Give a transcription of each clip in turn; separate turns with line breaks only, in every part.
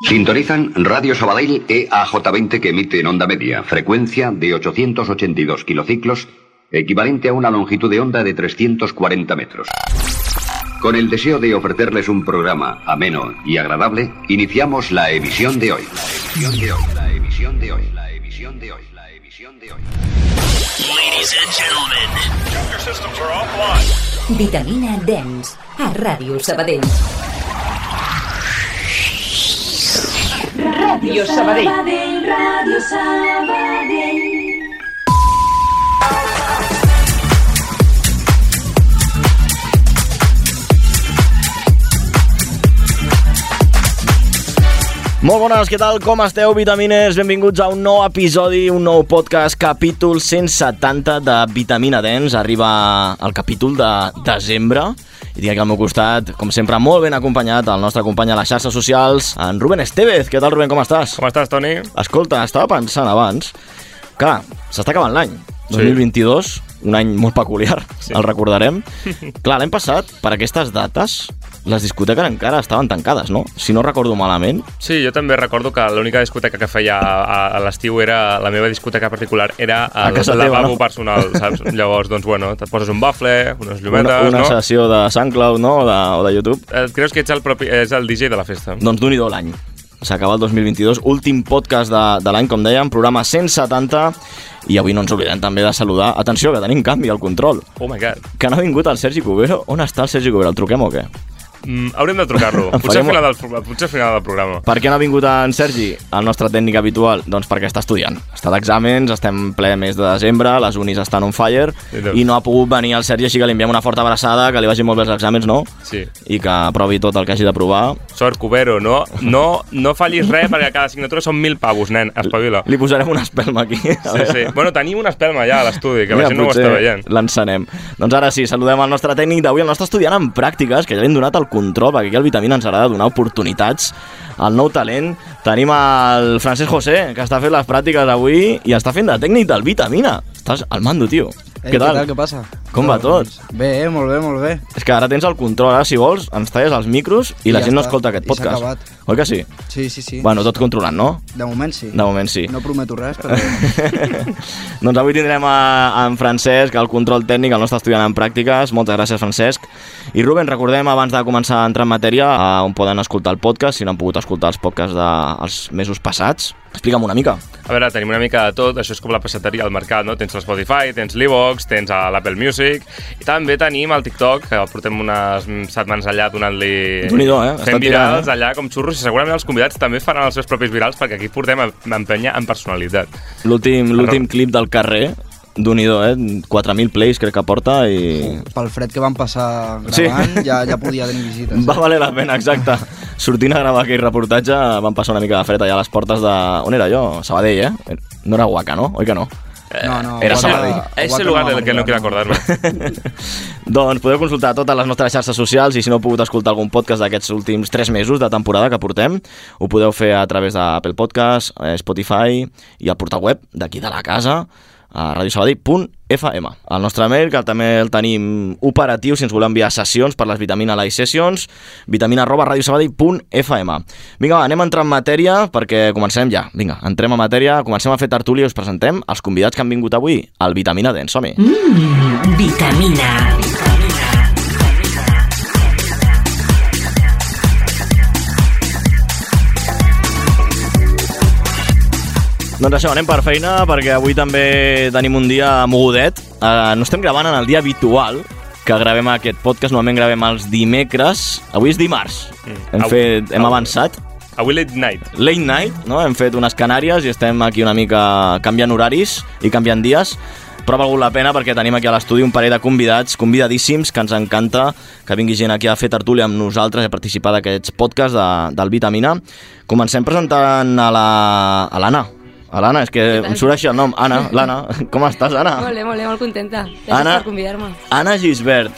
Sintonizan Radio Sabadell E EAJ20 que emite en onda media, frecuencia de 882 kilociclos, equivalente a una longitud de onda de 340 metros. Con el deseo de ofrecerles un programa ameno y agradable, iniciamos la emisión de hoy. La emisión de hoy, la emisión de hoy, la emisión de hoy, la emisión de hoy.
Ladies and gentlemen, your systems are offline.
Vitamina Dance a Radio Sabadell.
Radio Sabadell. Radio Sabadell.
Molt bones, què tal? Com esteu, vitamines? Benvinguts a un nou episodi, un nou podcast, capítol 170 de Vitamina Dens. Arriba el capítol de desembre. I tinc aquí al meu costat, com sempre, molt ben acompanyat el nostre company a les xarxes socials, en Rubén Estevez. Què tal, Rubén? Com estàs?
Com estàs, Toni?
Escolta, estava pensant abans que s'està acabant l'any. 2022, un any molt peculiar, sí. el recordarem. Clar, l'any passat, per aquestes dates, les discoteques encara estaven tancades, no? Si no recordo malament,
Sí, jo també recordo que l'única discoteca que feia a, a- a l'estiu era la meva discoteca particular, era el
casa teva,
lavabo
no?
personal, saps? Llavors, doncs, bueno, et poses un bafle, unes
una,
llumetes,
una
no?
sessió de SoundCloud no? o, de, o de YouTube.
Et creus que ets el, propi, és el DJ de la festa?
Doncs d'un i do l'any. S'acaba el 2022, últim podcast de, de l'any, com dèiem, programa 170, i avui no ens oblidem també de saludar. Atenció, que tenim canvi al control,
Oh my god.
que no ha vingut el Sergi Cubero. On està el Sergi Cubero? El truquem o què?
Mm, haurem de trucar-lo.
Em
Potser,
faria
al final del, pro- potser al final del programa.
Per què no ha vingut en Sergi, el nostre tècnic habitual? Doncs perquè està estudiant. Està d'exàmens, estem en ple mes de desembre, les unis estan on fire,
I
i
tant.
doncs. no ha pogut venir el Sergi, així que li enviem una forta abraçada, que li vagi molt bé els exàmens, no?
Sí.
I que aprovi tot el que hagi d'aprovar.
Sort, Cubero, no, no, Oh, no fallis res perquè cada signatura són mil pavos, nen, espavila.
Li posarem una espelma aquí. A
Sí,
veure.
sí. Bueno, tenim una espelma ja a l'estudi, que la gent no ho
potser
està veient.
L'encenem. Doncs ara sí, saludem el nostre tècnic d'avui, el nostre estudiant en pràctiques, que ja li hem donat el control, perquè aquí al Vitamina ens agrada donar oportunitats al nou talent. Tenim el Francesc José, que està fent les pràctiques avui i està fent de tècnic del Vitamina. Estàs al mando, tio.
Ei, què tal? Què passa?
Com va tot?
Bé, eh? molt bé, molt bé.
És que ara tens el control, ara si vols ens talles els micros i,
I
la
ja
gent no
està.
escolta aquest
I s'ha acabat.
podcast. Oi que sí?
Sí, sí, sí.
Bueno, tot controlant, no?
De moment sí.
De moment sí.
No prometo res, però...
doncs avui tindrem a, en Francesc, el control tècnic, el nostre estudiant en pràctiques. Moltes gràcies, Francesc. I Ruben, recordem, abans de començar a entrar en matèria, a on poden escoltar el podcast, si no han pogut escoltar els podcasts dels mesos passats. Explica'm una mica.
A veure, tenim una mica de tot, això és com la passateria al mercat, no? Tens el Spotify, tens l'Evox, tens eh, l'Apple Music, i també tenim el TikTok, que portem unes mm, setmanes allà donant-li...
Déu-n'hi-do, eh? Està tirant,
Fent virals
eh?
allà com xurros, i segurament els convidats també faran els seus propis virals, perquè aquí portem a, a empènyer en personalitat.
L'últim l'últim
Ro-
clip del carrer, d'un i do, eh? 4.000 plays crec que porta i...
Pel fred que vam passar
Sí.
gravant, ja, ja podia tenir visites.
Va valer la pena, exacte. Sortint a gravar aquell reportatge van passar una mica de fred allà a les portes de... On era jo? Sabadell, eh? No era Huaca, no? Oi que no?
No, no,
era
Guaca-
Sabadell.
Guaca
És el
no
lugar
vam
del que
arribar,
no quiero acordarme.
Doncs podeu consultar totes les nostres xarxes socials i si no heu pogut escoltar algun podcast d'aquests últims 3 mesos de temporada que portem, ho podeu fer a través d'Apple Podcast, eh, Spotify i el portal web d'aquí de la casa a radiosabadell.fm. El nostre mail, que també el tenim operatiu si ens voleu enviar sessions per les Vitamina Live Sessions, vitamina arroba radiosabadell.fm. Vinga, va, anem a entrar en matèria perquè comencem ja. Vinga, entrem a matèria, comencem a fer tertúlia i us presentem els convidats que han vingut avui al Vitamina Dance. Som-hi! Mmm,
Vitamina.
Doncs això, anem per feina, perquè avui també tenim un dia mogudet. Uh, no estem gravant en el dia habitual que gravem aquest podcast, normalment gravem els dimecres. Avui és dimarts. Mm. Hem,
Au.
fet, hem
Au.
avançat.
A Will It Night.
Late night, no? hem fet unes canàries i estem aquí una mica canviant horaris i canviant dies però ha valgut la pena perquè tenim aquí a l'estudi un parell de convidats, convidadíssims, que ens encanta que vingui gent aquí a fer tertúlia amb nosaltres i a participar d'aquests podcasts de, del Vitamina. Comencem presentant a la- a l'Anna. A l'Anna, és que em surt així el nom. Anna, l'Anna. Com estàs, Anna?
Molt bé, molt bé, molt contenta. Gràcies
Anna,
per convidar-me.
Anna Gisbert,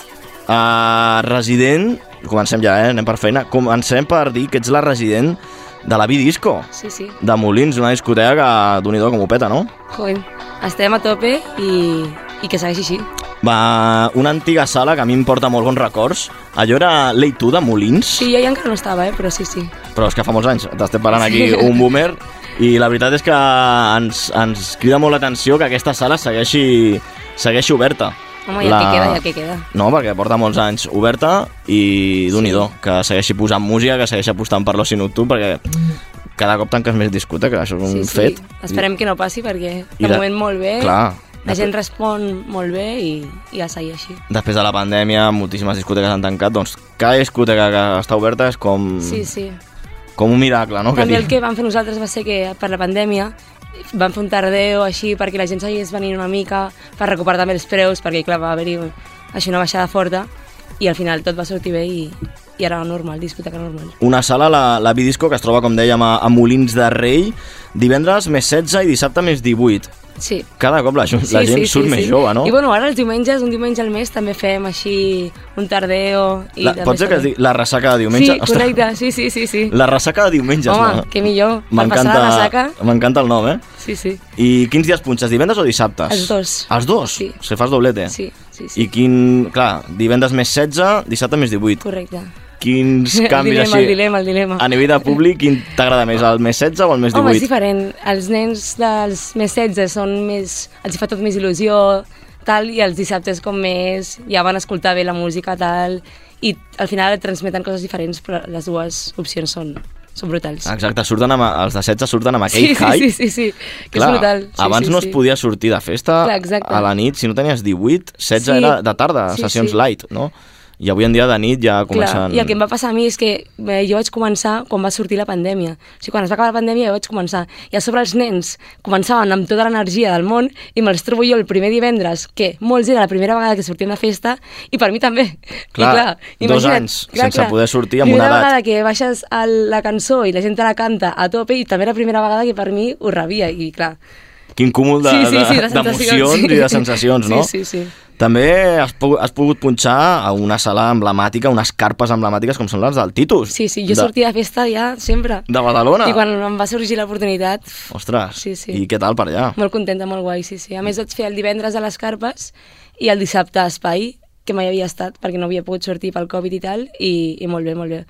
uh, resident... Comencem ja, eh? Anem per feina. Comencem per dir que ets la resident de la Bidisco
Sí, sí.
de Molins, una discoteca que d'un i do com ho peta, no?
Joder, estem a tope i, i que segueixi així.
va una antiga sala que a mi em porta molt bons records. Allò era l'Eitu de Molins,
Sí, jo ja encara no estava, eh? però sí, sí.
però és que fa molts anys. T'estem parlant aquí un boomer i la veritat és que ens, ens crida molt l'atenció que aquesta sala segueixi, segueixi oberta.
Home, i el que queda, i el que queda.
No, perquè porta molts anys oberta i d'un sí. i do, que segueixi posant música, que segueixi apostant per l'oci nocturn, perquè cada cop tanques més discoteca, això és un
sí,
fet.
Sí. Esperem que no passi perquè
I
de
la-
moment molt bé,
clar.
la gent respon molt bé i, i a seguir així.
Després de la pandèmia, moltíssimes discoteques han tancat, doncs cada discoteca que està oberta és com,
Sí, sí.
com un miracle, no?
També el
dic-
que vam fer nosaltres va ser que per la pandèmia vam fer un tardeu així perquè la gent seguís venint una mica per recuperar també els preus perquè clar, va haver-hi així una baixada forta i al final tot va sortir bé i, i era normal, discoteca normal.
Una sala, la, la Bidisco, que es troba, com dèiem, a, a Molins de Rei, divendres més 16 i dissabte més 18.
Sí.
Cada cop la, jo- la gent surt més jove, no?
I bueno, ara els diumenges, un diumenge al mes, també fem així un tardeo. I
la,
també
pot ser que es
també-
digui la ressaca de diumenge?
Sí, correcte, sí, sí, sí. sí.
La ressaca de diumenge.
Home, que millor, per passar la ressaca.
M'encanta el nom, eh?
Sí, sí.
I quins dies punxes, divendres o dissabtes?
Els dos.
Els dos?
Sí.
Se fas doblete.
Sí, sí, sí.
I quin... Clar, divendres més 16, dissabte més 18.
Correcte.
Quins
El
canvis
dilema,
així...
el dilema, el dilema.
A nivell de públic, quin t'agrada més, el més 16 o el més 18?
Home, és diferent. Els nens dels més 16 són més... els fa tot més il·lusió, tal, i els dissabtes com més ja van escoltar bé la música, tal, i al final et transmeten coses diferents, però les dues opcions són, són brutals.
Exacte, surten amb, els de 16 surten amb aquell
sí, sí,
hype.
sí, sí, sí, que
Clar,
és brutal. Sí,
abans
sí,
no
sí.
es podia sortir de festa
Clar, exacte.
a la nit, si no tenies 18, 16
Sí.
era de tarda,
Sí,
sessions
sí.
light, no? I avui en dia de nit ja comencen...
Clar, I el que em va passar a mi és que eh, jo vaig començar quan va sortir la pandèmia. O sigui, quan es va acabar la pandèmia jo vaig començar. I a sobre els nens començaven amb tota l'energia del món i me'ls trobo jo el primer divendres, que molts era la primera vegada que sortien de festa, i per mi també.
Clar,
I, clar
dos
imagina't,
anys sense poder sortir amb
primera
una edat.
vegada que baixes el, la cançó i la gent te la canta a tope, i també era la primera vegada que per mi ho rebia, i clar...
Quin cúmul de-
Sí, sí, sí,
de-
de sensacions,
d'emocions
sí.
i de sensacions, no?
Sí, sí, sí.
També has, pogut, has pogut punxar a una sala emblemàtica, unes carpes emblemàtiques com són les del Titus.
Sí, sí, jo
de,
sortia de festa ja sempre.
De Badalona?
I quan em va sorgir l'oportunitat,
Ostres,
Sí, sí.
i què tal per allà?
Molt contenta, molt guai, sí, sí. A més, vaig fer el divendres a les Carpes i el dissabte a Espai, que mai havia estat perquè no havia pogut sortir pel Covid i tal, i, i molt bé, molt bé.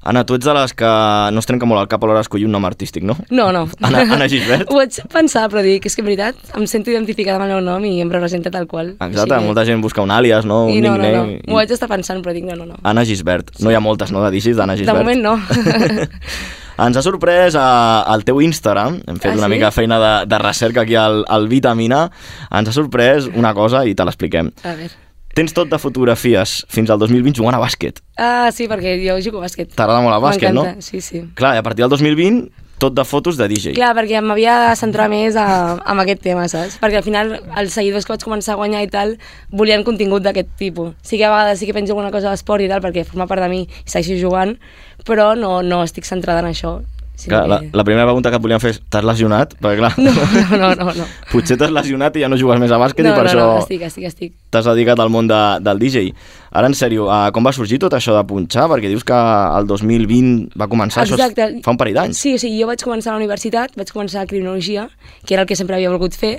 Anna, tu ets de les que no es trenca molt el cap a l'hora d'escollir un nom artístic, no?
No, no.
Anna, Anna Gisbert?
Ho vaig pensar, però dic, és que en veritat, em sento identificada amb el meu nom i em representa tal qual.
Exacte, sí. molta gent busca un àlies, no? Un
I no, no,
nickname.
no. M'ho vaig estar pensant, però dic, no, no, no.
Anna Gisbert. No hi ha moltes, no, de digis d'Anna
De
Gisbert?
moment no.
Ens ha sorprès a, al teu Instagram, hem fet
Ah,
una
sí?
mica feina de, de recerca aquí al, al Vitamina, ens ha sorprès una cosa i te l'expliquem.
A veure.
Tens tot de fotografies fins al 2020 jugant a bàsquet.
Ah, sí, perquè jo jugo a bàsquet.
T'agrada molt el bàsquet, no?
M'encanta, sí, sí.
Clar, i a partir del 2020, tot de fotos de DJ.
Clar, perquè m'havia de centrar més a, en aquest tema, saps? Perquè al final els seguidors que vaig començar a guanyar i tal volien contingut d'aquest tipus. Sí que a vegades sí que penso alguna cosa d'esport i tal, perquè forma part de mi i segueixo jugant, però no, no estic centrada en això. Sinó
Clar, la,
que...
la primera pregunta que et volíem fer és, t'has lesionat? Perquè clar,
No, no, no, no. no.
potser t'has lesionat i ja no jugues més a bàsquet
no,
i per
no,
això
no, estic, estic, estic.
t'has dedicat al món de, del DJ. Ara, en sèrio, eh, com va sorgir tot això de punxar? Perquè dius que el 2020 va començar, això és, fa un parell d'anys.
Sí, sí, jo vaig començar a la universitat, vaig començar a criminologia, que era el que sempre havia volgut fer,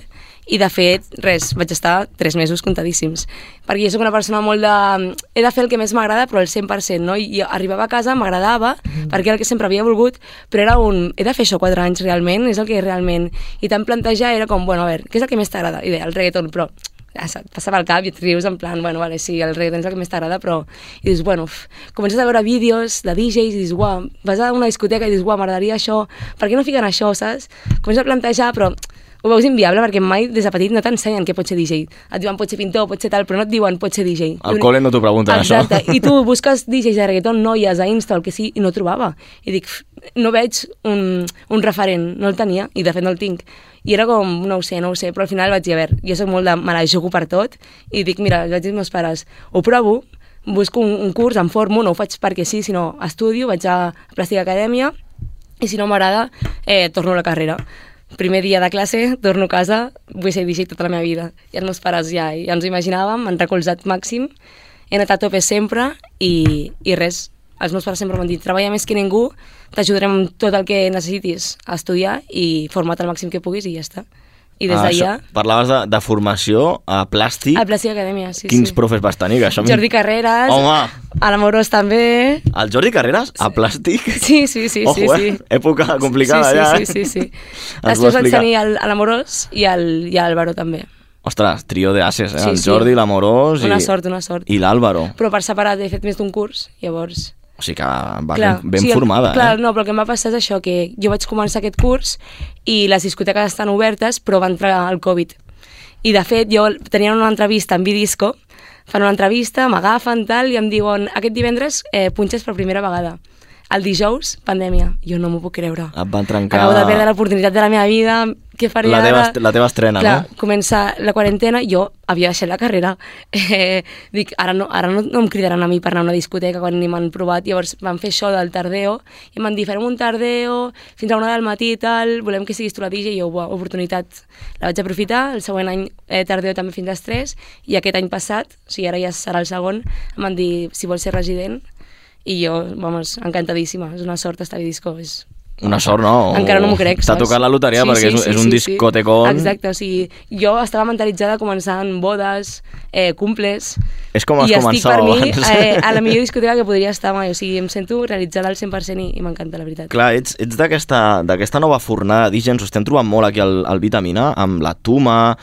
i de fet, res, vaig estar tres mesos contadíssims. Perquè jo sóc una persona molt de... He de fer el que més m'agrada, però el 100%, no? I arribava a casa, m'agradava, perquè era el que sempre havia volgut, però era un... He de fer això quatre anys realment, és el que realment... I tant plantejar era com, bueno, a veure, què és el que més t'agrada? I bé, el reggaeton, però ah, se't passa pel cap i et rius en plan, bueno, vale, sí, el reggaeton és el que més t'agrada, però... I dius, bueno, uf, comences a veure vídeos de DJs i dius, uau, vas a una discoteca i dius, uau, m'agradaria això, per què no fiquen això, saps? Comences a plantejar, però ho veus inviable perquè mai des de petit no t'ensenyen què pot ser DJ. Et diuen pot ser pintor, pot ser tal, però no et diuen pot ser DJ.
Al
I un-
col·le no t'ho pregunten, això.
Exacte. I tu busques DJs de reggaeton, noies, a Insta, el que sí, i no trobava. I dic, "Uf, no veig un, un referent, no el tenia, i de fet no el tinc. I era com, no ho sé, no ho sé, però al final vaig dir, a veure, jo soc molt de, me la jugo per tot, i dic, mira, els vaig dir als meus pares, ho provo, busco un, un curs, em formo, no ho faig perquè sí, sinó estudio, vaig a Plàstica Acadèmia, i si no m'agrada, eh, torno a la carrera. Primer dia de classe, torno a casa, vull ser DJ tota la meva vida. I els meus pares ja, ja ens ho imaginàvem, m'han recolzat màxim, he anat a tope sempre i, i res, els meus pares sempre m'han dit treballa més que ningú, t'ajudarem amb tot el que necessitis a estudiar i forma't el màxim que puguis i ja està. I des d'allà,
Ah, Això, parlaves de, de formació a plàstic.
a Plàstic Acadèmia, sí,
Quins
sí.
profes vas tenir? Que això a mi-
Jordi Carreras,
Home,
a l'Amorós també...
el Jordi Carreras a plàstic?
Sí, sí, sí,
Ojo,
sí,
eh?
sí.
Època complicada,
sí, sí,
ja. eh?
Sí, sí, sí.
Ens ho va
Després vaig
explicar.
tenir el- a l'Amorós i al, i al Baró també.
Ostres, trio de ases, eh?
Sí,
el
sí.
Jordi, l'Amorós i...
Una sort, una sort.
I l'Àlvaro.
Però per separat he fet més d'un curs, llavors...
O sigui que va
clar,
ben, ben
sí, el-
formada,
clar,
eh?
no, però el que em va passar és això, que jo vaig començar aquest curs i les discoteques estan obertes, però va entrar el Covid. I, de fet, jo tenia una entrevista amb Vidisco, fan una entrevista, m'agafen, tal, i em diuen, aquest divendres eh, punxes per primera vegada. El dijous, pandèmia. Jo no m'ho puc creure.
Et van trencar...
Acabo de perdre l'oportunitat de la meva vida, què faré
La teva
ara?
est- la teva estrena,
Clar,
no?
comença la quarantena, jo havia deixat la carrera. Eh, dic, ara, no, ara no, no em cridaran a mi per anar a una discoteca quan ni m'han provat. Llavors van fer això del tardeo i em van dir, farem un tardeo fins a una del matí i tal, volem que siguis tu la DJ. I jo, buah, oportunitat. La vaig aprofitar, el següent any eh, tardeo també fins a les 3 i aquest any passat, o sigui, ara ja serà el segon, em van dir si vols ser resident i jo, vamos, encantadíssima. És una sort estar a disco, és
Una sort, no?
encara no m'ho crec.
T'ha
saps?
tocat la loteria
Sí,
perquè
sí,
és,
sí,
és un
sí,
discotecón.
Sí. Exacte, o sigui, jo estava mentalitzada començant bodes, eh, cumples...
És com has
I estic
començat
per mi
abans.
eh, a la millor discoteca que podria estar mai. O sigui, em sento realitzada al 100% i, i m'encanta, la veritat.
Clar, ets, ets d'aquesta d'aquesta nova fornada d'Igen, ens ho estem trobant molt aquí al, al Vitamina, amb la Tuma,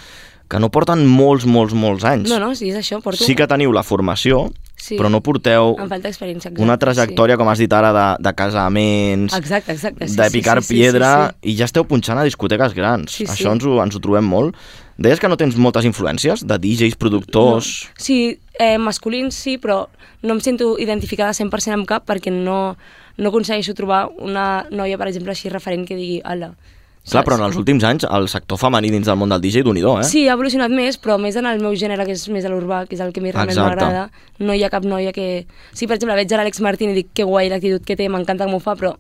que no porten molts, molts, molts anys.
No, no, sí, és això, porto...
Sí que teniu la formació,
Sí.
però no porteu
Em falta experiència, exacte.
una trajectòria, com has dit ara, de, de casaments,
Sí. Exacte, exacte. Sí,
de
sí,
picar
sí, sí,
piedra,
sí, sí.
i ja esteu punxant a discoteques grans.
Sí, sí.
Això ens ho, ens ho trobem molt. Deies que no tens moltes influències de DJs, productors...
No. Sí, eh, masculins sí, però no em sento identificada 100% amb cap perquè no, no aconsegueixo trobar una noia, per exemple, així referent que digui ala.
Clar,
saps?
però en els últims anys el sector femení dins del món del DJ, d'un i do, eh?
Sí, ha evolucionat més, però més en el meu gènere, que és més a l'urbà, que és el que a mi realment
Exacte.
m'agrada. No hi ha cap noia que... Sí, per exemple, veig a l'Àlex Martín i dic que guai l'actitud que té, m'encanta com ho fa, però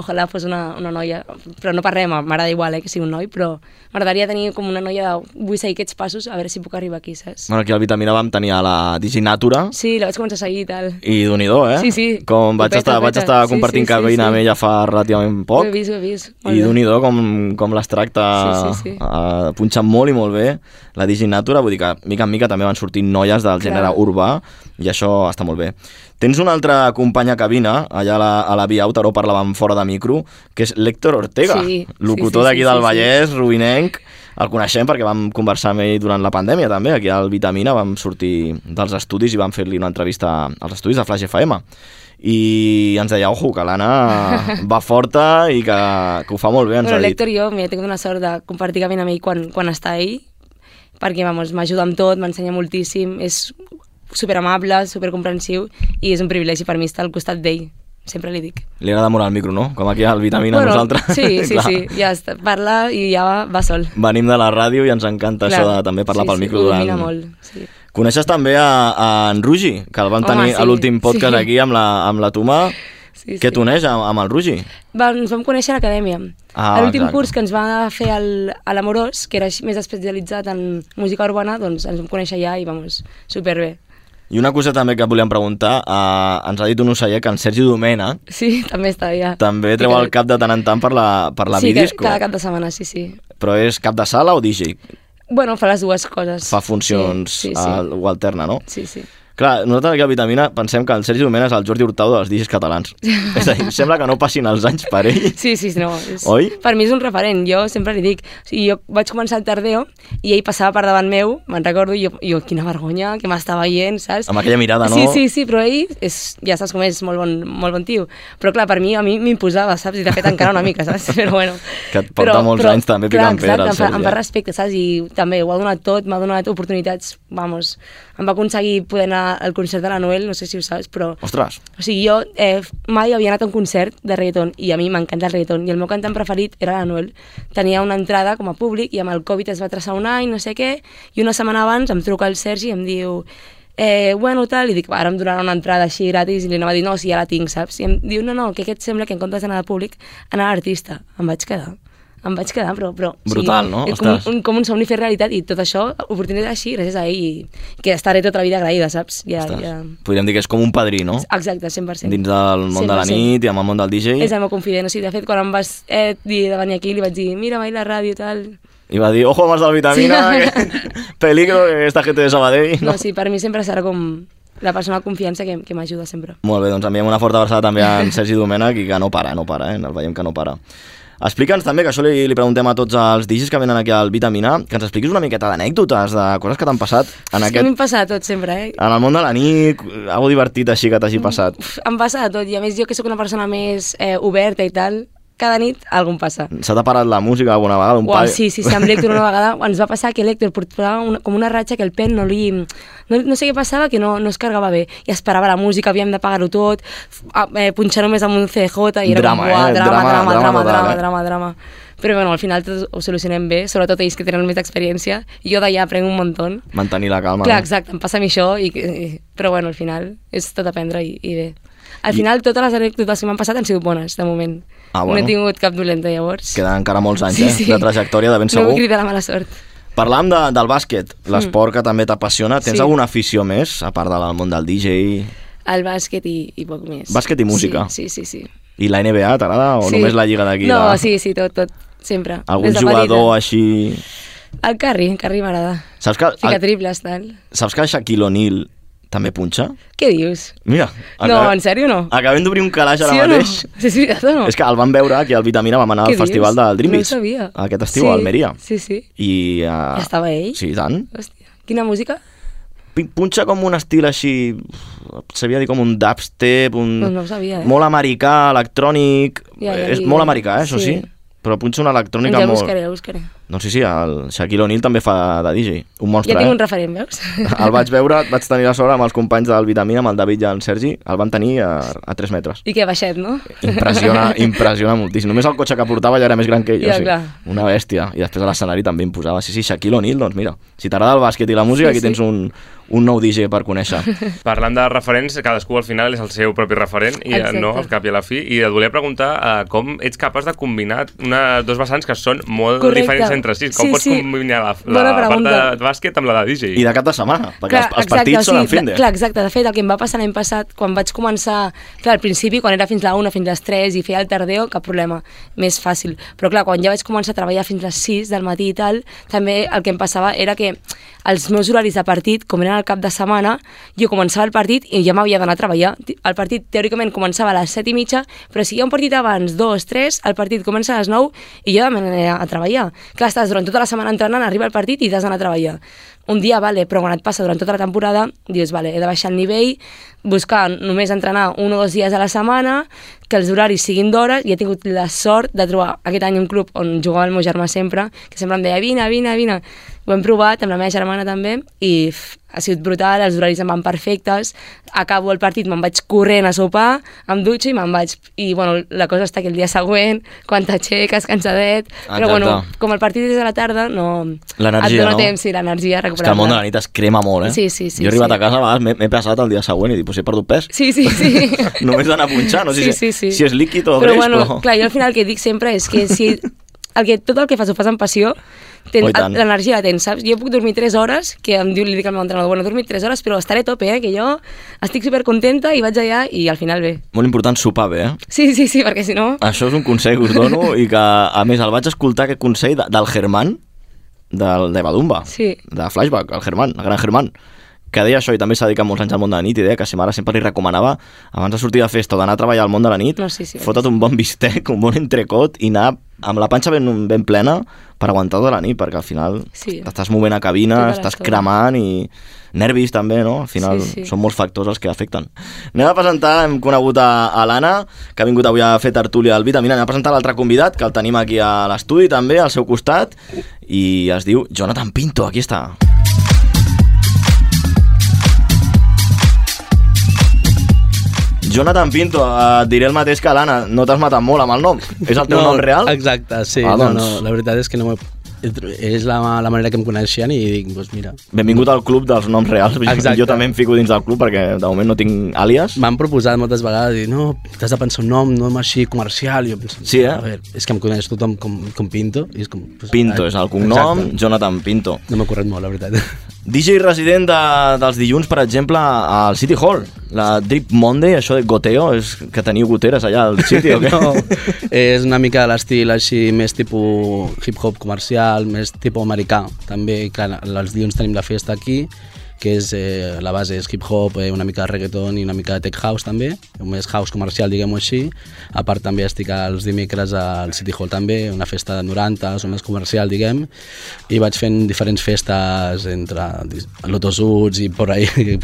ojalà fos una, una noia, però no parlem, m'agrada igual eh, que sigui un noi, però m'agradaria tenir com una noia de vull seguir aquests passos, a veure si puc arribar aquí, saps?
Bueno, aquí al Vitamina vam tenir a la DJ Natura,
Sí, la vaig començar a seguir i tal.
I d'un i do, eh?
Sí, sí.
Com vaig
Ho peta,
estar,
ho
vaig
peta.
estar
Sí,
compartint
sí, sí,
cabina
sí.
amb ella fa relativament
Ho
poc.
he vist, ho he vist. Molt
I
bé.
d'un i do com, com les tracta
Sí, sí, sí.
eh, punxant molt i molt bé la Diginatura, vull dir que mica en mica també van sortint noies del
Clar.
gènere urbà i això està molt bé. Tens una altra companya cabina, allà a la, a la Via Autaró parlàvem fora de micro, que és l'Héctor Ortega,
Sí, sí,
locutor
sí,
d'aquí
sí,
del
sí,
Vallès, rubinenc, el coneixem perquè vam conversar amb ell durant la pandèmia també, aquí al Vitamina vam sortir dels estudis i vam fer-li una entrevista als estudis de Flash FM i ens deia, ojo, que l'Anna va forta i que, que ho fa molt bé, ens
Bueno,
ha dit.
l'Héctor i jo, mira, he tingut una sort de compartir cabina amb ell quan, quan està ell, perquè, vamos, m'ajuda amb tot, m'ensenya moltíssim, és superamable, supercomprensiu, i és un privilegi per mi estar al costat d'ell, sempre li dic.
Li agrada molt el micro, no? Com aquí al Vitamina a nosaltres.
Sí, sí,
Clar.
sí, ja està, parla i ja va, va sol.
Venim de la ràdio i ens encanta
Clar.
això de també parlar
sí,
pel
sí,
micro
ho
durant...
domina molt, sí.
Coneixes també a, a en Rugi, que el vam
Home,
tenir a
sí,
l'últim podcast
sí.
aquí amb la, amb la Tuma.
Sí,
Què
sí.
t'uneix amb, amb el Rugi?
Va, ens vam conèixer a l'acadèmia.
Ah,
a l'últim
exacte.
curs que ens va fer el, a l'Amorós, que era així més especialitzat en música urbana, doncs ens vam conèixer allà i, vamos, superbé.
I una cosa també que et volíem preguntar, eh, ens ha dit un ocellet que en Sergi Domena
Sí, també està allà.
també treu el cap de tant en tant per la, per la
sí, que-
Vidisco.
cada cap de setmana, sí, sí.
Però és cap de sala o DJ?
Bueno, fa les dues coses.
Fa funcions
Sí, sí,
al-
sí.
o alterna, no?
sí, sí.
Clar, nosaltres aquí a Vitamina pensem que el Sergi Domena és el Jordi Hurtado dels DJs catalans. és a dir, sembla que no passin els anys per ell.
Sí, sí, no. És,
Oi?
Per mi és un referent, jo sempre li dic. O sigui, jo vaig començar el tardeo i ell passava per davant meu, me'n recordo, i jo, jo quina vergonya, que m'està veient, saps?
Amb aquella mirada, no?
Sí, sí, sí, però ell, és, ja saps com és, molt bon, molt bon tio. Però clar, per mi, a mi m'imposava, saps? I de fet encara una mica, saps? Però bueno.
Que et porta molts anys també
clar,
picant pedra, el
exacte, em fa,
Sergi,
em
eh?
fa respecte, saps? I també ho ha donat tot, m'ha donat oportunitats, vamos. Em va aconseguir poder anar al concert de la Noel, no sé si ho saps, però
Ostres,
o sigui, jo eh, mai havia anat a un concert de reggaeton i a mi m'encanta el reggaeton i el meu cantant preferit era l'Anuel. Tenia una entrada com a públic i amb el Covid es va traçar un any, no sé què, i una setmana abans em truca el Sergi i em diu eh, bueno, tal, i dic, ara em donarà una entrada així gratis i li anava a dir, no, si ja la tinc, saps? I em diu, no, no, que què et sembla que en comptes d'anar al públic, anar a l'artista? Em vaig quedar. Em vaig quedar, però... però
Brutal, no?
eh, Com,
Ostres.
un, com un somni fer realitat i tot això, oportunitat així, gràcies a ell, i que estaré tota la vida agraïda, saps? Ja,
ostres.
ja...
podríem dir que és com un padrí, no?
Exacte, 100%.
Dins del món de la
100%.
nit i amb el món del DJ.
És el meu confident, o sigui, de fet, quan em vas eh, dir de venir aquí, li vaig dir, mira, mai la ràdio, tal...
I va dir, ojo amb els de la vitamina,
Sí.
que... peligro que esta gente de Sabadell.
No, sí, per mi sempre serà com la persona de confiança que, que m'ajuda sempre.
Molt bé, doncs enviem una forta abraçada també a en Sergi Domènech i que no para, no para, eh? el veiem que no para. Explica'ns també, que això li, li preguntem a tots els digis que venen aquí al Vitamina, que ens expliquis una miqueta d'anècdotes, de coses que t'han passat en,
És que m'hi
aquest,
passa de tot sempre, eh?
en el món de la nit, algo divertit així que t'hagi passat.
Uf, em passa de tot, i a més jo que sóc una persona més eh, oberta i tal, cada nit algun passa.
Se t'ha parat la música alguna vegada? Un
Uau,
pal-
sí, sí, sí, amb l'Hèctor una vegada ens va passar que l'Hèctor portava una, com una ratxa que el pen no li... No, no sé què passava, que no, no es cargava bé. I es parava la música, havíem de pagar-ho tot, f- a- eh, punxar només amb un CJ, i era
Drama,
com, uah,
eh?
drama,
Drama,
drama,
drama
drama,
total,
drama,
eh?
drama, drama. Però bueno, al final tot ho solucionem bé, sobretot ells que tenen més experiència. Jo d'allà aprenc un muntó.
Mantenir la calma. eh?
Clar,
no?
exacte, em passa a mi això, i, i, però bueno, al final és tot aprendre i, i bé. Al final totes les anècdotes que m'han passat han sigut bones, de moment.
Ah, bueno.
No he tingut cap dolenta, llavors.
Queden encara molts anys eh? de trajectòria, de ben
No
segur.
vull cridar la mala sort.
Parlàvem de, del bàsquet, l'esport que també t'apassiona. Tens
Sí.
alguna afició més, a part del món del DJ
El bàsquet i, i poc més.
Bàsquet i música.
Sí, sí, sí. sí.
i la NBA? T'agrada o
sí.
només la lliga d'aquí?
No,
de-
sí, sí, tot, tot, sempre.
Algun
Des de
jugador
petita.
així...
El Carri, el Carri m'agrada.
Saps que,
Fica
el,
triples, tal.
saps que Shaquille O'Neal també punxa?
Què dius?
Mira,
No, en sèrio no?
Acabem d'obrir un calaix ara
sí o no?
mateix.
Sí, és veritat o no?
És que el van veure aquí al Vitamina, vam anar
Què
al
dius?
festival del Dream
No ho
Beach
sabia.
Aquest estiu
Sí,
a Almeria.
sí, sí.
I, uh,
Ja estava ell?
Sí, i tant.
Hòstia, quina música?
Pi- Punxa com un estil així, sabia dir com un dubstep, un...
Doncs no ho sabia, eh?
Mm. Molt americà, electrònic...
Ja, ja
és
li-
molt americà, eh, això sí.
sí.
Però punxa una electrònica
ja ho
molt...
buscaré, ja ho buscaré.
Doncs sí, sí, el Shaquille O'Neal també fa de DJ. Un monstre,
Ja
eh?
tinc un referent, veus?
El vaig veure, vaig tenir la sort amb els companys del Vitamina, amb el David i el Sergi, el van tenir a, a 3 metres.
I què, baixet, no?
Impressiona, impressiona moltíssim. Només el cotxe que portava ja era més gran que ell.
Ja,
o sigui,
clar.
una bèstia. I després a l'escenari també imposava. Sí, sí, Shaquille O'Neal, doncs mira, si t'agrada el bàsquet i la música,
Sí,
aquí
sí.
tens un, un nou DJ per conèixer.
Parlant de referents, cadascú al final és el seu propi referent, i eh,
Exacte.
no al cap i a la fi. I et volia preguntar eh, com ets capaç de combinar una, dos vessants que són molt
Correcte.
diferents entre si. Com
Sí,
pots
sí.
combinar la,
Bona
la part de
pregunta.
bàsquet amb la de DJ?
I de cap de setmana, perquè els, els partits
exacte, o
són en
sigui,
fin de...
Clar, exacte. De fet, el que em va passar l'any passat, quan vaig començar, clar, al principi, quan era fins la 1, fins les 3 i feia el tardeo, cap problema, més fàcil. Però clar, quan ja vaig començar a treballar fins les 6 del matí i tal, també el que em passava era que els meus horaris de partit, com eren al cap de setmana, jo començava el partit i ja m'havia d'anar a treballar. El partit, teòricament, començava a les 7 i mitja, però si hi ha un partit abans, 2, 3, el partit comença a les 9 i jo me n'aniré a treballar. Clar, estàs durant tota la setmana entrenant, arriba el partit i t'has d'anar a treballar un dia, vale, però quan et passa durant tota la temporada, dius, vale, he de baixar el nivell, buscar només entrenar un o dos dies a la setmana, que els horaris siguin d'hora, i he tingut la sort de trobar aquest any un club on jugava el meu germà sempre, que sempre em deia, vine, vine, vine. Ho hem provat, amb la meva germana també, i ff, ha sigut brutal, els horaris em van perfectes, acabo el partit, me'n vaig corrent a sopar, em dutxo i me'n vaig. I bueno, la cosa està que el dia següent, quan t'aixeques, cansadet,
Ah, Exacte.
però bueno, com el partit és a la tarda, no...
L'energia,
et dona
no?
temps, sí, l'energia,
És que el món de la
recuperar-la.
nit es crema molt, eh?
Sí, sí, sí,
Jo he arribat
sí.
a casa, a vegades m'he- m'he passat el dia següent i dic, potser he perdut pes.
Sí, sí, sí.
Només d'anar a punxar, no sé
sí,
si-
sí, sí.
si és líquid o
però,
greix,
bueno,
però-
Clar, jo al final el que dic sempre és que si el que, tot el que fas ho fas amb passió, tens-
Oh, i tant.
l'energia la tens, saps? Jo puc dormir 3 hores, que em diu, li dic al meu entrenador, bueno, he dormit 3 hores, però estaré a tope, eh? que jo estic supercontenta i vaig allà i al final bé.
Molt important sopar bé, eh?
Sí, sí, sí, perquè si no...
Això és un consell que us dono i que, a més, el vaig escoltar aquest consell de, del Germán, del, de Badumba,
Sí.
de Flashback, el Germán, el gran Germán, que deia això i també s'ha dedicat molts anys al món de la nit i deia que sa mare sempre li recomanava, abans de sortir de festa o d'anar a treballar al món de la nit,
No, sí, sí.
fota't un bon bistec, un bon entrecot i anar amb la panxa ben, ben plena per aguantar tota la nit, perquè al final
Sí.
t'estàs movent a cabina,
Tota
estàs
l'estona.
cremant i nervis també, no? Al final
Sí, sí.
són molts factors els que afecten. Anem a presentar, hem conegut a, a l'Anna, que ha vingut avui a fer tertúlia al Vitamina, anem a presentar l'altre convidat, que el tenim aquí a l'estudi també, al seu costat, i es diu Jonathan Pinto, aquí està. Jonathan Pinto, eh, et diré el mateix que l'Anna, no t'has matat molt amb el nom. És el teu nom real?
Exacte, sí.
Ah,
Ah, doncs.
doncs.
no, no, la veritat és que no m'ho... És la, la manera que em coneixien i dic, doncs pues mira...
Benvingut al club dels noms reals.
Exacte.
Jo també em fico dins del club perquè de moment no tinc àlies.
M'han proposat moltes vegades, dir, no, t'has de pensar un nom, no nom així comercial, i jo penso,
Sí, eh?
a veure, és que em coneix tothom com, com Pinto, i és com... Pues,
Pinto
ah,
és el cognom,
Exacte.
Jonathan Pinto.
No m'ha corret molt, la veritat.
DJ resident de, dels dilluns, per exemple, al City Hall. La Drip Monday, això de goteo, és que teniu goteres allà al City o què?
no, és una mica l'estil així més tipus hip-hop comercial, més tipus americà. També que els dilluns tenim la festa aquí, que és, eh, la base és hip-hop, eh, una mica de reggaeton i una mica de tech house també, més house comercial, diguem-ho així. A part també estic els dimecres al City Hall també, una festa de 90, o més comercial, diguem, i vaig fent diferents festes entre dis- lotosuts i por ahí.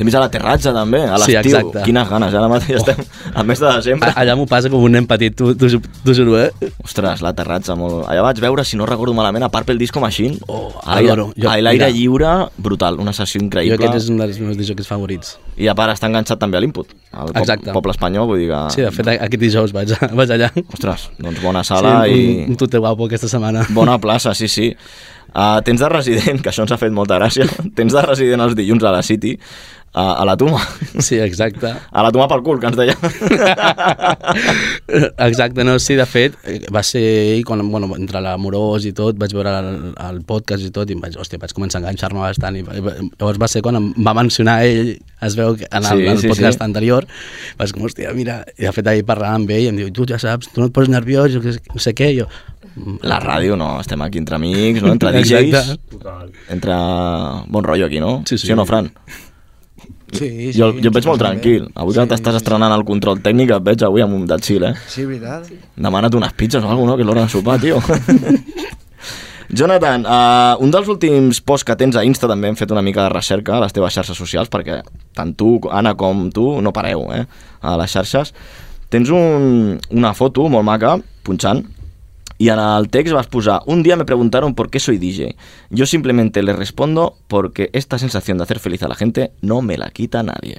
També a l'aterratge, també, a
Sí,
l'estiu.
exacte. Oh.
Quines ganes, ara mateix estem al mes de desembre.
Allà m'ho passa com un nen petit, t'ho- t'ho ju- t'ho juro, eh?
Ostres, l'aterratge molt... Allà vaig veure, si no recordo malament, a Purple Disco Machine.
Oh,
a l'aire-
adoro. Jo-
a l'aire
mira.
lliure, brutal, una sessió
Jo
increïble.
aquest és un dels meus disjocs favorits.
I a part està enganxat també a l'input, al pop,
Exacte.
poble espanyol, vull dir que...
Sí, de fet, a- aquest dijous vaig, vaig allà.
Ah. Ostres, doncs bona sala
sí, un,
i
un tute guapo aquesta setmana.
bona plaça, sí, sí. Uh, tens de resident, que això ens ha fet molta gràcia, tens de resident els dilluns a la City, a, a la Tuma.
Sí, exacte.
A la Tuma pel cul, que ens deia.
Exacte, no, sí, de fet, eh, va ser ahir, quan, bueno, entre l'amorós i tot, vaig veure el, el podcast i tot, i em vaig, hòstia, vaig començar a enganxar-me bastant, i, i llavors va ser quan em va mencionar ell, es veu que en el,
Sí,
sí, el
sí,
podcast
sí.
sí. anterior, vaig com, hòstia, mira, i de fet ahir parlàvem amb ell, i em diu, tu ja saps, tu no et poses nerviós, jo, que- no sé què, i jo... "Mm,
la ràdio, no, estem aquí entre amics, no? entre DJs,
Exacte.
entre bon rotllo aquí, no?
Sí, sí.
o no, Fran?
Sí, sí,
jo, jo et veig molt
també.
tranquil. Avui que t'estàs estrenant el control tècnic, et veig avui amb un del xil, eh?
Sí, veritat.
Demana't unes pizzas o alguna cosa, no? que és l'hora de sopar, tio. Jonathan, uh, un dels últims posts que tens a Insta també hem fet una mica de recerca a les teves xarxes socials, perquè tant tu, Anna, com tu no pareu eh, a les xarxes. Tens un, una foto molt maca, punxant, y en el text vas posar Un día me preguntaron por qué soy DJ. Yo simplemente les respondo porque esta sensación de hacer feliz a la gente no me la quita nadie.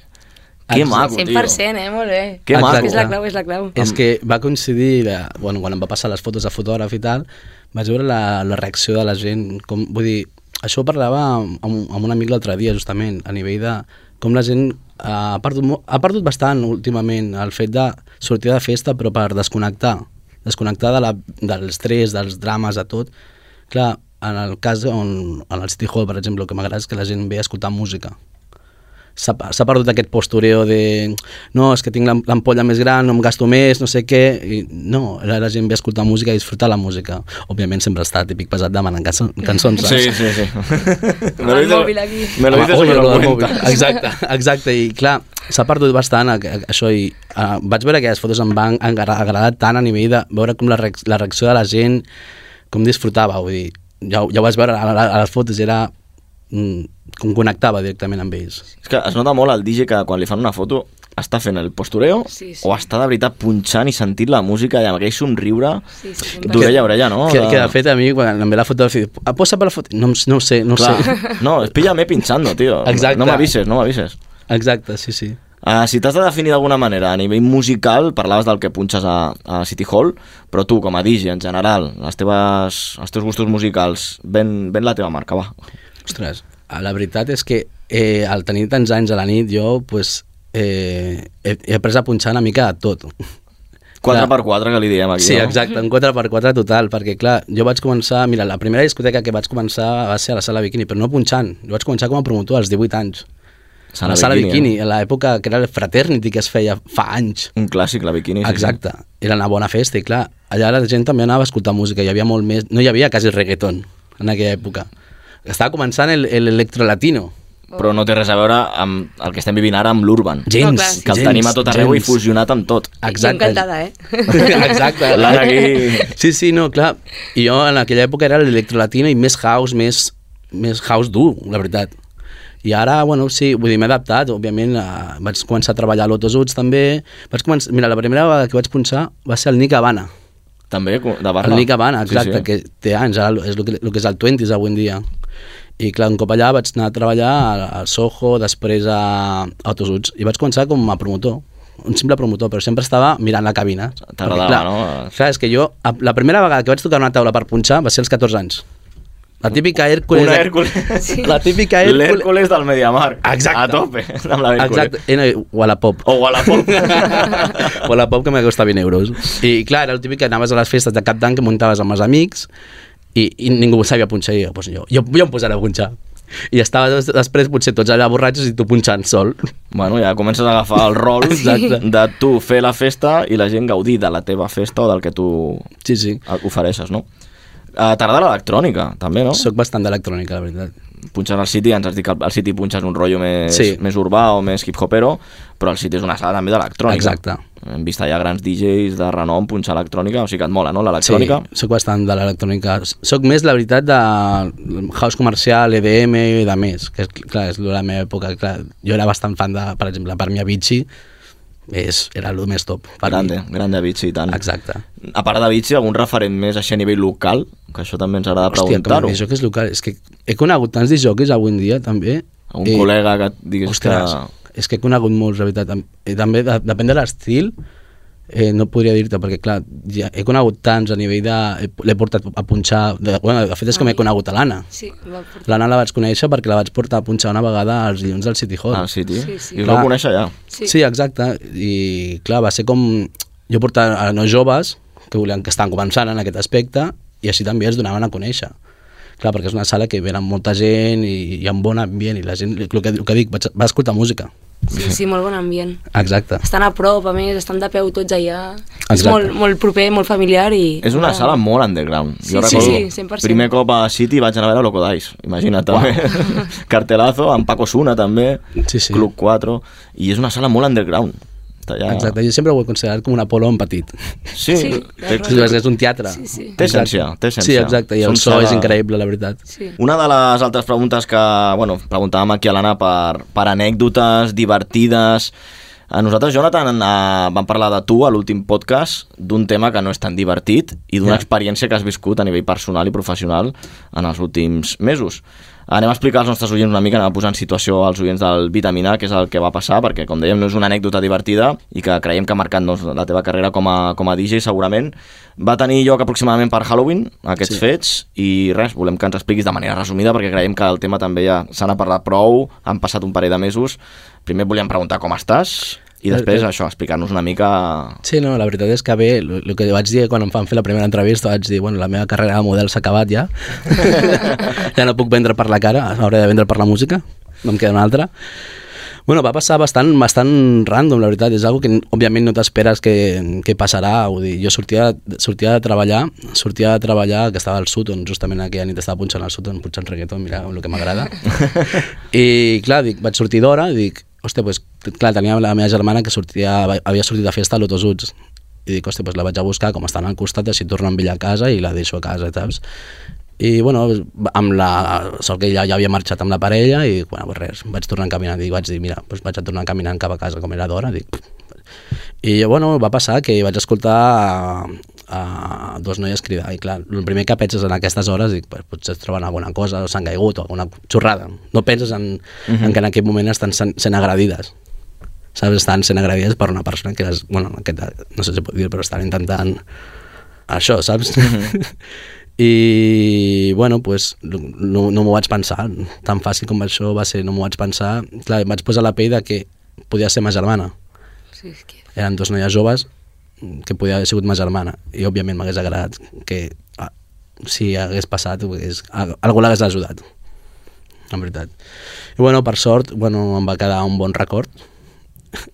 Qué
Exacte.
maco, tío.
100%, eh? Molt bé.
Que
maco.
És la clau, és la clau.
És que va coincidir, eh, bueno, quan em va passar les fotos de fotògraf i tal, vaig veure la, la reacció de la gent, com, vull dir, això ho parlava amb, amb un amic l'altre dia, justament, a nivell de com la gent eh, ha perdut, mo- ha perdut bastant últimament el fet de sortir de festa però per desconnectar, desconnectar de la, dels tres, dels drames, de tot. Clar, en el cas on, en el City Hall, per exemple, el que m'agrada és que la gent ve a escoltar música s'ha s'ha perdut aquest postureo de no, és que tinc l'am- l'ampolla més gran, no em gasto més, no sé què. I, no, la, la gent ve a escoltar música i disfrutar la música. Òbviament sempre està típic pesat demanant cançó, cançons. saps?
Sí, sí, sí.
Con el móvil aquí.
Me lo
Home,
dices o
oi,
me
Ah, lo
lo
del
cuentas.
mòbil. Exacte, exacte. I clar, s'ha perdut bastant a- a- això i uh, vaig veure que les fotos em van agra- agradar tant a nivell de veure com la, reac la reacció de la gent, com disfrutava, vull dir, ja, ho- ja ho vaig veure a, la, a les fotos, era mm, com connectava directament amb ells.
És que es nota molt el DJ que quan li fan una foto està fent el postureo
Sí, sí.
o està de veritat punxant i sentint la música i amb aquell somriure
Sí, sí, sempre.
d'orella a orella, no?
Que, que de fet a mi quan em ve la foto del fill, ah, posa per la foto, no, em- no ho sé, no ho
Clar,
sé.
no, pilla-me pinchando, tio.
Exacte.
No m'avises, no m'avises.
Exacte, sí, sí.
Uh, si t'has de definir d'alguna manera a nivell musical, parlaves del que punxes a, a City Hall, però tu, com a DJ en general, les teves, els teus gustos musicals, ven, ven la teva marca, va.
Ostres, Ah, la veritat és que eh, al tenir tants anys a la nit jo pues, eh, he, he après a punxar una mica de tot.
4x4 que li diem aquí.
Sí,
no?
exacte, un 4x4 total, perquè clar, jo vaig començar, mira, la primera discoteca que vaig començar va ser a la sala Bikini, però no punxant, jo vaig començar com a promotor als 18 anys.
Sala
a la sala
Bikini,
Bikini,
eh?
a l'època que era el Fraternity que es feia fa anys.
Un clàssic, la bikini. sí, sí.
Exacte, era una bona festa i clar, allà la gent també anava a escoltar música, hi havia molt més, no hi havia quasi reggaeton en aquella època. Estava començant el- el electrolatino.
però no té res a veure amb el que estem vivint ara amb l'urban.
Gens,
No, clar, sí.
Que el
gens,
tenim a tot arreu
gens.
i fusionat amb tot.
Exacte. Jo encantada, eh?
Exacte.
L'Anna aquí...
Sí, sí, no, clar. I jo en aquella època era l'electrolatino i més house, més, més house dur, la veritat. I ara, bueno, sí, vull dir, m'he adaptat, òbviament, a, vaig començar a treballar a l'Otosuts també, vaig començar, mira, la primera vegada que vaig punxar va ser el Nick Havana,
També, de barra.
el Nick Havana, exacte, sí, sí. que té anys, ara és el que, el que és el 20s avui en dia. I clar, un cop allà vaig anar a treballar a, a Soho, després a, a Autosuts, i vaig començar com a promotor, un simple promotor, però sempre estava mirant la cabina.
T'agradava,
Perquè, clar,
no?
Clar, és que jo, a- la primera vegada que vaig tocar una taula per punxar va ser als 14 anys. La típica Hércules...
Una Hércules.
La típica Hércules...
L'Hèrcules del Mediamar.
Exacte.
A tope, amb la Hércules.
Exacte, eh, no, o a la pop.
O a la pop.
o la pop que me costa 20 euros. I clar, era el típic que anaves a les festes de cap d'any que muntaves amb els amics i, i ningú sabia punxar i jo, pues, jo, jo, jo em posaré a punxar. I estava des- després potser tots allà borratxos i tu punxant sol.
Bueno, ja comences a agafar el rol
Exacte.
de tu fer la festa i la gent gaudir de la teva festa o del que tu
Sí, sí.
ofereixes, no? Eh, T'agrada l'electrònica, també, no?
Soc bastant d'electrònica, la veritat.
punxes al City, ens has dit que al City punxes un rotllo més,
Sí.
més urbà o més hip-hopero, però el City és una sala també d'electrònica.
Exacte.
Hem vist allà grans DJs de renom punxar electrònica, o sigui que et mola, no?, l'electrònica.
Sí, soc bastant de l'electrònica. Soc més, la veritat, de house comercial, EDM i de més, que és, clar, és la meva època. Clar, jo era bastant fan de, per exemple, per mi Avicii, és, era el més top. Per
Grande,
mi.
grande Avicii, i tant.
Exacte.
A part d'Avicii, algun referent més així a nivell local? Que això també ens agrada preguntar-ho.
Hòstia, que és local. És que he conegut tants disjockeys avui en dia, també. Eh,
Un col·lega que et diguis
ostres, que... és que he conegut molts, la veritat. Tam- eh, També, de, depèn de l'estil, eh, no podria dir-te, perquè, clar, ja he conegut tants a nivell de... he- L'he portat a punxar... De, bueno, de fet, és com he conegut a l'Anna.
Sí, va portar.
L'Anna la vaig conèixer perquè la vaig portar a punxar una vegada als dilluns del City
que...
Hall.
Al City.
Sí, sí.
Ah, I us vau
Clar.
conèixer allà.
Sí.
Sí.
sí, exacte. I clar, va ser com... Jo portava a nois joves que volien que estan començant en aquest aspecte i així també es donaven a conèixer. Clar, perquè és una sala que venen molta gent i hi ha un bon ambient i la gent, el que, el que dic, vaig, va escoltar música.
Sí, sí, molt bon ambient.
Exacte.
Estan a prop, a més, estan de peu tots allà. És
Exacte.
molt, molt proper, molt familiar i...
És una sala molt underground.
Sí,
jo
sí,
recordo,
sí, 100%.
Primer cop a City vaig anar a veure Loco Dice, imagina't també. Cartelazo, amb Paco Suna també,
Sí, sí.
Club 4, i és una sala molt underground. Està allà...
Exacte, jo sempre ho he considerat com un Apolo en petit.
Ah. Sí,
Sí,
té,
la
Sí, és que és un teatre.
Sí, sí.
té
Exacte.
essència, té essència.
Sí, exacte, i el
Són
so
sala-
és increïble, la veritat.
Sí.
Una de les altres preguntes que, bueno, preguntàvem aquí a l'Anna per, per anècdotes divertides. A nosaltres, Jonathan, eh, vam parlar de tu a l'últim podcast d'un tema que no és tan divertit i d'una
Ja.
experiència que has viscut a nivell personal i professional en els últims mesos. Anem a explicar als nostres oients una mica, anem a posar en situació als oients del Vitamina, que és el que va passar, perquè, com dèiem, no és una anècdota divertida i que creiem que ha marcat doncs, la teva carrera com a, com a DJ, segurament. Va tenir lloc aproximadament per Halloween, aquests sí.
Sí.
fets, i res, volem que ens expliquis de manera resumida, perquè creiem que el tema també ja se n'ha parlat prou, han passat un parell de mesos. Primer volíem preguntar com estàs, i després, això, explicar-nos una mica...
Sí, no, la veritat és que bé, el que vaig dir quan em fan fer la primera entrevista, vaig dir, bueno, la meva carrera de model s'ha acabat ja, ja no puc vendre per la cara, hauré de vendre per la música, no em queda una altra. Bueno, va passar bastant, bastant random, la veritat, és algo que òbviament no t'esperes que, que passarà, vull dir, jo sortia, sortia de treballar, sortia de treballar, que estava al Sutton, justament aquella nit estava punxant al Sutton, punxant reggaeton, mira el que m'agrada, i clar, dic, vaig sortir d'hora i dic, hòstia, pues, clar, tenia la meva germana que sortia, havia sortit de festa a l'Otosuts i dic, hòstia, pues, la vaig a buscar com estan al costat, així torno amb ella a casa i la deixo a casa, saps? I, bueno, amb la sort que ja, ja havia marxat amb la parella i, bueno, pues, res, vaig tornar caminant i vaig dir, mira, pues, vaig a tornar caminant cap a casa com era d'hora, dic, i bueno, va passar que vaig escoltar a, a dos noies cridar i clar, el primer que penses en aquestes hores dic, pues, potser es troben alguna cosa o s'han caigut o alguna xorrada, no penses en, uh -huh. en que en aquest moment estan sent, sent agredides saps? estan sent agredides per una persona que les, bueno, aquest, no sé si pot dir però estan intentant això, saps? Uh -huh. i bueno, pues, no, no m'ho vaig pensar tan fàcil com això va ser, no m'ho vaig pensar clar, em vaig posar la pell de que podia ser ma germana
sí és que...
eren dues noies joves que podia haver sigut ma germana i òbviament m'hagués agradat que ah, si hagués passat hagués, a- algú l'hagués ajudat en veritat i bueno, per sort bueno, em va quedar un bon record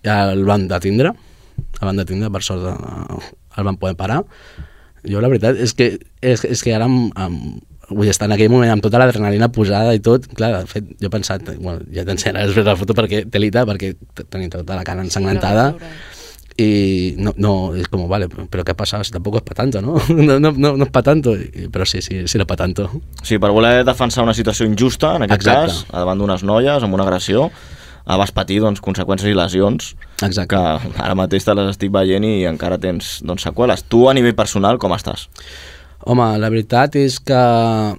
ja el van detindre el van detindre, per sort eh, el van poder parar jo la veritat és que, és, és que ara amb, amb, vull dir, estar en aquell moment amb tota l'adrenalina posada i tot, clar, de fet jo he pensat bueno, ja t'ensenyaré després la foto perquè telita, perquè t- tenia tota la cara ensangrentada
veure.
y no, no, es como, vale, pero ¿qué ha pasado? Si tampoco es para tanto, ¿no? No, no, no, no es para tanto, Y- pero sí, sí, sí era para tanto.
O sigui, per voler defensar una situació injusta, en aquest
Exacte.
cas, davant d'unes noies, amb una agressió, eh, vas patir doncs, conseqüències i lesions
Exacte.
que ara mateix te les estic veient i encara tens doncs, seqüeles. Tu, a nivell personal, com estàs?
Home, la veritat és que Ah,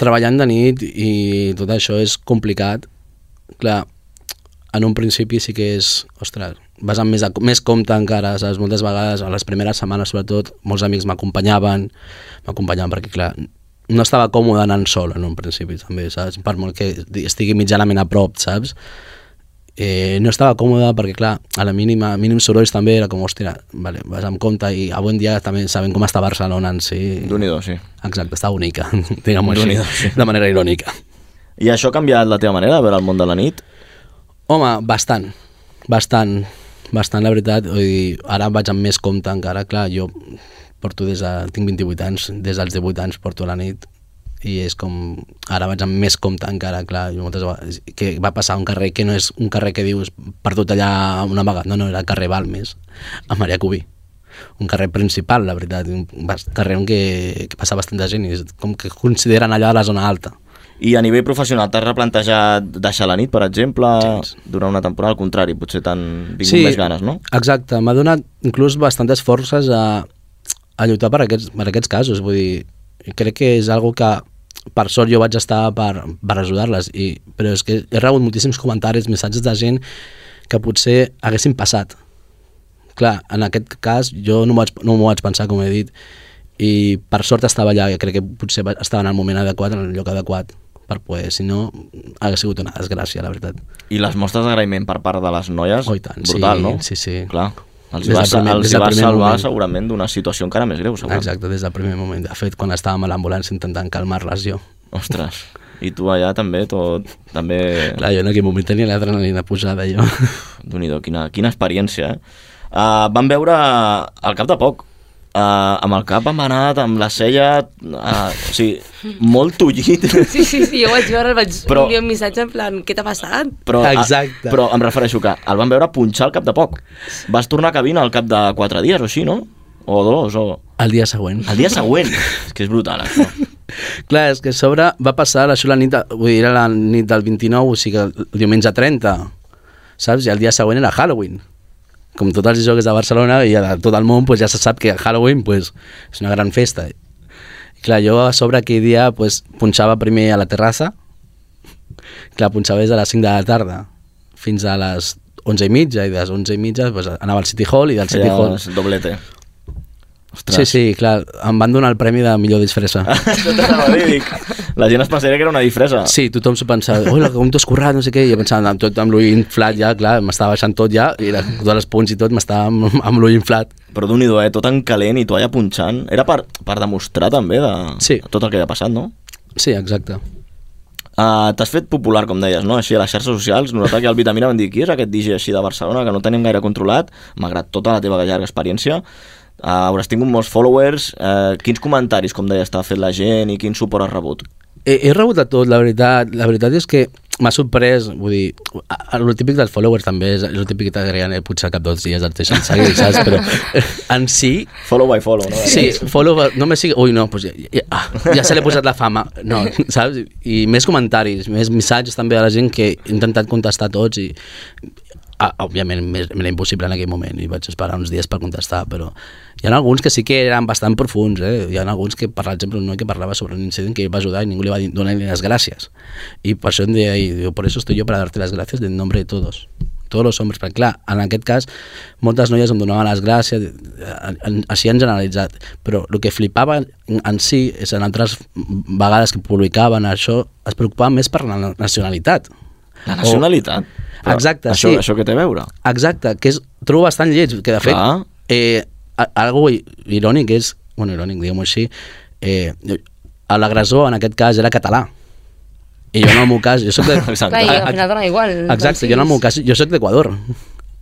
treballant de nit i tot això és complicat. Clar, en un principi sí que és... Ostres, vas amb més, a, més compte encara, saps? Moltes vegades, a les primeres setmanes sobretot, molts amics m'acompanyaven, m'acompanyaven perquè, clar, no estava còmode anant sol en un principi, també, saps? Per molt que estigui mitjanament a prop, saps? eh, no estava còmode perquè, clar, a la mínima, mínim sorolls també era com, hòstia, vale, vas amb compte i avui en dia també sabem com està Barcelona en si.
déu nhi sí.
Exacte, està bonica, diguem-ho
Déu-n'hi-do,
així,
sí.
de manera irònica.
I això ha canviat la teva manera de veure el món de la nit?
Home, bastant, bastant, bastant, la veritat. Vull dir, ara vaig amb més compte encara, clar, jo porto des de... tinc 28 anys, des dels 18 anys porto la nit i és com... ara vaig amb més compte encara, clar, jo moltes vegades... que va passar un carrer que no és un carrer que dius perdut allà una vaga, no, no, era el carrer Balmes, a Maria Cubí un carrer principal, la veritat, un bas- carrer on que, que passa bastanta gent i és com que consideren allò de la zona alta.
I a nivell professional t'has replantejat deixar la nit, per exemple, durant una temporada? Al contrari, potser t'han vingut més ganes, no?
Exacte, m'ha donat inclús bastantes forces a, a lluitar per aquests, per aquests casos, vull dir, crec que és algo que per sort jo vaig estar per, per ajudar-les, i, però és que he rebut moltíssims comentaris, missatges de gent que potser haguessin passat. Clar, en aquest cas jo no m'ho vaig, no m'ho vaig pensar, com he dit, i per sort estava allà, i crec que potser va- estava en el moment adequat, en el lloc adequat, per poder, si no, hagués sigut una desgràcia, la veritat.
I les mostres d'agraïment per part de les noies, oh, tant, brutal,
sí,
no?
sí, sí.
Clar, els
Des
va,
del primer-
els
des
hi
del
va
primer
salvar
moment.
segurament d'una situació encara més greu, segur.
Exacte, des del primer moment. De fet, quan estàvem a l'ambulància intentant calmar-les jo.
Ostres, i tu allà també, tot, també...
Clar, jo en aquell moment tenia l'adrenalina posada, jo.
Déu-n'hi-do, quina, quina experiència, eh? Uh, vam veure al cap de poc, Uh, amb el cap amanat, amb la cella... Uh, o sigui, molt tullit.
Sí, sí, sí, jo vaig veure, vaig
Però-
però... enviar un missatge en plan, què t'ha passat?
Però,
Exacte.
A, però em refereixo que el van veure punxar al cap de poc. Vas tornar a cabina al cap de 4 dies o així, no? O dos, o...
El dia següent.
El dia següent. és que és brutal, això.
Clar, és que a sobre va passar això la nit, de- vull dir, era la nit del 29, o sigui, el diumenge 30, saps? I el dia següent era Halloween. Com tots els jocs de Barcelona i de tot el món, pues, ja se sap que Halloween pues, és una gran festa. I clar, jo a sobre aquell dia pues, punxava primer a la terrassa, clar, punxava des de les 5 de la tarda fins a les 11 i mitja, i de les 11 i mitja pues, anava al City Hall, i del City
Allà
Hall...
és doblete.
Sí, sí, clar, em van donar el premi de millor disfressa.
Això t'anava a dir, dic, La gent es pensaria que era una disfressa.
Sí, tothom s'ho pensava, hola, com t'ho has currat, no sé què, i jo pensava, amb tot amb l'ull inflat ja, clar, m'estava baixant tot ja, i la, totes les punts i tot m'estava amb, amb l'ull inflat.
Però d'un i do, eh? Tot en calent i tu allà punxant. Era per, per demostrar també de
Sí.
tot el que havia passat, no?
Sí, exacte.
Uh, T'has fet popular, com deies, no? Així a les xarxes socials, nosaltres aquí al Vitamina vam dir qui és aquest DJ així de Barcelona que no tenim gaire controlat, malgrat tota la teva llarga experiència. Uh, hauràs tingut molts followers. Uh, quins comentaris, com deies, t'ha fet la gent i quin suport has rebut?
He, he rebut de tot, la veritat, la veritat és que m'ha sorprès, vull dir, a- a- el típic dels followers també és, és el típic que t'agreguen, eh, potser cap dos dies et deixen seguir, saps? Però en si...
Follow by follow, no?
Sí, follow, no me sigui... Ui, no, doncs ja, ja, ah, ja se l'he posat la fama, no, saps? I més comentaris, més missatges també a la gent que he intentat contestar a tots i Ah, òbviament m'és- m'era impossible en aquell moment i vaig esperar uns dies per contestar, però hi ha alguns que sí que eren bastant profuns, eh? Hi ha alguns que, per exemple, un noi que parlava sobre un incident que ell va ajudar i ningú li va dir- donar ni les gràcies. I per això em deia, i diu, por eso estoy yo para darte las gracias en nombre de todos. Todos los hombres, perquè clar, en aquest cas, moltes noies em donaven les gràcies, en- en- així han generalitzat, però el que flipava en, en si és en altres vegades que publicaven això, es preocupaven més per la na- nacionalitat.
La nacionalitat? Però
Oh. Exacte,
això,
sí.
Això què té a veure?
Exacte, que és, trobo bastant lleig, que de fet,
Clar.
eh, a- algo i- irònic és, bueno, irònic, diguem-ho així, eh, l'agressor en aquest cas era català. I jo en el meu cas, jo soc de...
Clar, i al final dona igual.
Exacte, jo en el meu cas, jo soc d'Equador.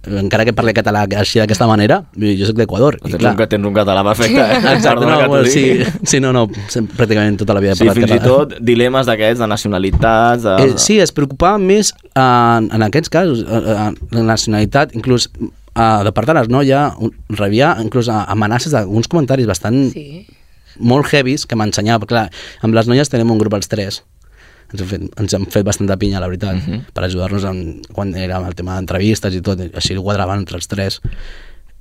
Encara que parli català així d'aquesta manera, jo soc d'Equador. i
Tens,
clar-
un, que tens un català perfecte, eh?
Exacte,
Perdona
no,
que t'ho
bueno, sí,
digui.
sí, no, no, sem- pràcticament tota la vida he
Sí,
parlat
fins i
català.
tot dilemes d'aquests, de nacionalitats... De...
Eh, sí, es preocupava més en, en aquests casos, eh, en la nacionalitat, inclús eh, de part de les noies, un- rebia inclús eh, amenaces d'alguns comentaris bastant sí. molt heavies que m'ensenyava. Clar, amb les noies tenim un grup els tres. Ens hem fet, ens hem fet bastanta pinya, la veritat, per ajudar-nos en- quan era el tema d'entrevistes i tot, així ho quadraven entre els tres.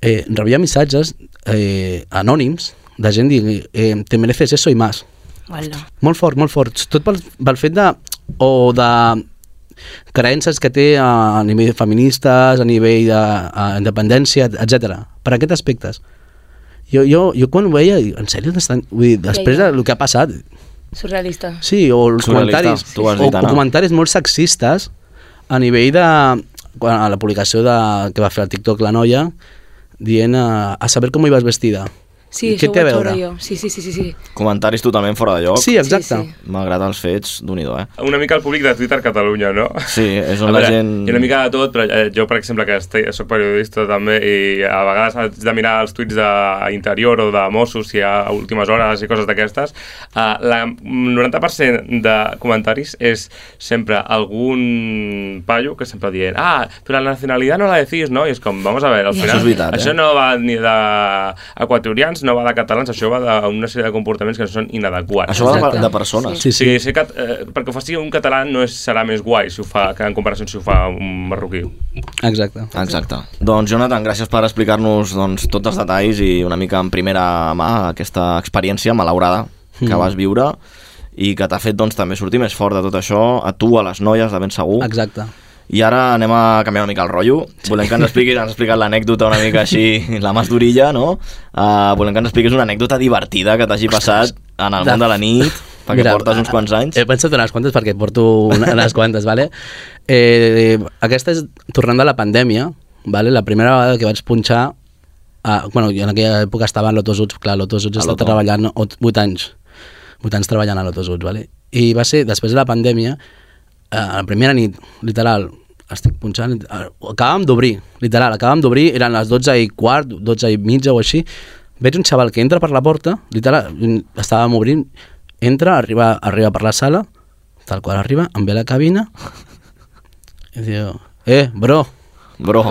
Eh, rebia missatges eh, anònims de gent dient eh, te mereces eso y más.
Hola.
Molt fort, molt fort. Tot pel, pel fet de... o de creences que té a nivell feministes, a nivell d'independència, etc. Per aquests aspectes. Jo, jo, jo quan ho veia, dic, en sèrio, estan... Vull dir, després
ja.
del que ha passat,
Surrealista.
sí, o els
Surrealista,
comentaris,
tu ho has
o,
dit, Anna.
o comentaris molt sexistes a nivell de... Quan, a la publicació de, que va fer el TikTok la noia, dient eh, a saber com hi vas vestida.
Sí,
Què
això
té a
ho vaig veure
veure?
jo. Sí, sí, sí, sí. sí.
Comentaris totalment fora de lloc.
Sí, exacte. Sí,
Malgrat els fets, d'un i do, eh?
Una mica el públic de Twitter Catalunya, no?
Sí, és
A
on la
veure,
gent...
Hi ha una mica de tot, però eh, jo, per exemple, que estic, soc periodista també, i a vegades haig de mirar els tuits d'interior o de Mossos, si hi ha a últimes hores i coses d'aquestes, eh, la- el 90% de comentaris és sempre algun paio que sempre dient ah, però la nacionalitat no la decís, no? I és com, vamos a veure, al
Això
final...
és veritat, eh?
això no va ni d'equatorians, no va de catalans, això va d'una sèrie de comportaments que són inadequats.
Això va de, de persones.
Sí,
Sí, sí. sí cat, eh, perquè ho faci un català no és, serà més guai si ho fa, que en comparació amb si ho fa un marroquí.
Exacte.
Exacte. Doncs, Jonathan, gràcies per explicar-nos doncs, tots els detalls i una mica en primera mà aquesta experiència malaurada que
Mm.
vas viure i que t'ha fet doncs, també sortir més fort de tot això, a tu, a les noies, de ben segur.
Exacte.
I ara anem a canviar una mica el rotllo. Volem que ens expliquis, ens has explicat l'anècdota una mica així, la más d'orilla, no? Uh, volem que ens expliquis una anècdota divertida que t'hagi passat en el món de la nit, perquè
Mira,
portes uns quants anys.
He pensat Eh, unes quantes perquè porto una- unes quantes, vale? Eh, aquesta és tornant de la pandèmia, vale? La primera vegada que vaig punxar, a, bueno, jo en aquella època estava a Lotos Uts, clar, Lotos Uts
A
està
Loto.
treballant 8 anys, 8 anys treballant a Lotos Uts, vale? I va ser, després de la pandèmia, eh, a la primera nit, literal, estic punxant, eh, acabàvem d'obrir, literal, acabàvem d'obrir, eren les 12 i quart, 12 i mitja o així, veig un xaval que entra per la porta, literal, mm, estàvem obrint, entra, arriba, arriba per la sala, tal qual arriba, em ve a la cabina, i diu, eh, bro,
Bro,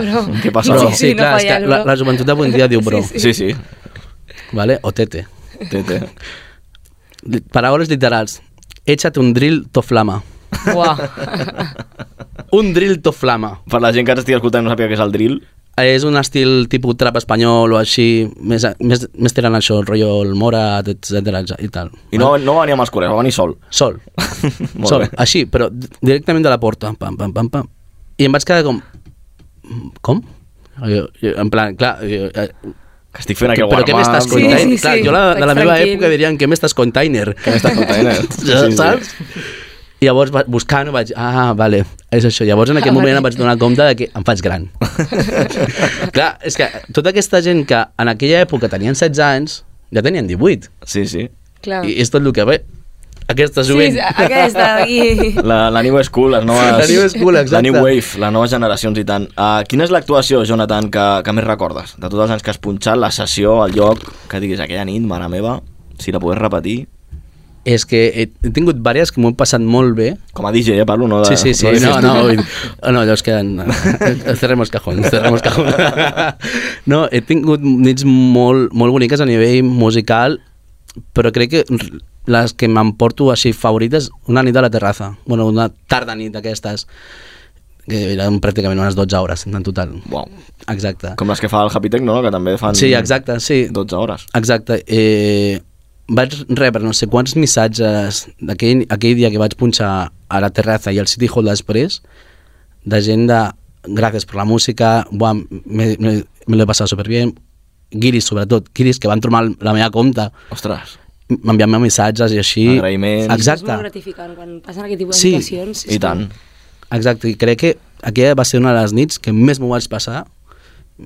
què passa?
bro.
Bro.
Sí, sí, no
és
falla
que
el
la,
bro.
la joventut d'avui en dia diu bro,
Sí,
Sí, sí.
vale? o tete.
Té, té.
Li- Paraules literals, échate un drill toflama.
Uah.
Un drill toflama.
Per la gent que ens estigui escoltant i no sàpiga què és el drill,
És un estil tipus trap espanyol o així, més, més, més tirant això, el rotllo el Morat, etc i tal.
i no, no va venir amb els colers, va venir sol.
eh? Sol.
Molt
Sol,
bé.
així, però d- directament de la porta. Pam, pam, pam, pam. I em vaig quedar com... "Mm, Com? Jo, jo, en plan, clar... Jo, eh,
Que estic fent aquí el
però què m'estàs
Sí,
contant?
sí, sí.
clar, jo la, de la
Vaig
meva
tranquil.
època dirien que m'estàs container.
Què m'estàs contant? eh?
Ja, saps? I llavors va- buscant ho vaig... Ah, vale, és això. Llavors en
Ah,
aquell moment em vaig donar compte de que em faig gran. Clar, és que tota aquesta gent que en aquella època tenien 16 anys, ja tenien 18.
Sí, sí.
Clar.
I és tot el que ve. Aquesta
Ah. Sí,
jovent...
sí, aquesta d'aquí.
La, la New School, les noves...
La New School,
La
exacte.
New Wave, les noves generacions i tant. Uh, quina és l'actuació, Jonathan, que, que més recordes? De tots els anys que has punxat, la sessió, el lloc, que diguis aquella nit, mare meva, si la pogués repetir...
És que he, he tingut diverses que m'ho he passat molt bé.
Com a DJ, eh, parlo, no? De,
Sí, sí, sí.
de
No,
festiu.
no, oi- oh, no, llavors queden... Cerremos cajón, cerremos cajón. No, he tingut nits molt, molt boniques a nivell musical, però crec que les que m'emporto així favorites, una nit a la terrassa, bueno, una tarda nit d'aquestes, que eren pràcticament unes 12 hores en total.
Uau.
Exacte.
Com les que fa el Happy Tech, no? Que també fan...
Sí, exacte, sí.
12 hores.
Exacte. Eh, vaig rebre no sé quants missatges d'aquell aquell dia que vaig punxar a la terrassa i al City Hall després, de gent de gràcies per la música, buah, me, me, me l'he passat superbien, guiris sobretot, guiris que van trobar la meva compta,
Ostres.
m'enviant-me missatges i així...
Agraïments.
És molt
Exacte,
gratificant quan passen aquest tipus de
Sí,
situacions.
I tant.
exacte, i crec que aquella va ser una de les nits que més m'ho vaig passar,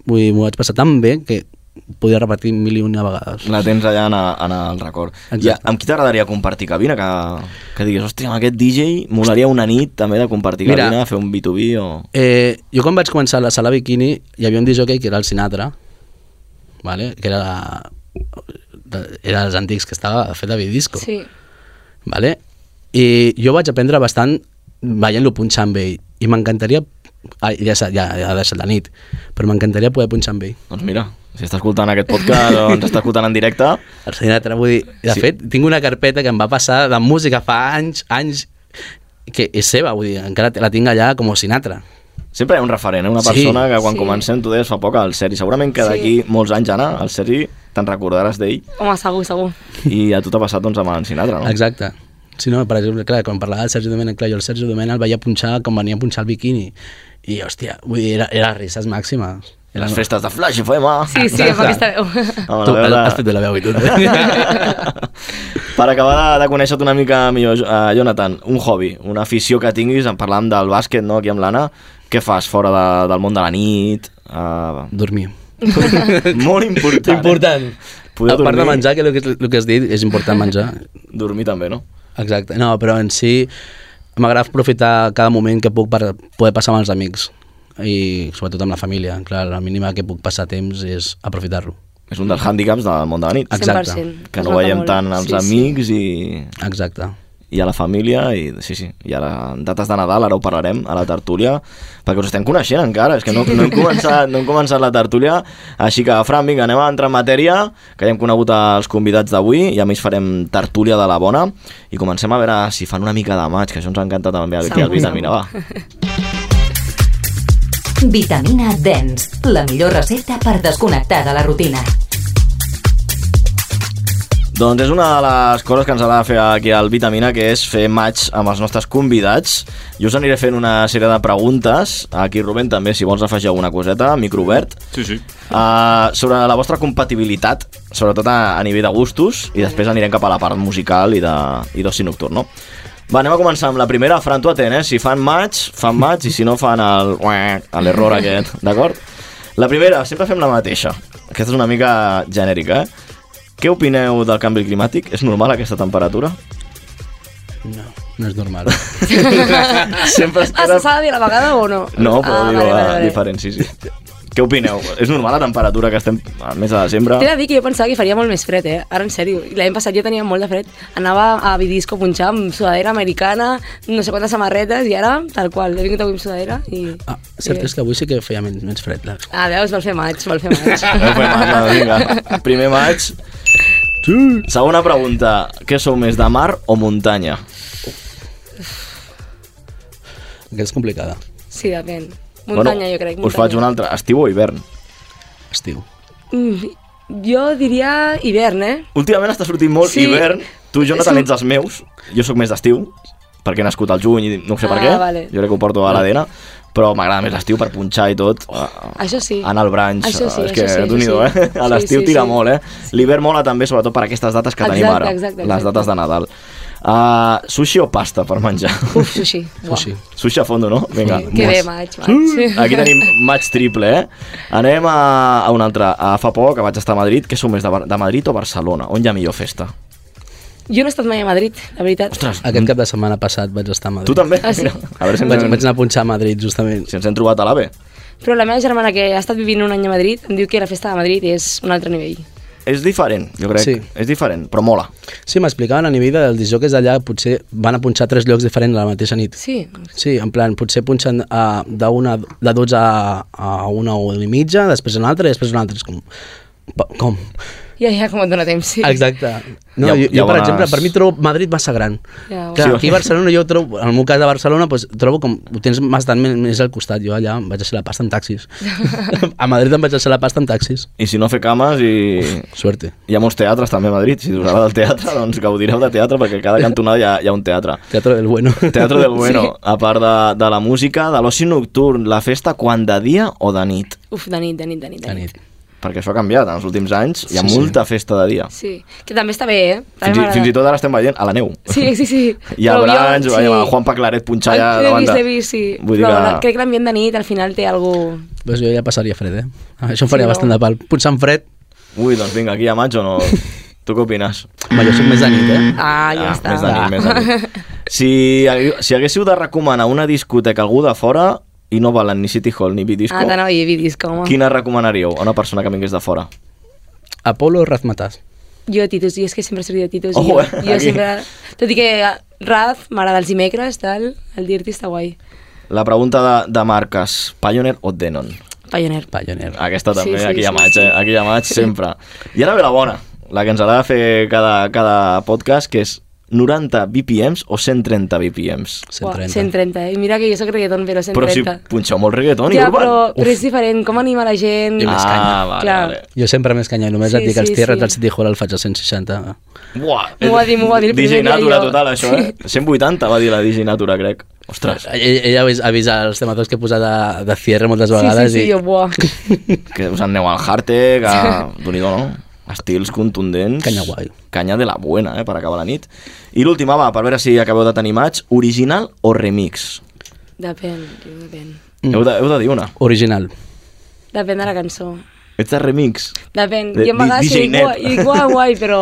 vull dir, m'ho vaig passar tan bé que podia repetir mil i una vegades.
La tens allà en, en el record.
Exacte.
I a- amb qui t'agradaria compartir cabina? Que, que diguis, hòstia, amb aquest DJ molaria una nit també de compartir
Mira.
cabina, fer un B2B o...
Eh, jo quan vaig començar la sala bikini hi havia un disjockey que era el Sinatra, vale? que era, de- era dels antics que estava fet de disco.
Sí.
Vale? I jo vaig aprendre bastant ballant-lo punxar amb ell. I m'encantaria... Ah, ja, s'ha- ja, ja ha deixat la nit. Però m'encantaria poder punxar amb ell.
Doncs mira, si està escoltant aquest podcast o ens està escoltant en directe,
El Sinatra, vull dir... De
Sí.
sí. fet, tinc una carpeta que em va passar de música fa anys, anys, que és seva, vull dir, encara la tinc allà com a Sinatra.
sempre hi ha un referent, eh? una
Sí.
persona que quan
Sí.
comencem, tu deies fa poc, el Sergi. Segurament que
Sí.
d'aquí molts anys, Anna, el Sergi te'n recordaràs d'ell
Home, segur, segur.
i a tu t'ha passat doncs, amb el Sinatra, no?
Exacte. Si no, per exemple, clar, quan parlava del Sergi Domènech, clar, jo el Sergi Domènech el veia punxar com venia a punxar el biquini. I, hòstia, vull dir, era, era risses màximes.
I Les festes de Flash FM.
Sí, sí, amb aquesta veu.
Amb la
Tu,
veu Ah, de-
has fet bé la veu i tot.
per acabar de, de conèixer-te una mica millor, uh, Jonathan, un hobby, una afició que tinguis, en parlàvem del bàsquet, no?, aquí amb l'Anna, què fas fora de, del món de la nit? Uh,
Dormir.
Molt important. eh?
Important.
Poder
a part de
dormir.
menjar, que el que, el que has dit és important menjar.
Dormir també, no?
Exacte. No, però en si m'agrada aprofitar cada moment que puc per poder passar amb els amics i sobretot amb la família. Clar, la mínima que puc passar temps és aprofitar-lo.
És un dels hàndicaps del món de la nit.
Exacte.
100%.
Que
Es
no
nota
veiem
molt.
tant els
Sí, sí.
amics i...
Exacte.
i a la família i sí, sí, i ara en dates de Nadal ara ho parlarem a la tertúlia perquè us estem coneixent encara, és que no, no, hem, començat, no hem començat la tertúlia així que Fran, vinga, anem a entrar en matèria que ja hem conegut els convidats d'avui i a més farem tertúlia de la bona i comencem a veure si fan una mica de maig que això ens encanta també aquí al
Segur,
Vitamina, va
Vitamina Dens, la millor recepta per desconnectar de la rutina.
Doncs és una de les coses que ens agrada fer aquí al Vitamina, que és fer match amb els nostres convidats. Jo us aniré fent una sèrie de preguntes. Aquí, Rubén, també, si vols afegir alguna coseta, micro obert.
Sí, sí.
Uh, sobre la vostra compatibilitat, sobretot a, a nivell de gustos, i després anirem cap a la part musical i, de, i d'oci nocturn, no? Va, anem a començar amb la primera. Fran, tu atent, eh? Si fan match, fan match, i si no fan el... l'error aquest, d'acord? La primera, sempre fem la mateixa. Aquesta és una mica genèrica, eh? Què opineu del canvi climàtic? És normal aquesta temperatura?
No, no és normal.
Sempre
Ah, se s'ha de dir a la vegada o no?
No, però
ah,
ah, digo, vale, vale, diferent, sí, sí. Què opineu? És normal la temperatura que estem al mes de desembre?
T'he de dir que jo pensava que faria molt més fred, eh? Ara, en sèrio. L'any passat jo tenia molt de fred. Anava a Bidisco a punxar amb sudadera americana, no sé quantes samarretes, i ara, tal qual, he vingut avui amb sudadera i...
Ah, cert
i-
és que avui sí que feia menys, menys fred. La...
Ah, veus, vol fer maig, vol fer maig.
No fem massa, vinga. Primer maig. Segona pregunta. Què sou més, de mar o muntanya?
Aquesta és complicada.
Sí, depèn. Muntanya, jo crec. Muntanya.
Us faig una altra. Estiu o hivern?
Estiu.
Mm, jo diria hivern, eh?
Últimament està sortint molt
Sí.
hivern. Tu i jo no
Sí.
ets dels meus. Jo sóc més d'estiu, perquè he nascut al juny i no sé per
Ah,
què.
vale.
Jo crec que ho porto a l'ADN. Però m'agrada més l'estiu per punxar i tot. Ah,
Això sí.
Anar al branx.
Això sí,
eh, és que,
això sí,
déu nhi
això sí.
eh? A l'estiu
Sí, sí,
tira
sí.
molt, eh? L'hivern mola també, sobretot per aquestes dates que tenim
Exacte,
ara.
exacte,
Les
exacte.
dates de Nadal. Uh, sushi o pasta per menjar?
Uf, sushi. Buah.
Sushi.
Sushi a fondo, no? Vinga.
Que bé,
mos.
maig, maig.
Aquí tenim match triple, eh? Anem a, a un altre. A fa poc, que vaig estar a Madrid, que sou més de, Bar- de Madrid o Barcelona? On hi ha millor festa?
Jo no he estat mai a Madrid, la veritat.
Ostres,
Aquest cap de setmana passat vaig estar a Madrid.
tu també?
Ah, sí?
Mira, a veure si ens,
Vaig,
hem,
vaig anar a punxar a Madrid, justament.
si ens hem trobat a l'AVE.
Però la meva germana, que ha estat vivint un any a Madrid, em diu que la festa de Madrid és un altre nivell.
És diferent, jo crec.
Sí.
És diferent, però mola.
Sí, m'explicaven a nivell dels disjocs d'allà, potser van a punxar a tres llocs diferents la mateixa nit.
Sí.
Sí, en plan, potser punxen uh, de, una, de 12 a, a una o una i mitja, després una altra i després una altra. És com... pa- Com?
Ja, ja, com et dona temps, sí.
Exacte. No,
Ja-
jo,
ja
jo, per
veuràs.
exemple, per mi trobo Madrid massa gran.
Ja,
Clar,
bueno.
aquí a Barcelona jo trobo, en el meu cas de Barcelona, doncs, trobo com ho tens bastant més- més al costat. Jo allà em vaig deixar la pasta amb taxis. a Madrid em vaig deixar la pasta amb taxis.
I si no fer cames i...
Suerte.
Hi ha molts teatres també a Madrid. Si us agrada el teatre, doncs gaudireu de teatre perquè a cada cantonada hi ha, hi ha un teatre.
Teatro del bueno.
Teatre del Bueno, sí. a part de, de la música, de l'oci nocturn, la festa quan de dia o de nit?
Uf, de nit, de nit, de nit.
La nit.
Perquè això ha canviat, en els últims anys hi ha
Sí, sí.
molta festa de dia.
Sí, que també està bé, eh?
Fins
També
i,
m'agrada.
fins i tot ara estem veient a la neu.
Sí, sí, sí.
I a
Però jo-
Brans, sí. a Juan Paclaret punxar allà
L'he
davant
vist,
de...
l'he vist, sí.
Vull dir
Però
que...
la- crec que l'ambient de nit al final té algo...
Doncs jo ja passaria fred, eh? Això em faria sí,
Sí, no?
bastant de pal. Potser en fred,
Ui, doncs vinga, aquí a maig o no? tu què opines?
home, jo soc més de nit, eh?
Ah, ja està.
Més de nit, més de nit. Si, hagué- si haguéssiu de recomanar una discoteca a algú de fora i no valen ni City Hall ni Bidisco,
Ah, t'anava a dir Bidisco, home.
quina recomanaríeu a una persona que vingués de fora?
Apolo Razmataz.
Jo, Titus, jo és que sempre soc de Titus.
Ojo,
jo,
eh,
jo
aquí.
sempre... Tot i que eh, Raz m'agrada els dimecres, tal, el Dirty està guai.
La pregunta de, de marques, Pioneer o Denon?
Pioneer.
Pioneer.
Aquesta
Sí,
també,
sí,
aquí a
sí,
maig,
sí.
eh? aquí a maig sempre. I ara ve la bona, la que ens agrada fer cada, cada podcast, que és 90 BPMs o 130 BPMs.
130.
Uah, 130, eh? I mira que jo soc reggaeton, però 130.
Però si punxeu molt reggaeton i
ja,
urban.
però, però
Uf.
és diferent, com anima la gent...
I més canya.
Ah, vale,
Clar.
vale.
Jo sempre més canya, només
Sí,
sí, et dic els
sí,
tierres
sí.
del City Hall el faig a 160.
Buah,
M'ho va dir- m'ho va dir el
DJ
primer dia
Natura
jo.
total, això, eh? 180 va dir la DJ Natura, crec. Ostres,
Ell- Ella ha vis- ha vist els temes que he posat de, de cierre moltes
Sí, sí,
vegades
sí,
i
jo, buah.
que us aneu al Hartec, a... d'un no? Estils contundents.
Canya guai.
Canya de la buena, eh, per acabar la nit. I l'última, va, per veure si acabeu de tenir maig, original o remix?
Depèn, tio, depèn.
Heu, de, heu de dir una.
Mm. original.
Depèn de la cançó.
Ets de remix.
Depèn.
De-
jo a
di- DJ
vegades i dic, guai,
Nep.
i dic, guai, guai, però...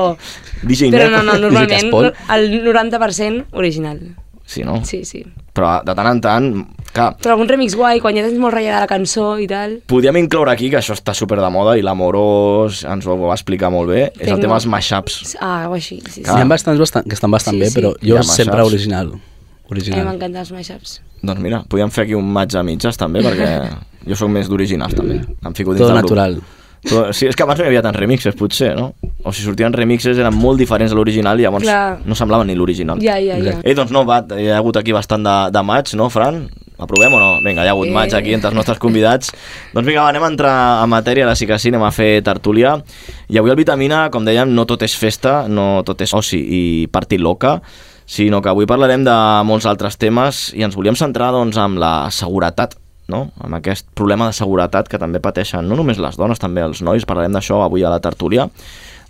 DJ
però
Nep.
no, no,
DJ
normalment
Caspol.
el 90% original.
Sí, no?
Sí, sí.
Però de tant en tant, clar,
Però algun remix guai, quan ja tens molt ratllada la cançó i tal.
podíem incloure aquí, que això està super de moda i l'Amorós ens ho va explicar molt bé, és el
Tecno.
tema dels mashups.
Ah, o així, sí, sí.
Clar.
Hi ha bastants bastant, que estan bastant
Sí,
bé,
sí.
però
Hi
jo
ha
sempre
mashups.
original.
A mi
Original.
m'encanten els mashups.
Doncs mira, podíem fer aquí un maig a mitges també, perquè jo sóc més d'originals també. Em fico dins
Tot
del grup.
natural.
Tot- Sí, és que abans no hi havia tants remixes, potser, no? O si sortien remixes eren molt diferents a l'original i llavors
Clar.
no semblaven ni l'original.
Ja, ja, ja.
Eh, doncs no, va, hi ha hagut aquí bastant de, de maig, no, Fran? Aprovem o no? Vinga, hi ha hagut
Eh.
maig aquí entre els nostres convidats. doncs vinga, va, anem a entrar a matèria, ara sí que sí, anem a fer tertúlia. I avui al Vitamina, com dèiem, no tot és festa, no tot és oci i partit loca, sinó que avui parlarem de molts altres temes i ens volíem centrar doncs, amb la seguretat, no? amb aquest problema de seguretat que també pateixen no només les dones, també els nois. Parlarem d'això avui a la tertúlia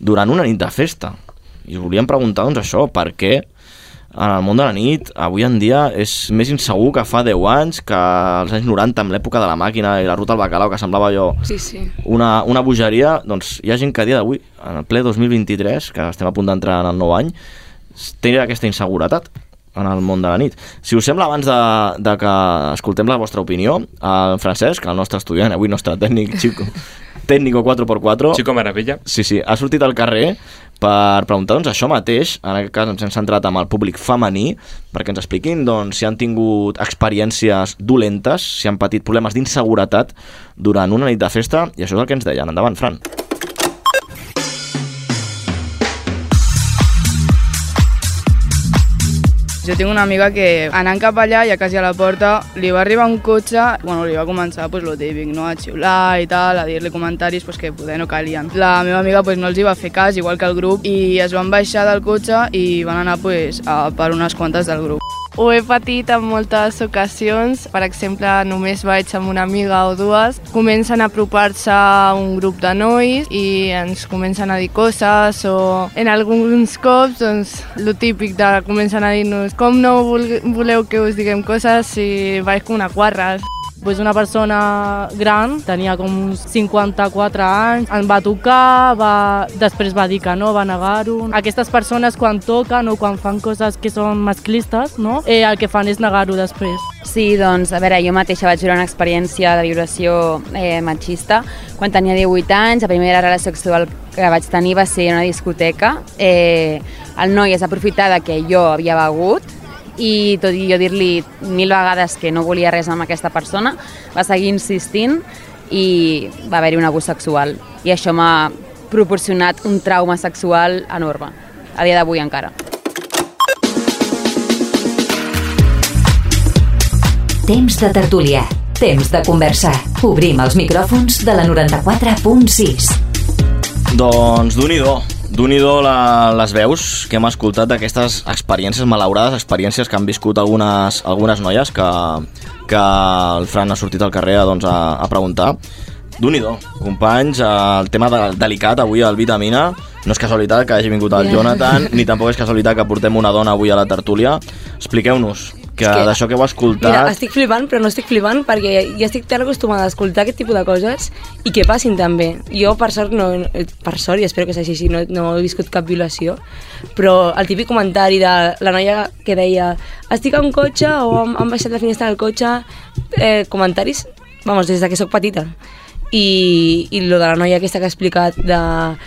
durant una nit de festa. I us volíem preguntar, doncs, això, per què en el món de la nit, avui en dia, és més insegur que fa 10 anys, que als anys 90, amb l'època de la màquina i la ruta al bacalao, que semblava allò
Sí, sí.
una, una bogeria, doncs hi ha gent que a dia d'avui, en el ple 2023, que estem a punt d'entrar en el nou any, s- té aquesta inseguretat en el món de la nit. Si us sembla, abans de, de que escoltem la vostra opinió, en Francesc, el nostre estudiant, avui nostre tècnic, Chico, tècnico 4x4...
Chico Maravilla.
Sí, sí, ha sortit al carrer per preguntar doncs, això mateix, en aquest cas ens hem centrat amb el públic femení, perquè ens expliquin doncs, si han tingut experiències dolentes, si han patit problemes d'inseguretat durant una nit de festa, i això és el que ens deien. Endavant, Fran.
Jo tinc una amiga que anant cap allà, ja quasi a la porta, li va arribar un cotxe, bueno, li va començar pues, lo típic, no? a xiular i tal, a dir-li comentaris pues, que poder no calien. La meva amiga pues, no els hi va fer cas, igual que el grup, i es van baixar del cotxe i van anar pues, a per unes quantes del grup.
Ho he patit en moltes ocasions, per exemple, només vaig amb una amiga o dues, comencen a apropar-se un grup de nois i ens comencen a dir coses o en alguns cops, doncs, lo típic de comencen a dir-nos com no vol- voleu que us diguem coses si vaig com una guarra.
Pues una persona gran, tenia com uns 54 anys, em va tocar, va... després va dir que no, va negar-ho. Aquestes persones quan toquen o quan fan coses que són masclistes, no? eh, el que fan és negar-ho després.
Sí, doncs, a veure, jo mateixa vaig viure una experiència de violació eh, machista. Quan tenia 18 anys, la primera relació sexual que vaig tenir va ser en una discoteca. Eh, el noi es va aprofitar de que jo havia begut i tot i jo dir-li mil vegades que no volia res amb aquesta persona, va seguir insistint i va haver-hi un abús sexual. I això m'ha proporcionat un trauma sexual enorme, a dia d'avui encara.
Temps de tertúlia. Temps de conversa. Obrim els micròfons de la 94.6.
Doncs d'un i do, d'un i do la, les veus que hem escoltat d'aquestes experiències malaurades, experiències que han viscut algunes, algunes noies que, que el Fran ha sortit al carrer doncs, a, a preguntar. d'un i do, companys, eh, el tema de, delicat avui al Vitamina, no és casualitat que hagi vingut el
Ja.
Jonathan, ni tampoc és casualitat que portem una dona avui a la tertúlia. Expliqueu-nos que,
És que-
d'això que heu
Mira,
escoltat...
estic flipant, però no estic flipant perquè ja estic tan acostumada a escoltar aquest tipus de coses i que passin també. Jo, per sort, no, eh, per sort i espero que sigui així, no, no he viscut cap violació, però el típic comentari de la noia que deia estic a un cotxe o han, han baixat la finestra del cotxe, eh, comentaris, vamos, des de que sóc petita. I, i lo de la noia aquesta que ha explicat de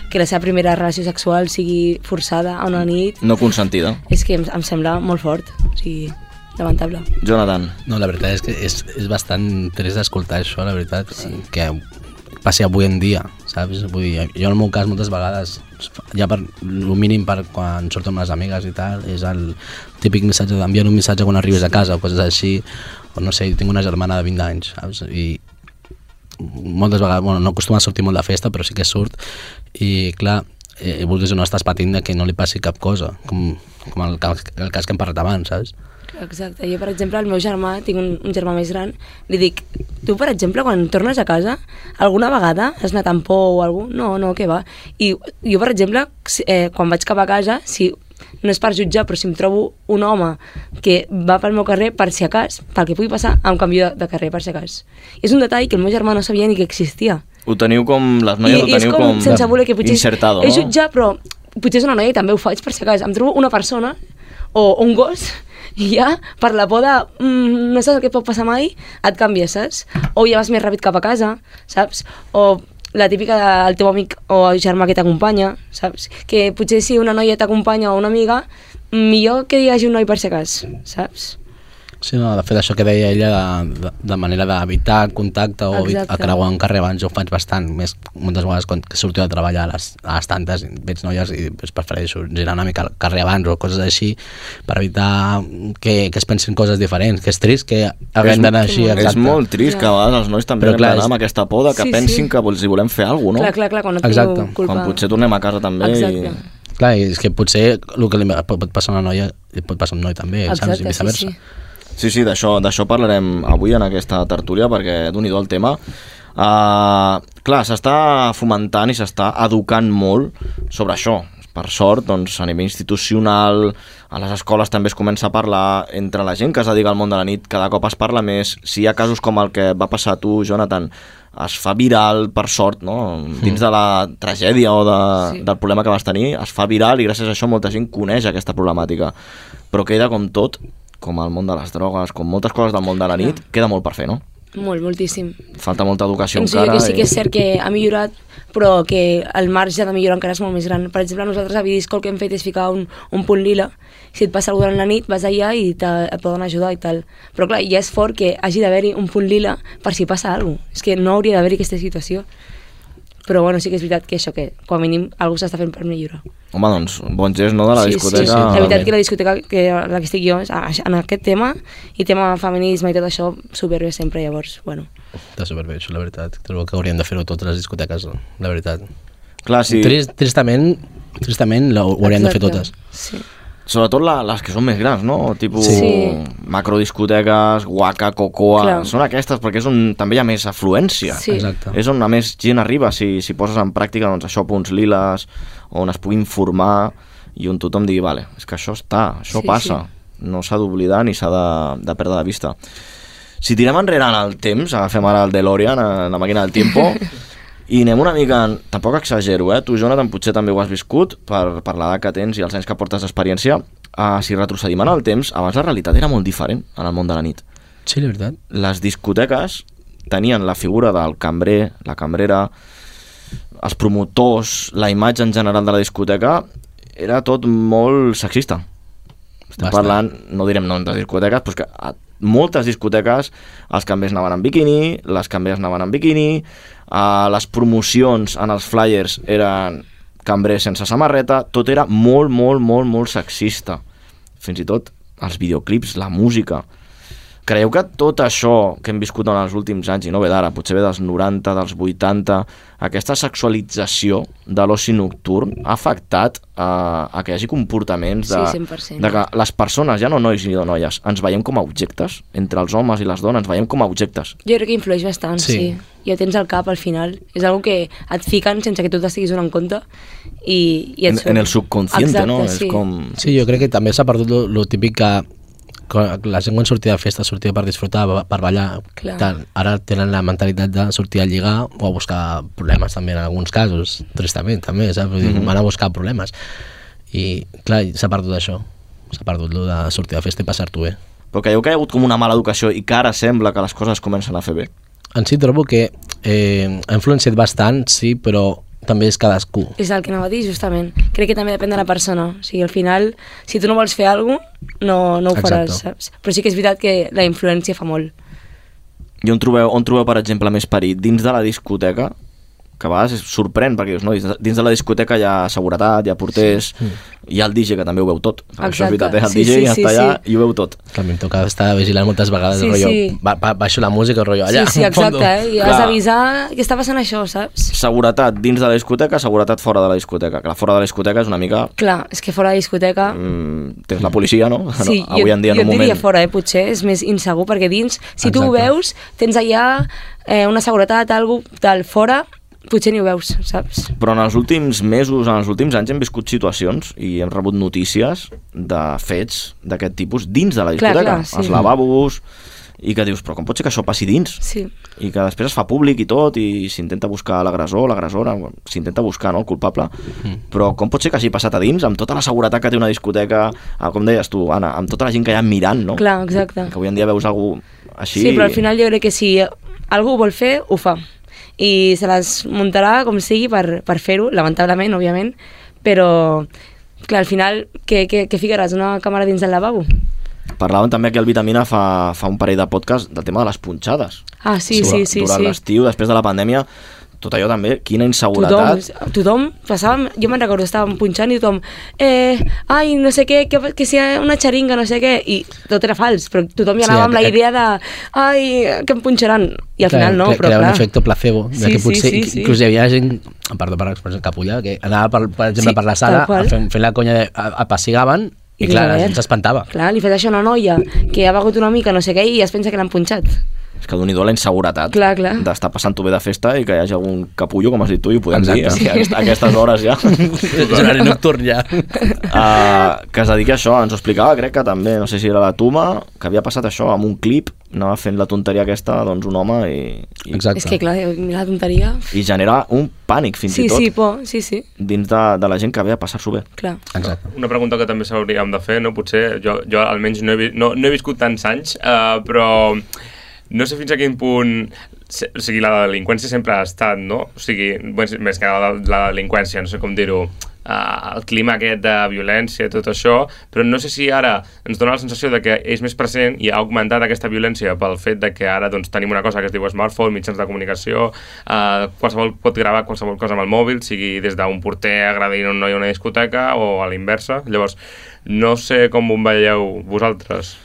que la seva primera relació sexual sigui forçada a una nit,
No consentida.
és que em, em sembla molt fort, o sigui, lamentable.
Jonathan.
No, la veritat és que és, és bastant trist d'escoltar això, la veritat, sí. que passi avui en dia, saps? Vull dir, jo en el meu cas moltes vegades, ja per el mínim per quan surto amb les amigues i tal, és el típic missatge d'enviar un missatge quan arribes a casa o coses així, o no sé, tinc una germana de 20 anys, saps? I moltes vegades, bueno, no acostuma a sortir molt de festa, però sí que surt, i clar, eh, vulguis o no estàs patint de que no li passi cap cosa, com, com el, ca- el cas que hem parlat abans, saps?
Exacte, jo per exemple, el meu germà, tinc un, un germà més gran, li dic, tu per exemple, quan tornes a casa, alguna vegada has anat amb por o alguna No, no, què va. I jo per exemple, si- eh, quan vaig cap a casa, si no és per jutjar, però si em trobo un home que va pel meu carrer, per si a cas, pel que pugui passar, em canvio de, de carrer, per si a cas. És un detall que el meu germà no sabia ni que existia.
Ho teniu com... Les noies
I,
ho
i és
teniu
com,
com,
sense voler que potser
insertado,
és
no?
jutjar, però potser és una noia i també ho faig per si cas. Em trobo una persona o un gos i ja, per la por de mm, no saps el que pot passar mai, et canvies, saps? O ja vas més ràpid cap a casa, saps? O la típica del teu amic o el germà que t'acompanya, saps? Que potser si una noia t'acompanya o una amiga, millor que hi hagi un noi per si cas, saps?
Sí, no, de fet, això que deia ella de, de, de manera d'evitar el contacte o
Exacte.
a creuar un carrer abans jo ho faig bastant, més moltes vegades quan que surto de treballar a les, a les tantes veig noies i doncs, prefereixo girar una mica al carrer abans o coses així per evitar que, que es pensin coses diferents, que és trist que haguem d'anar així.
És, és molt trist que a vegades els nois també
Però
hem
clar,
d'anar
és-
amb aquesta por de que
Sí,
pensin
sí.
que vols- hi volem fer alguna cosa, no?
Clar, clar, clar, quan no et
Exacte.
diu culpa.
Quan potser tornem a casa també
Exacte.
i...
Clar, i és que potser el que li pot pot passar a una noia li pot passar a un noi també, saps? I viceversa.
Sí, sí, d'això d'això parlarem avui en aquesta tertúlia perquè d'un i do el tema. Uh, clar, s'està fomentant i s'està educant molt sobre això. Per sort, doncs, a nivell institucional, a les escoles també es comença a parlar entre la gent que es dedica al món de la nit, cada cop es parla més. Si hi ha casos com el que va passar a tu, Jonathan, es fa viral, per sort, no? dins de la tragèdia o de, sí. del problema que vas tenir, es fa viral i gràcies a això molta gent coneix aquesta problemàtica. Però queda com tot, com el món de les drogues, com moltes coses del món de la nit, queda molt per fer, no?
Molt, moltíssim.
Falta molta educació
Penso jo
encara.
que sí que és
i-
cert que ha millorat, però que el marge de millorar encara és molt més gran. Per exemple, nosaltres a Vidisco el que hem fet és ficar un, un punt lila. Si et passa alguna durant la nit, vas allà i te, et poden ajudar i tal. Però clar, ja és fort que hagi d'haver-hi un punt lila per si passa alguna cosa. És que no hauria d'haver-hi aquesta situació. Però bueno, sí que és veritat que això, que com a mínim algú s'està fent per millorar.
Home, doncs, bon gest, no?, de la discoteca.
La veritat que la discoteca que, la que estic jo és a- en aquest tema i tema feminisme i tot això superbé sempre, llavors, bueno.
Està superbé, això, la veritat. Trobo que hauríem de fer-ho totes les discoteques, la veritat.
Clar, Ah, sí.
Trist, tristament, tristament la- ho hauríem de fer
Exacte.
totes.
Sí.
Sobretot la, les que són més grans, no? Tipus
Sí.
macrodiscoteques, guaca, cocoa...
Clar.
Són aquestes perquè és on també hi ha més afluència.
Sí. Exacte.
És on a més gent arriba, si, si poses en pràctica doncs, això, punts liles, on es pugui informar i on tothom digui, vale, és que això està, això
Sí,
passa, no s'ha d'oblidar ni s'ha de, de perdre de vista. Si tirem enrere en el temps, agafem ara el DeLorean, eh, la màquina del tiempo, i anem una mica... En... Tampoc exagero, eh? Tu, Jonathan, potser també ho has viscut per, per l'edat que tens i els anys que portes d'experiència. Uh, si retrocedim en el temps, abans la realitat era molt diferent en el món de la nit.
Sí, la veritat.
Les discoteques tenien la figura del cambrer, la cambrera, els promotors, la imatge en general de la discoteca, era tot molt sexista. Estem
Bastant.
parlant, no direm noms de discoteques, però és que a moltes discoteques els canviers anaven en biquini, les canviers anaven en biquini, a les promocions en els flyers eren cambrers sense samarreta, tot era molt, molt, molt, molt sexista. Fins i tot els videoclips, la música. Creieu que tot això que hem viscut en els últims anys, i no ve d'ara, potser ve dels 90, dels 80, aquesta sexualització de l'oci nocturn ha afectat eh, a, a que hi hagi comportaments de,
Sí, 100%.
de que les persones, ja no nois ni noies, ens veiem com a objectes, entre els homes i les dones, ens veiem com a objectes.
Jo crec que influeix bastant,
Sí.
sí. sí. Ja ho tens al cap al final. És algo que et fiquen sense que tu t'estiguis donant compte i, i et
En-
surt.
en el subconsciente,
Exacte,
no? És
Sí.
com-
Sí, jo crec que també s'ha perdut lo, lo típic que que la gent quan sortia de festa sortia per disfrutar, ba- per ballar,
Clar.
tal. Ara tenen la mentalitat de sortir a lligar o a buscar problemes també en alguns casos, tristament també, saps? Vull dir,
Mhm.
Van a buscar problemes. I clar, i s'ha perdut això. S'ha perdut lo de sortir de festa i passar-t'ho bé.
Però creieu que hi ha hagut com una mala educació i que ara sembla que les coses comencen a fer bé.
En si trobo que eh, ha influenciat bastant, sí, però també és cadascú.
És el que anava a dir, justament. Crec que també depèn de la persona. O sigui, al final, si tu no vols fer alguna cosa, no, no ho faràs,
Exacte.
saps? Però sí que és veritat que la influència fa molt.
I on trobeu, on trobeu per exemple, més perill? Dins de la discoteca, que a vegades és sorprèn, perquè dius, no, dins de- dins de la discoteca hi ha seguretat, hi ha porters, sí. hi ha el DJ, que també ho veu tot. Exacte. Això és
Exacte.
veritat, eh? el
Sí,
DJ
sí,
està
sí,
allà
sí.
i ho veu tot.
Que a mi em toca estar vigilant moltes vegades,
Sí,
sí, rotllo,
sí.
sí. Ba ba baixo la música, rotllo, allà.
sí, sí,
en fondo.
exacte, eh? I has
Clar.
d'avisar que està passant això, saps?
Seguretat dins de la discoteca, seguretat fora de la discoteca. Que la fora de la discoteca és una mica...
Clar, és que fora de discoteca...
Mm, tens la policia, no?
Sí,
no avui
jo,
en dia,
jo
en un
et diria
moment...
fora, eh, potser, és més insegur, perquè dins, si tu ho
Exacte.
veus, tens allà eh, una seguretat, algú tal, fora, potser ni ho veus, saps?
Però en els últims mesos, en els últims anys, hem viscut situacions i hem rebut notícies de fets d'aquest tipus dins de la
Clar,
discoteca.
clar, sí.
Els lavabos, i que dius, però com pot ser que això passi dins?
Sí.
I que després es fa públic i tot, i s'intenta buscar l'agressor, l'agressora, bueno, s'intenta buscar no, el culpable, però com pot ser que hagi passat a dins, amb tota la seguretat que té una discoteca, ah, com deies tu, Anna, amb tota la gent que hi ha mirant, no?
Clar, exacte.
Que avui en dia veus algú així...
Sí, però al final jo crec que si algú ho vol fer, ho fa. I se les muntarà com sigui per, per fer-ho, lamentablement, òbviament, però clar, al final, què, què, què ficaràs? Una càmera dins del lavabo?
Parlàvem també aquí al Vitamina fa, fa un parell de podcast del tema de les punxades.
Ah, sí, sí, sí,
Durant
sí.
l'estiu, després de la pandèmia, tot allò també, quina
Tothom,
inseguretat.
tothom passàvem, jo me'n recordo, estàvem punxant i tothom, eh, ai, no sé què, que, que si hi ha una xeringa, no sé què, i tot era fals, però tothom hi
Sí,
anava amb la
aquest-
idea de, ai, que em punxaran, i al final no, però
Creava
clar.
un efecte placebo,
Sí,
de que
sí,
potser,
sí, sí.
inclús hi havia gent, perdó per l'expressió capulla, que anava, per, per exemple,
Sí,
per la
tal
sala
qual.
fent, fent la conya, de, a, a pessigaven,
I
i, clar,
dius, a
la
veure.
gent s'espantava.
Clar, li fes això a una noia que ha begut una mica, no sé què, i es pensa que l'han punxat.
És que d'un i do la inseguretat
Clar, clar.
d'estar passant-ho bé de festa i que hi hagi algun capullo, com has dit tu, i ho podem
Exacte.
dir eh?
Sí.
a, aquest- a aquestes hores ja.
És horari nocturn ja.
Uh, que es dediqui a això, ens ho explicava, crec que també, no sé si era la Tuma, que havia passat això amb un clip, anava fent la tonteria aquesta, doncs un home i... i
És que clar, eh, mira la tonteria.
I genera un pànic, fins
Sí,
i tot,
sí, por, sí, sí,
dins de, de la gent que ve a passar-s'ho bé.
clar.
Exacte.
Una pregunta que també s'hauríem de fer, no? Potser jo, jo almenys no he, vi- no, no he viscut tants anys, eh, però no sé fins a quin punt se- o sigui, la delinqüència sempre ha estat, no? O sigui, més més que la, la delinqüència, no sé com dir-ho, eh, el clima aquest de violència i tot això, però no sé si ara ens dona la sensació de que és més present i ha augmentat aquesta violència pel fet de que ara doncs, tenim una cosa que es diu smartphone, mitjans de comunicació, eh, qualsevol pot gravar qualsevol cosa amb el mòbil, sigui des d'un porter agredint un noi a una discoteca o a la inversa. Llavors, no sé com ho veieu vosaltres.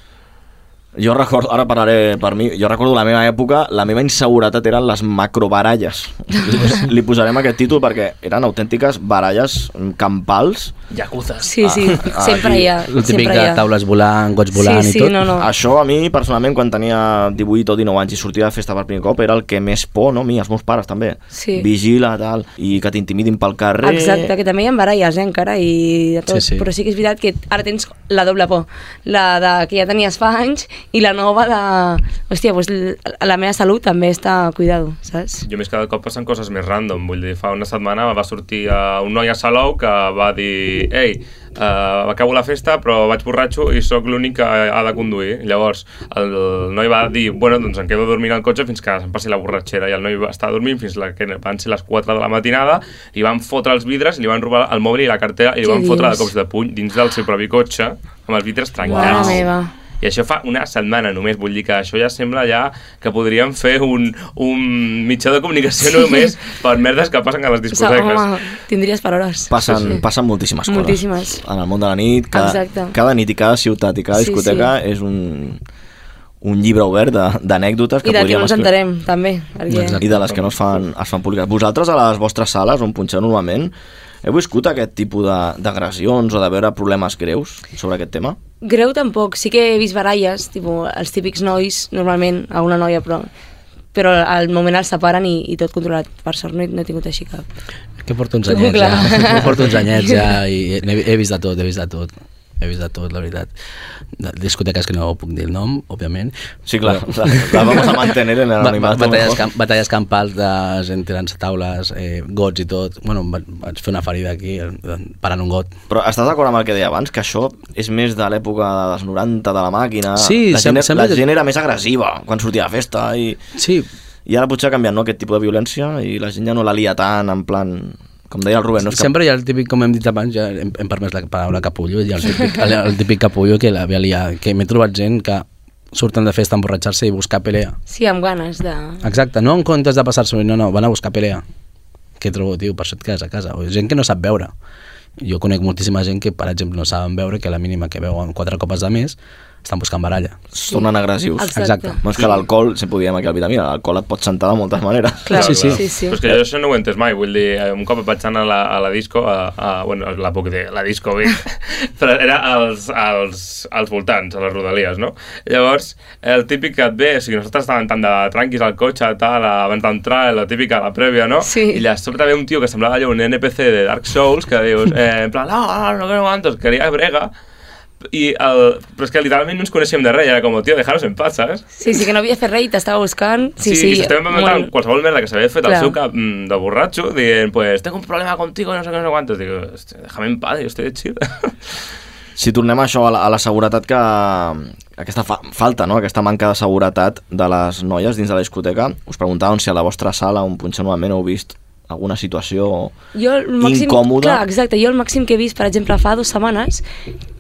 Jo recordo, ara parlaré per mi, jo recordo la meva època, la meva inseguretat eren les macrobaralles. Li posarem aquest títol perquè eren autèntiques baralles campals.
Yacuzas.
Sí, sí,
Ah,
sempre
aquí.
hi ha,
El típic
sempre hi
de
ha.
taules volant, gots volant
Sí, sí,
i tot.
no, no.
Això a mi, personalment, quan tenia 18 o 19 anys i sortia de festa per primer cop, era el que més por, no? A mi, els meus pares també.
Sí.
Vigila, tal, i que t'intimidin pel carrer.
Exacte, que també hi ha baralles eh, encara i de tot,
Sí, sí.
però sí que és veritat que ara tens la doble por, la de, que ja tenies fa anys i la nova de... Hòstia, doncs l- la meva salut també està cuidado, saps?
Jo més cada cop passen coses més random, vull dir, fa una setmana va sortir eh, un noi a Salou que va dir ei, eh, acabo la festa però vaig borratxo i sóc l'únic que ha de conduir. Llavors el noi va dir, bueno, doncs em quedo dormint al cotxe fins que em passi la borratxera i el noi va estar dormint fins la, que van ser les 4 de la matinada, li van fotre els vidres, li van robar el mòbil i la cartera i li
Què
van fotre de
dius?
cops de puny dins del seu propi cotxe amb els vidres trencats.
Mare meva.
I això fa una setmana només, vull dir que això ja sembla ja que podríem fer un, un mitjà de comunicació
Sí.
només per merdes que passen a les
O sigui,
discoteques.
home, tindries per hores.
Passen,
Sí.
passen moltíssimes coses.
Moltíssimes.
En el món de la nit, cada,
Exacte.
cada nit i cada ciutat i cada
Sí,
discoteca sí, sí. és un, un llibre obert de- d'anècdotes que
I de que
podríem
no ens
escriure.
enterem, també. Perquè...
I de les que no es fan, es fan públiques. Vosaltres, a les vostres sales, on punxeu normalment, heu viscut aquest tipus de- d'agressions o de veure problemes greus sobre aquest tema?
Greu tampoc, sí que he vist baralles, tipo, els típics nois, normalment, a una noia, però però al moment els separen i, i tot controlat. Per sort no he, no he tingut així cap.
Que porto uns
Tu,
anyets
clar.
ja. porto uns anyets ja i he, he vist de tot, he vist de tot. He vist de tot, la veritat. De- Discoteques que no puc dir el nom, òbviament.
Sí, clar, la vamos a mantener en el
Ba- ba-
anonimato,
Batalles,
mejor.
camp, batalles campals de gent tirant-se taules, eh, gots i tot. Bueno, em va- vaig fer una ferida aquí, eh, parant un got.
Però estàs d'acord amb el que deia abans, que això és més de l'època dels 90, de la màquina...
Sí,
la
sem-
gent, era-
sembla
la
que-
gent era més agressiva quan sortia de festa i...
Sí.
I ara potser ha canviat, no?, aquest tipus de violència i la gent ja no la lia tant, en plan... Com deia el Rubén, no és
Sempre hi ha el típic, com hem dit abans, ja hem, hem permès la paraula capullo, hi ha el típic, el, el típic capullo que l'havia liat, que m'he trobat gent que surten de festa a emborratxar-se i buscar pelea.
Sí, amb ganes de...
Exacte, no en comptes de passar-se bé, no, no, van a buscar pelea. Què trobo, tio, per això et quedes a casa. O gent que no sap veure. Jo conec moltíssima gent que, per exemple, no saben veure que a la mínima que veuen quatre copes de més estan buscant baralla.
que tornen agressius.
Exacte. Exacte.
No és que l'alcohol, sempre ho diem aquí al Vitamina, l'alcohol et pot sentar de moltes maneres.
Però és que jo això no ho he entès mai, vull dir, eh, un cop vaig anar a la, a la disco, a, a, bueno, la puc dir, la disco, bé, però era als, als, als voltants, a les rodalies, no? Llavors, el típic que et ve, o sigui, nosaltres estàvem tant de tranquis al cotxe, tal, abans d'entrar, la típica, la prèvia, no? Sí. I de sobte ve un tio que "Ah, semblava allò un NPC de Dark Souls, que dius, eh, en plan, no, no, no, no, no, no, quería brega, i el... Però és que literalment no ens coneixíem de res, i era com, tio, dejaros en paz, saps?
Sí, sí, que no havia fet res i t'estava buscant. Sí, sí,
i s'estava inventant
molt.
qualsevol merda que s'havia fet al
Clar.
seu cap mm, de borratxo, dient, pues, tengo un problema contigo, no sé què, no sé quantos. Digo, "Hostia, déjame en paz, yo estoy de chill.
Si tornem a això, a la, a la seguretat que... Aquesta fa falta, no? aquesta manca de seguretat de les noies dins de la discoteca, us preguntàvem si a la vostra sala, on punxeu normalment, heu vist alguna situació...
Jo el màxim,
Incòmode.
Clar, exacte, jo el màxim que he vist, per exemple, fa dues setmanes,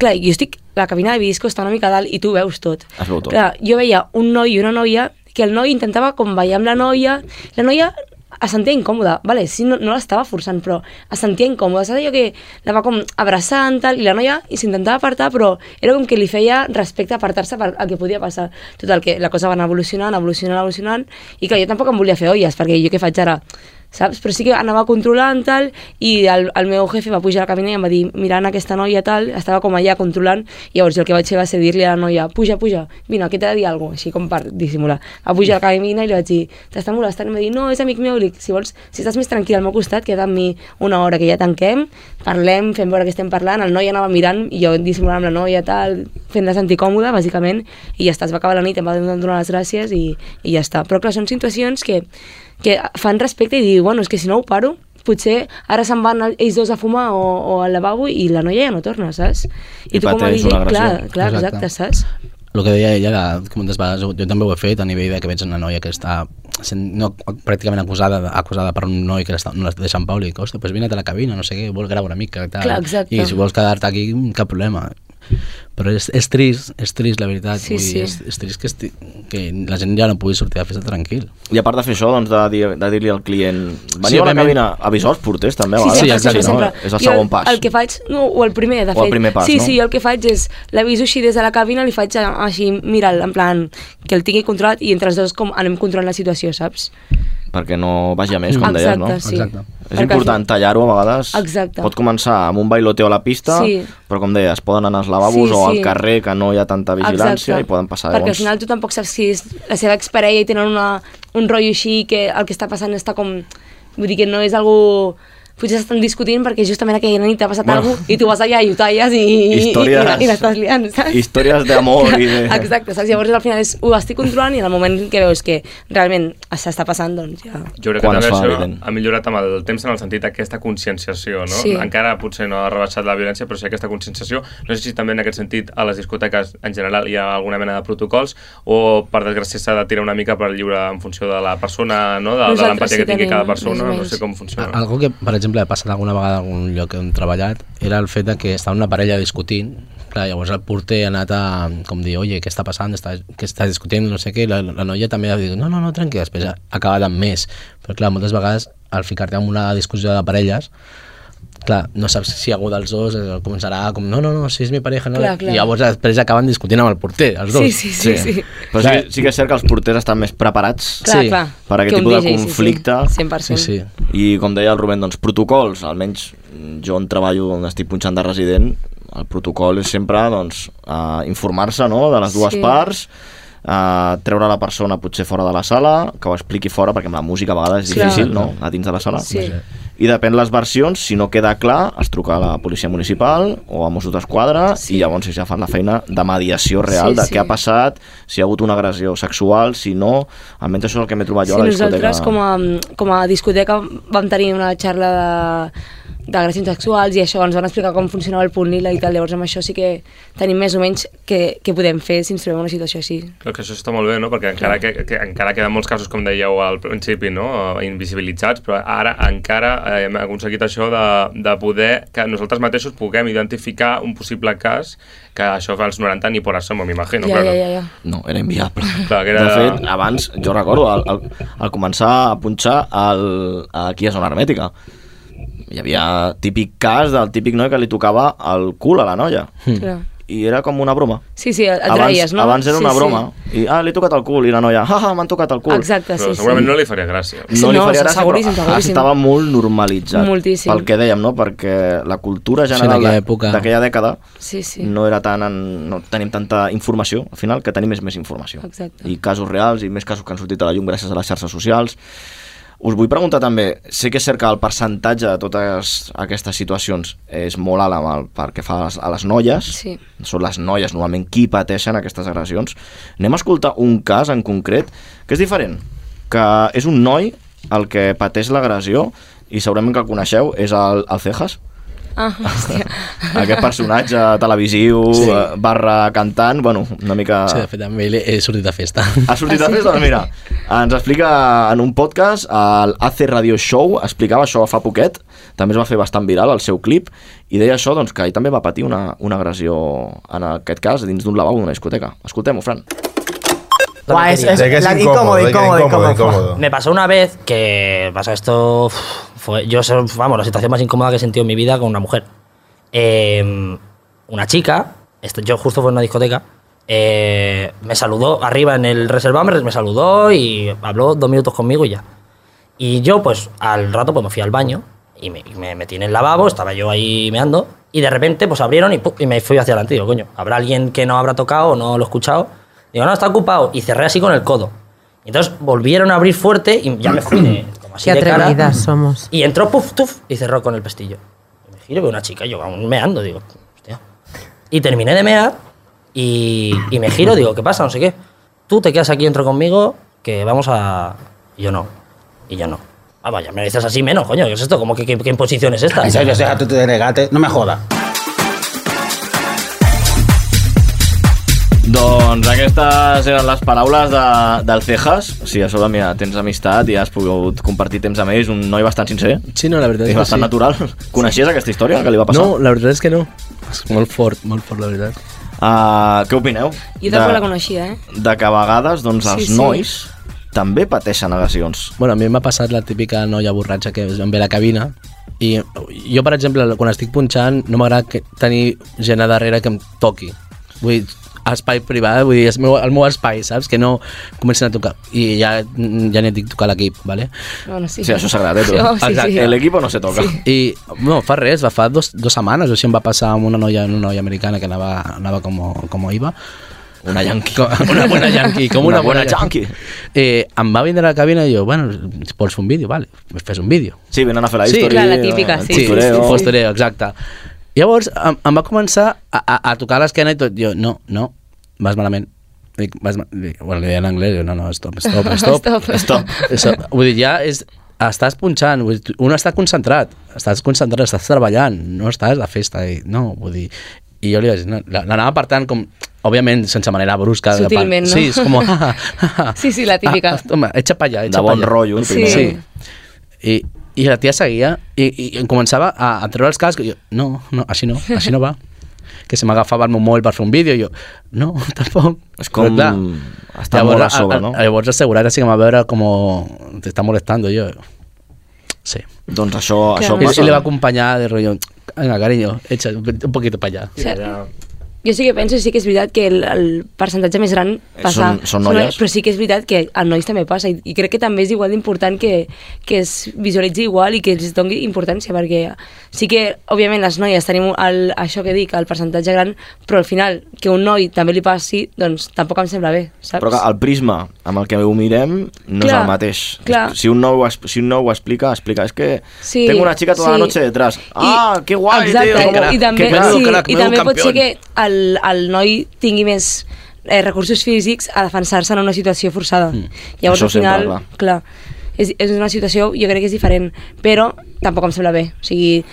clar, jo estic, la caminada de disco està una mica a dalt i tu ho veus tot.
Es veu tot.
Clar, jo veia un noi i una noia que el noi intentava com ballar amb la noia, la noia es sentia incòmoda, vale, sí, no, no l'estava forçant, però es sentia incòmoda, saps allò que la va com abraçant, tal, i la noia i s'intentava apartar, però era com que li feia respecte apartar-se per el que podia passar. Total, que la cosa va anar evolucionant, evolucionant, evolucionant, i clar, jo tampoc em volia fer olles, perquè jo què faig ara? saps? Però sí que anava controlant, tal, i el, el meu jefe va pujar a la cabina i em va dir, mirant aquesta noia, tal, estava com allà controlant, i llavors jo el que vaig fer va ser dir-li a la noia, puja, puja, vine, que t'he de dir alguna cosa, així com per dissimular. Va pujar a la cabina i li vaig dir, t'està molestant? I em va dir, no, és amic meu, I li, dic, si vols, si estàs més tranquil al meu costat, queda amb mi una hora que ja tanquem, parlem, fem veure que estem parlant, el noi anava mirant, i jo dissimulant amb la noia, tal, fent-la sentir còmoda, bàsicament, i ja està, es va acabar la nit, em va donar les gràcies i, i ja està. Però clar, són situacions que que fan respecte i diuen, bueno, és que si no ho paro, potser ara se'n van ells dos a fumar o, o al lavabo i la noia ja no torna, saps? I,
I
tu com a
pateix
DJ,
una
clar,
agressió.
clar,
Exacte.
exacte, saps?
El que deia ella, de, com moltes vegades, jo també ho he fet a nivell de que veig una noia que està sent, no, pràcticament acusada, acusada per un noi que l'està- no la deixa en pau, i dic, hòstia, doncs vine-te a la cabina, no sé què, vol gravar una mica, tal.
Clar, exacte.
I si vols quedar-te aquí, cap problema. Però és, és trist, és trist, la veritat.
Sí,
Vull dir,
sí.
És, és trist que, esti, que la gent ja no pugui sortir a festa tranquil.
I a part de fer això, doncs, de, dir- de dir-li al client... Veniu sí, a la
òbviament.
cabina, avisar els porters, també, a vegades.
sempre, sempre, sempre.
És el
Jo
segon pas.
El que faig, no, o el primer, de
O el
fet.
primer pas,
sí,
no?
sí, jo el que faig és l'aviso així des de la cabina, li faig a- així, mira'l, en plan, que el tingui controlat i entre els dos com anem controlant la situació, saps?
perquè no vagi a més, com
Exacte,
deies, no?
sí. Exacte.
És important tallar-ho a vegades.
Exacte.
Pot començar amb un bailoteo a la pista,
Sí.
però com deies, poden anar als lavabos
Sí,
o al
sí.
carrer, que no hi ha tanta vigilància,
Exacte.
i poden passar
Perquè al
llavors...
final tu tampoc saps si és la seva exparella i tenen una, un rotllo així que el que està passant està com... Vull dir que no és algú... Potser s'estan discutint perquè justament aquella nit t'ha passat
Bueno.
bueno. alguna cosa i tu vas allà i ho talles i, i, i,
Històries-
i l'estàs liant, saps?
Històries d'amor i de...
Exacte, saps? Llavors al final és, ho estic controlant i en el moment que veus que realment s'està passant, doncs ja...
Jo crec que
Quan
també
es fa
això
evident.
ha millorat amb el temps en el sentit d'aquesta conscienciació, no?
Sí.
Encara potser no ha rebaixat la violència, però sí aquesta conscienciació. No sé si també en aquest sentit a les discoteques en general hi ha alguna mena de protocols o per desgràcia s'ha de tirar una mica per lliure en funció de la persona, no? De, de
Nosaltres
l'empatia
sí
que tingui
tenim,
cada
més o
persona, no
menys.
sé com funciona.
Algo que, per exemple, ha passat alguna vegada a algun lloc on he treballat era el fet de que estava una parella discutint Clar, llavors el porter ha anat a com dir, oye, què està passant, està, què estàs discutint, no sé què, la, la noia també ha dit, no, no, no, tranqui, després ha acabat amb més. Però clar, moltes vegades al ficar-te en una discussió de parelles, clar, no saps si algú dels dos eh, començarà com, no, no, no, si és mi pareja, no,
Clar, clar.
i llavors després acaben discutint amb el porter, els dos.
Però sí, que- sí que és cert que els porters estan més preparats
Clar, Sí. clar,
per a aquest
que un
tipus de
DJ, sí, sí.
conflicte.
100%. Sí, sí.
I com deia el Rubén, doncs protocols, almenys jo on treballo, on estic punxant de resident, el protocol és sempre doncs, eh, informar-se no? de les dues
Sí.
parts, eh, treure la persona potser fora de la sala, que ho expliqui fora, perquè amb la música a vegades és
Sí.
difícil, no? a dins de la sala.
Sí.
I depèn les versions, si no queda clar, es truca a la policia municipal o a Mossos d'Esquadra sí. i llavors ells ja fan la feina de mediació real
Sí,
de
sí.
què ha passat, si hi ha hagut una agressió sexual, si no... Almenys això és el que m'he trobat jo
Sí,
a la discoteca.
nosaltres com a, com a discoteca vam tenir una xarra de d'agressions sexuals i això ens van explicar com funcionava el punt lila i tal, llavors amb això sí que tenim més o menys que, que podem fer si ens trobem en una situació així.
Crec que això està molt bé, no? Perquè encara, que, que, encara queden molts casos, com dèieu al principi, no? Eh, invisibilitzats, però ara encara eh, hem aconseguit això de, de poder que nosaltres mateixos puguem identificar un possible cas que això fa als 90 ni por asomo, m'imagino.
ja,
claro.
ja, ja, ja.
No, era inviable.
Clar, que era...
De fet, abans, jo recordo, al, al, al començar a punxar al, aquí a Zona Hermètica, hi havia típic cas del típic noi que li tocava el cul a la noia.
Clar.
I era com una broma.
Sí, sí, et
Hmm. abans,
dreies, no?
abans era
Sí,
una
sí.
broma. I, ah, li he tocat el cul. I la noia, ah, ah m'han tocat el cul.
Exacte,
Però segurament no li faria gràcia.
No, li faria gràcia,
seguríssim,
però
seguríssim.
estava molt normalitzat.
Moltíssim.
Pel que dèiem, no? Perquè la cultura
Sí,
general
d'aquella
de-
època.
d'aquella dècada
Sí, sí.
no era tan... En, no tenim tanta informació, al final, que tenim és més informació.
Exacte.
I casos reals i més casos que han sortit a la llum gràcies a les xarxes socials. Us vull preguntar també, sé que és cert que el percentatge de totes aquestes situacions és molt alt amb el, pel que fa a les, a les noies,
Sí.
són les noies normalment qui pateixen aquestes agressions. Anem a escoltar un cas en concret que és diferent, que és un noi el que pateix l'agressió i segurament que el coneixeu, és el, el Cejas,
Ah, hòstia.
aquest personatge televisiu sí. barra cantant, bueno, una mica...
Sí, de fet, amb ell he Ah. sortit de festa.
Ha sortit de festa? Doncs mira, ens explica en un podcast, el AC Radio Show, explicava això fa poquet, també es va fer bastant viral el seu clip, i deia això doncs, que ell també va patir una, una agressió, en aquest cas, dins d'un lavabo d'una discoteca. Escoltem-ho, Fran.
Buah, es, es,
De que es
la-
incómodo, de que
incómodo,
incómodo,
incómodo.
incómodo.
Me pasó una vez que pasa esto. uf, Fue, yo, sé- vamos, la situación más incómoda que he sentido en mi vida con una mujer. Eh, una chica, esto- yo justo fue en una discoteca, eh, me saludó arriba en el reservado, me, me saludó y habló dos minutos conmigo y ya. Y yo, pues, al rato, pues me fui al baño y me, y me metí en el lavabo, estaba yo ahí meando, y de repente, pues abrieron y, pu- y me fui hacia adelante. Digo, coño, habrá alguien que no habrá tocado o no lo ha escuchado. Digo, no, está ocupado. Y cerré así con el codo. Y entonces volvieron a abrir fuerte y ya me fui de, como así
Qué
de cara.
atrevidas somos.
Y entró, puf, tuf, y cerró con el pestillo. Y me giro, veo una chica, yo aún meando, digo, hostia. Y terminé de mear y, y me giro, digo, ¿qué pasa? No sé qué. Tú te quedas aquí dentro conmigo, que vamos a. Y yo no. Y yo no. Ah, vaya, me lo dices así menos, coño. ¿Qué es esto? ¿Cómo que qué, qué imposición es esta?
En serio, Cejas, tú te denegaste. No me jodas.
Doncs aquestes eren les paraules de, del Cejas. Si a sobre mira, tens amistat i has pogut compartir temps amb ells, un noi bastant sincer.
Sí, no, la veritat és
és
que
bastant
sí.
natural. Coneixies aquesta història que li va passar?
No, la veritat és que no. És molt fort, molt fort, la veritat.
Uh, què opineu?
Jo tampoc la coneixia, eh?
de que a vegades doncs,
Sí,
els
sí.
nois també pateixen agressions.
Bueno, a mi m'ha passat la típica noia borratxa que em ve a la cabina i jo, per exemple, quan estic punxant no m'agrada que- tenir gent a darrere que em toqui. Vull dir, espai privat, vull dir, és el meu, el meu espai, saps? Que no comencin a tocar. I ja, ja n'he dit tocar a l'equip, ¿vale?
Bueno, sí.
Sí, això és sagrat, eh, però-
Sí, sí,
Exacte.
sí.
El equipo no se toca.
Sí. I, no, fa res, va fa dos, dos setmanes o així em va passar amb una noia, una noia americana que anava, anava com, com iba.
Una yankee.
Com, una bona yankee, com una,
Una bona yankee.
Eh, em va vindre a la cabina i jo, bueno, si pots fer un vídeo, vale, fes un vídeo.
Sí, venen a fer la
Sí,
història. eh,
clar,
la típica, sí, sí,
Sí,
postureo.
postureo, exacte. Llavors, em, em va començar a, a, a tocar l'esquena i tot, jo, no, no, vas malament. Dic, vas mal... Dic, bueno, li deia en anglès, jo, no, no, stop, stop, stop,
Stop.
stop, stop. Vull dir, ja és, estàs punxant, vull dir, tu- un està concentrat, estàs concentrat, estàs treballant, no estàs de festa, i, no, vull dir, i jo li vaig dir, no, la- l'anava apartant com, òbviament, sense manera brusca. de part-
Sutilment, no?
Sí, és com, ah,
Sí, sí, la típica.
Ah, toma, echa pa allà, echa
De bon
pa allà.
rotllo, el primer.
Sí. I, I la tia seguia i, i em començava a, a treure els cascs. I jo, no, no, així no, així no va. Que se m'agafava el meu mòbil per fer un vídeo i jo, no, tampoc. És
com estar molt a sobre, no?
Llavors l'assegurat sí que em va veure com te està molestando, i jo. Sí.
Doncs això,
I,
això
I li va acompanyar de rotllo, venga, cariño, echa un poquito pa allà.
Sí, Jo sí que penso, sí que és veritat que el, el percentatge més gran passa...
Eh, Són- són noies.
Però sí que és veritat que a nois també passa i, i crec que també és igual d'important que, que es visualitzi igual i que els doni importància perquè sí que, òbviament, les noies tenim el, això que dic, el percentatge gran, però al final que un noi també li passi, doncs tampoc em sembla bé, saps?
Però que el prisma amb el que ho mirem no és
Clar,
el mateix.
clar.
Si un nou, ho es- si un nou ho explica, explica. És que
Sí,
tengo una chica toda la
sí.
noche detrás. Ah,
qué
guai, tio,
Exacte, i-
crac,
i
que
també,
menudo
sí,
crac,
i
menudo
també pot ser
campeón.
que el, el noi tingui més eh, recursos físics a defensar-se en una situació forçada. Mm. Llavors,
Hmm. Això
al final,
sempre,
clar, és, és una situació, jo crec que és diferent, però tampoc em sembla bé. O sigui,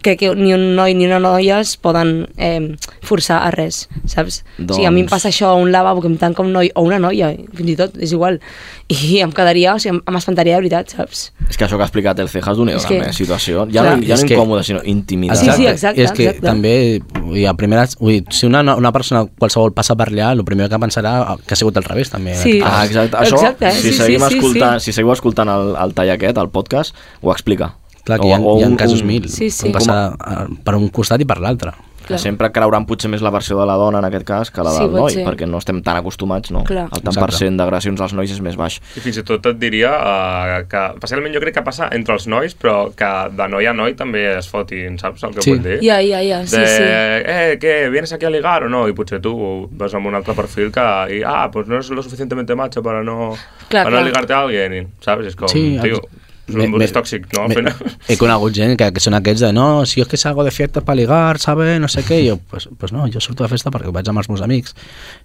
crec que ni un noi ni una noia es poden eh, forçar a res, saps? Doncs... O sigui, a mi em
Doncs-
passa això a un lavabo que em tanca un noi o una noia, fins i tot, és igual. I em quedaria, o sigui, em- m'espantaria de veritat, saps?
És que això que ha explicat el Cejas d'una
És
que...
que-
situació. Ja, no,
Clar.
ja
És
no
que-
incòmoda, sinó intimidada.
Ah, Sí, sí, exacte,
I és que
exacte.
també, vull dir, a primeres, vull dir, si una, una persona qualsevol passa per allà, el primer que pensarà que ha sigut al revés, també.
Sí.
Ah, exacte. Això,
Exacte, eh?
si,
Sí, sí,
seguim
sí, sí.
escoltant, si seguiu escoltant el, el tall aquest, el podcast, ho explica.
Clar, que hi ha,
O- o
hi ha
un-
casos
un-
mil.
Sí, sí.
Pot Passar eh, per un costat i per l'altre.
Que sempre creuran potser més la versió de la dona en aquest cas que la
Sí,
del
pot
noi,
ser.
perquè no estem tan acostumats, no?
Clar.
El tant
Exacte.
per cent d'agressions als nois és més baix.
I fins i tot et diria eh, que, especialment jo crec que passa entre els nois, però que de noi a noi també es fotin, saps el que
Sí.
vull dir?
Ja, ja, ja, sí,
de,
sí.
Eh, què, vienes aquí a ligar o no? I potser tu vas amb un altre perfil que, i, ah, pues no es lo suficientemente macho para no,
Clar,
para no
clar.
ligarte a alguien, i, saps? És com,
Sí,
tio, Me, es tóxic, ¿no?
me- He conegut gent que, que són aquests de no, si jo és que salgo de fiestas para ligar, ¿sabes? No sé què. I jo, pues, pues no, jo surto de festa perquè vaig amb els meus amics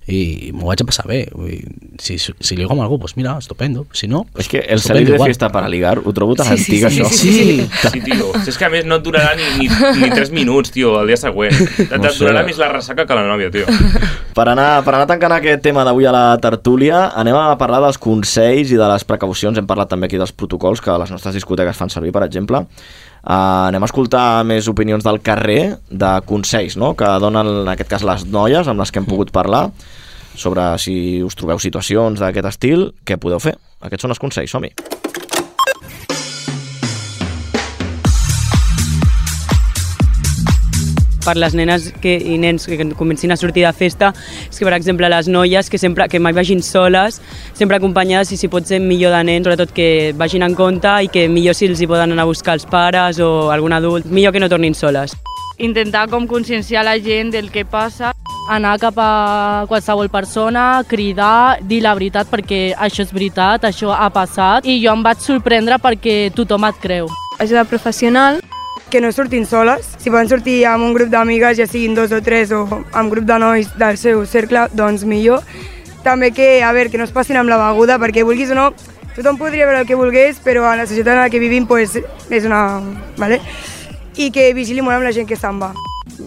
i m'ho vaig a passar bé. Vull dir, si, si ligo amb algú, pues mira, estupendo. Si no, pues,
És que el
estupendo
salir de
igual.
fiesta para ligar ho trobo tan
Sí, sí,
antic,
sí,
això.
sí, sí,
Sí, tio. Si és que a més no et durarà ni, ni, ni 3 minuts, tio, el dia següent. Et,
No
et
sé.
durarà més la ressaca que la nòvia, tio.
Per anar, per anar tancant aquest tema d'avui a la tertúlia, anem a parlar dels consells i de les precaucions. Hem parlat també aquí dels protocols que les nostres discoteques fan servir, per exemple. Uh, anem a escoltar més opinions del carrer de consells no? que donen, en aquest cas, les noies amb les que hem pogut parlar sobre si us trobeu situacions d'aquest estil, què podeu fer. Aquests són els consells, som-hi.
per les nenes que, i nens que comencin a sortir de festa, és que, per exemple, les noies que, sempre, que mai vagin soles, sempre acompanyades i si pot ser millor de nens, sobretot que vagin en compte i que millor si els hi poden anar a buscar els pares o algun adult, millor que no tornin soles.
intentar com conscienciar la gent del que passa.
anar cap a qualsevol persona, cridar, dir la veritat perquè això és veritat, això ha passat i jo em vaig sorprendre perquè tothom et creu.
ajuda professional. Que no surtin soles. Si poden sortir amb un grup d'amigues, ja siguin dos o tres, o amb grup de nois del seu cercle, doncs millor. També que, a veure, que no es passin amb la beguda, perquè vulguis o no, tothom podria veure el que volgués, però a la societat en la que vivim pues, és una... Vale? I que vigili molt amb la gent que se'n va.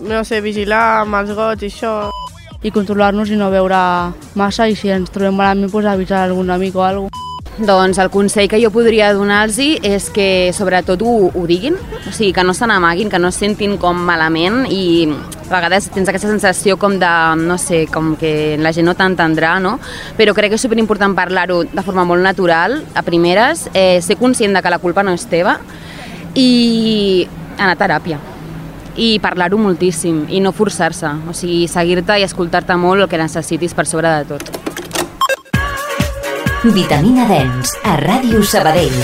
No sé, vigilar amb els gots i això.
i controlar-nos i no veure massa i si ens trobem malament doncs avisar algun amic o alguna cosa.
Doncs el consell que jo podria donar-los és que sobretot ho, ho diguin, o sigui, que no se n'amaguin, que no es sentin com malament i a vegades tens aquesta sensació com de, no sé, com que la gent no t'entendrà, no? Però crec que és superimportant parlar-ho de forma molt natural, a primeres, eh, ser conscient de que la culpa no és teva i anar a teràpia i parlar-ho moltíssim i no forçar-se, o sigui, seguir-te i escoltar-te molt el que necessitis per sobre de tot.
Vitamina Dens, a Ràdio Sabadell.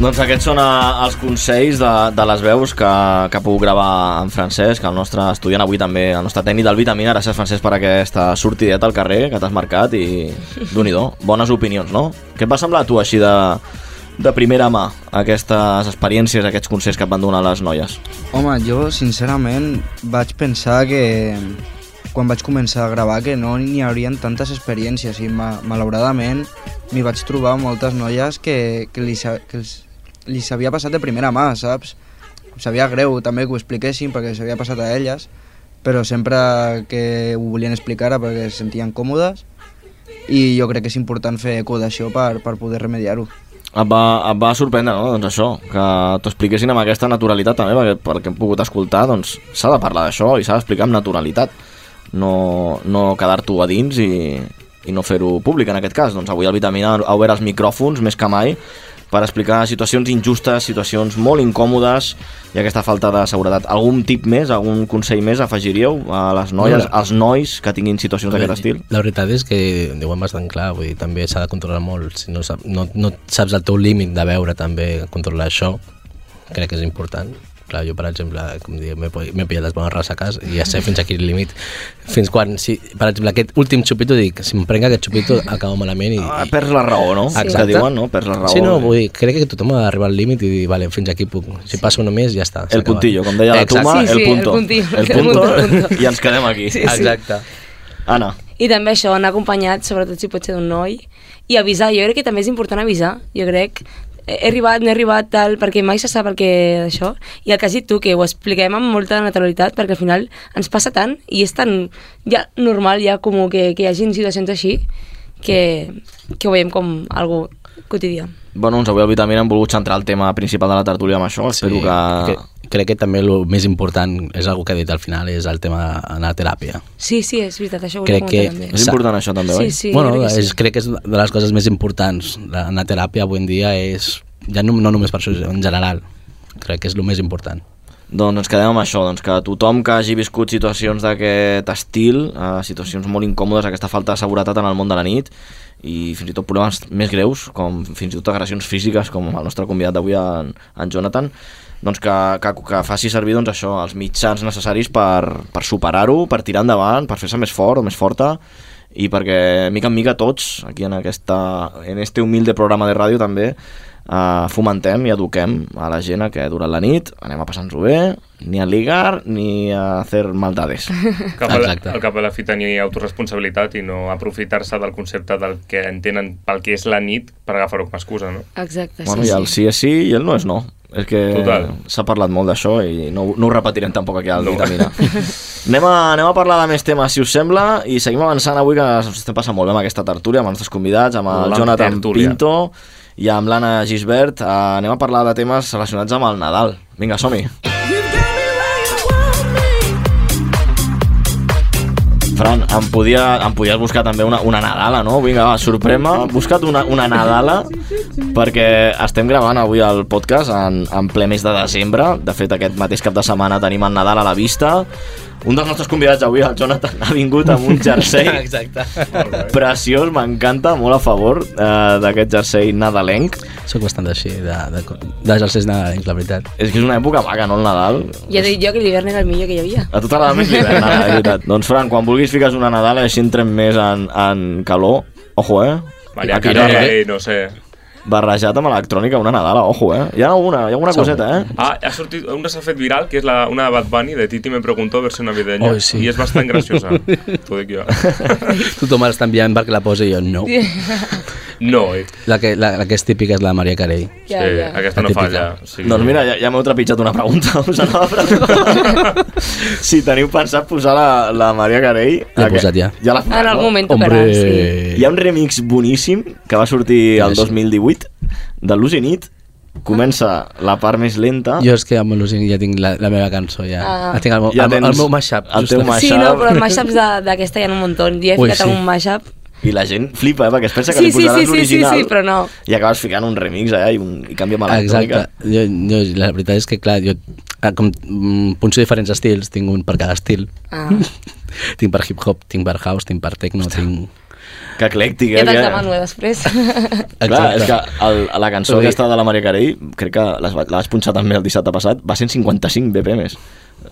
Doncs aquests són eh, els consells de, de les veus que, que ha pogut gravar en Francesc, el nostre estudiant avui també, el nostre tècnic del Vitamina. Gràcies, Francesc, per aquesta sortideta al carrer que t'has marcat i, d'un i do, bones opinions, no? Què et va semblar a tu així de, de primera mà aquestes experiències, aquests consells que et van donar les noies?
Home, jo sincerament vaig pensar que quan vaig començar a gravar que no n'hi haurien tantes experiències i ma malauradament m'hi vaig trobar moltes noies que, que, li, sa- que els, li s'havia passat de primera mà, saps? Em sabia greu també que ho expliquessin perquè s'havia passat a elles, però sempre que ho volien explicar era perquè se sentien còmodes i jo crec que és important fer eco d'això per, per poder remediar-ho.
Et va, et va sorprendre, no? Doncs això, que t'ho expliquessin amb aquesta naturalitat també, perquè pel que hem pogut escoltar, doncs s'ha de parlar d'això i s'ha d'explicar amb naturalitat. No, no quedar-t'ho a dins i, i no fer-ho públic en aquest cas. Doncs avui el Vitamina ha obert els micròfons més que mai per explicar situacions injustes, situacions molt incòmodes i aquesta falta de seguretat. Algun tip més, algun consell més afegiríeu a les noies,
Mira.
als nois que tinguin situacions d'aquest estil?
La veritat és que ho hem bastant clar, vull dir, també s'ha de controlar molt. Si no, sap, no, no saps el teu límit de veure també, controlar això, crec que és important. Clar, jo, per exemple, com dic, m'he po- m'he pillat les bones ressacas i ja sé fins a quin límit. Fins quan, si, per exemple, aquest últim xupito, dic, si em prenc aquest xupito, acabo malament i... Ah,
perds la raó, no? Que diuen, no? Perds la Ah, raó. eh.
Sí, no, vull dir, crec que tothom ha d'arribar al límit i dir, vale, fins aquí puc. Si sí. passa un mes, ja està. s'ha
El
acabat.
puntillo, com deia la
Exacte.
Tuma, el punto. El punto i ens quedem aquí.
Sí, sí. Exacte.
Anna.
I també això, anar acompanyat, sobretot si pot ser d'un noi, i avisar. Jo crec que també és important avisar, jo crec. He he arribat, no he arribat, tal, perquè mai se sap el que això. I el que has dit tu, que ho expliquem amb molta naturalitat, perquè al final ens passa tant, i és tan ja normal, ja com que, que hi hagin situacions així, que, que ho veiem com algo quotidià.
Bueno, doncs avui al Vitamina hem volgut centrar el tema principal de la tertúlia amb això. Sí, Espero que...
que... Crec que també el més important és algo que ha dit al final, és el tema d'anar a teràpia.
Sí, sí, és veritat, això ho volia
crec que...
comentar també.
oi?
Sí, sí,
bueno,
crec que
crec,
sí.
és, crec que és de les coses més importants. La- Anar a teràpia avui en dia és... Ja no, no només per això, en general. Crec que és el més important.
Doncs ens quedem amb això, doncs que tothom que hagi viscut situacions d'aquest estil, eh, situacions molt incòmodes, aquesta falta de seguretat en el món de la nit, i fins i tot problemes més greus, com fins i tot agressions físiques, com el nostre convidat d'avui, en, en Jonathan, doncs que, que, que faci servir doncs, això, els mitjans necessaris per, per superar-ho, per tirar endavant, per fer-se més fort o més forta, i perquè mica en mica tots, aquí en, aquesta, en este humilde programa de ràdio també, eh, fomentem i eduquem a la gent a que durant la nit anem a passar-nos-ho bé, ni a ligar ni a fer maldades.
Cap a la, el cap a la fi tenir autoresponsabilitat i no aprofitar-se del concepte del que entenen pel que és la nit per agafar-ho com a excusa, no?
Ah, Exacte,
Bueno,
sí,
i el sí és sí i el no és no. És que
Total.
s'ha parlat molt d'això i no, ho- no ho repetirem tampoc aquí al no. Vitamina. anem, a, anem a parlar de més temes, si us sembla, i seguim avançant avui, que ens estem passant molt bé amb aquesta tertúlia, amb els nostres convidats, amb el
La
Jonathan
tertúlia.
Pinto i amb l'Anna Gisbert. Eh, anem a parlar de temes relacionats amb el Nadal. Vinga, som-hi. Fran, em, podia, em podies buscar també una, una Nadala, no? Vinga, va, sorprèn-me. Busca't una, una Nadala perquè estem gravant avui el podcast en, en ple mes de desembre. De fet, aquest mateix cap de setmana tenim el Nadal a la vista. Un dels nostres convidats avui, el Jonathan, ha vingut amb un jersei
Exacte.
preciós, m'encanta, molt a favor eh, d'aquest jersei nadalenc.
Soc bastant així, de, de, de jerseis nadalencs, la veritat.
És que és una època maca, no, el Nadal?
Ja t'he dit jo que l'hivern era el millor que hi havia.
A tu t'agrada més l'hivern, ara, de veritat. Doncs, Fran, quan vulguis fiques una Nadala i així entrem més en, en calor. Ojo, eh?
Vaya,
Aquí
que
no, eh?
no sé.
Barrejat amb electrònica, una Nadala, ojo, eh? Hi ha alguna, hi ha alguna
Segur.
coseta, eh?
Ah, ha sortit, una s'ha fet viral, que és la, una de Bad Bunny, de Titi me preguntó, versió navideña,
Oh, sí.
i és bastant graciosa, t'ho dic jo.
Tothom està enviant perquè la posa i jo no.
No, eh?
La que, la, la que és típica és la de Maria Carey.
Ja, Sí, ja. aquesta
La
no
típica.
falla, sí.
Doncs mira, ja, ja m'heu trepitjat una pregunta. Us anava a preguntar si teniu pensat posar la, la Maria Carey.
L'he
a que-
posat ja.
Ja l'has
En
posat, no?
algun moment tocarà, Hombre. sí.
Hi ha un remix boníssim que va sortir el 2018 de Lusinit. Comença la part més lenta.
Jo és que amb l'Usin ja tinc la, la meva cançó, ja.
Ah.
Ah. Tinc el, meu-
Ja
el, el
tens
meu mashup.
el teu
justament.
mashup.
Sí, no, però els mashups de- d'aquesta hi ha un muntó. Jo he
Ui,
ficat
sí.
algun mashup.
I la gent flipa, eh? Perquè es pensa que
Sí,
li
sí,
posaràs
sí, sí, sí,
l'original
sí, però no.
i acabes ficant un remix allà i, un, i canvia amb
Exacte.
electrònica.
Jo, jo, la veritat és que, clar, jo ah, com, mm, punxo diferents estils, tinc un per cada estil.
Ah.
tinc per hip-hop, tinc per house, tinc per techno, tinc...
Que eclèctic,
Ja te'ls demano, eh, després.
Clar, és que el, la cançó
Vull dir-
aquesta de la Maria Carey, crec que l'has- la vas punxar també el dissabte passat, va 155 BPMs.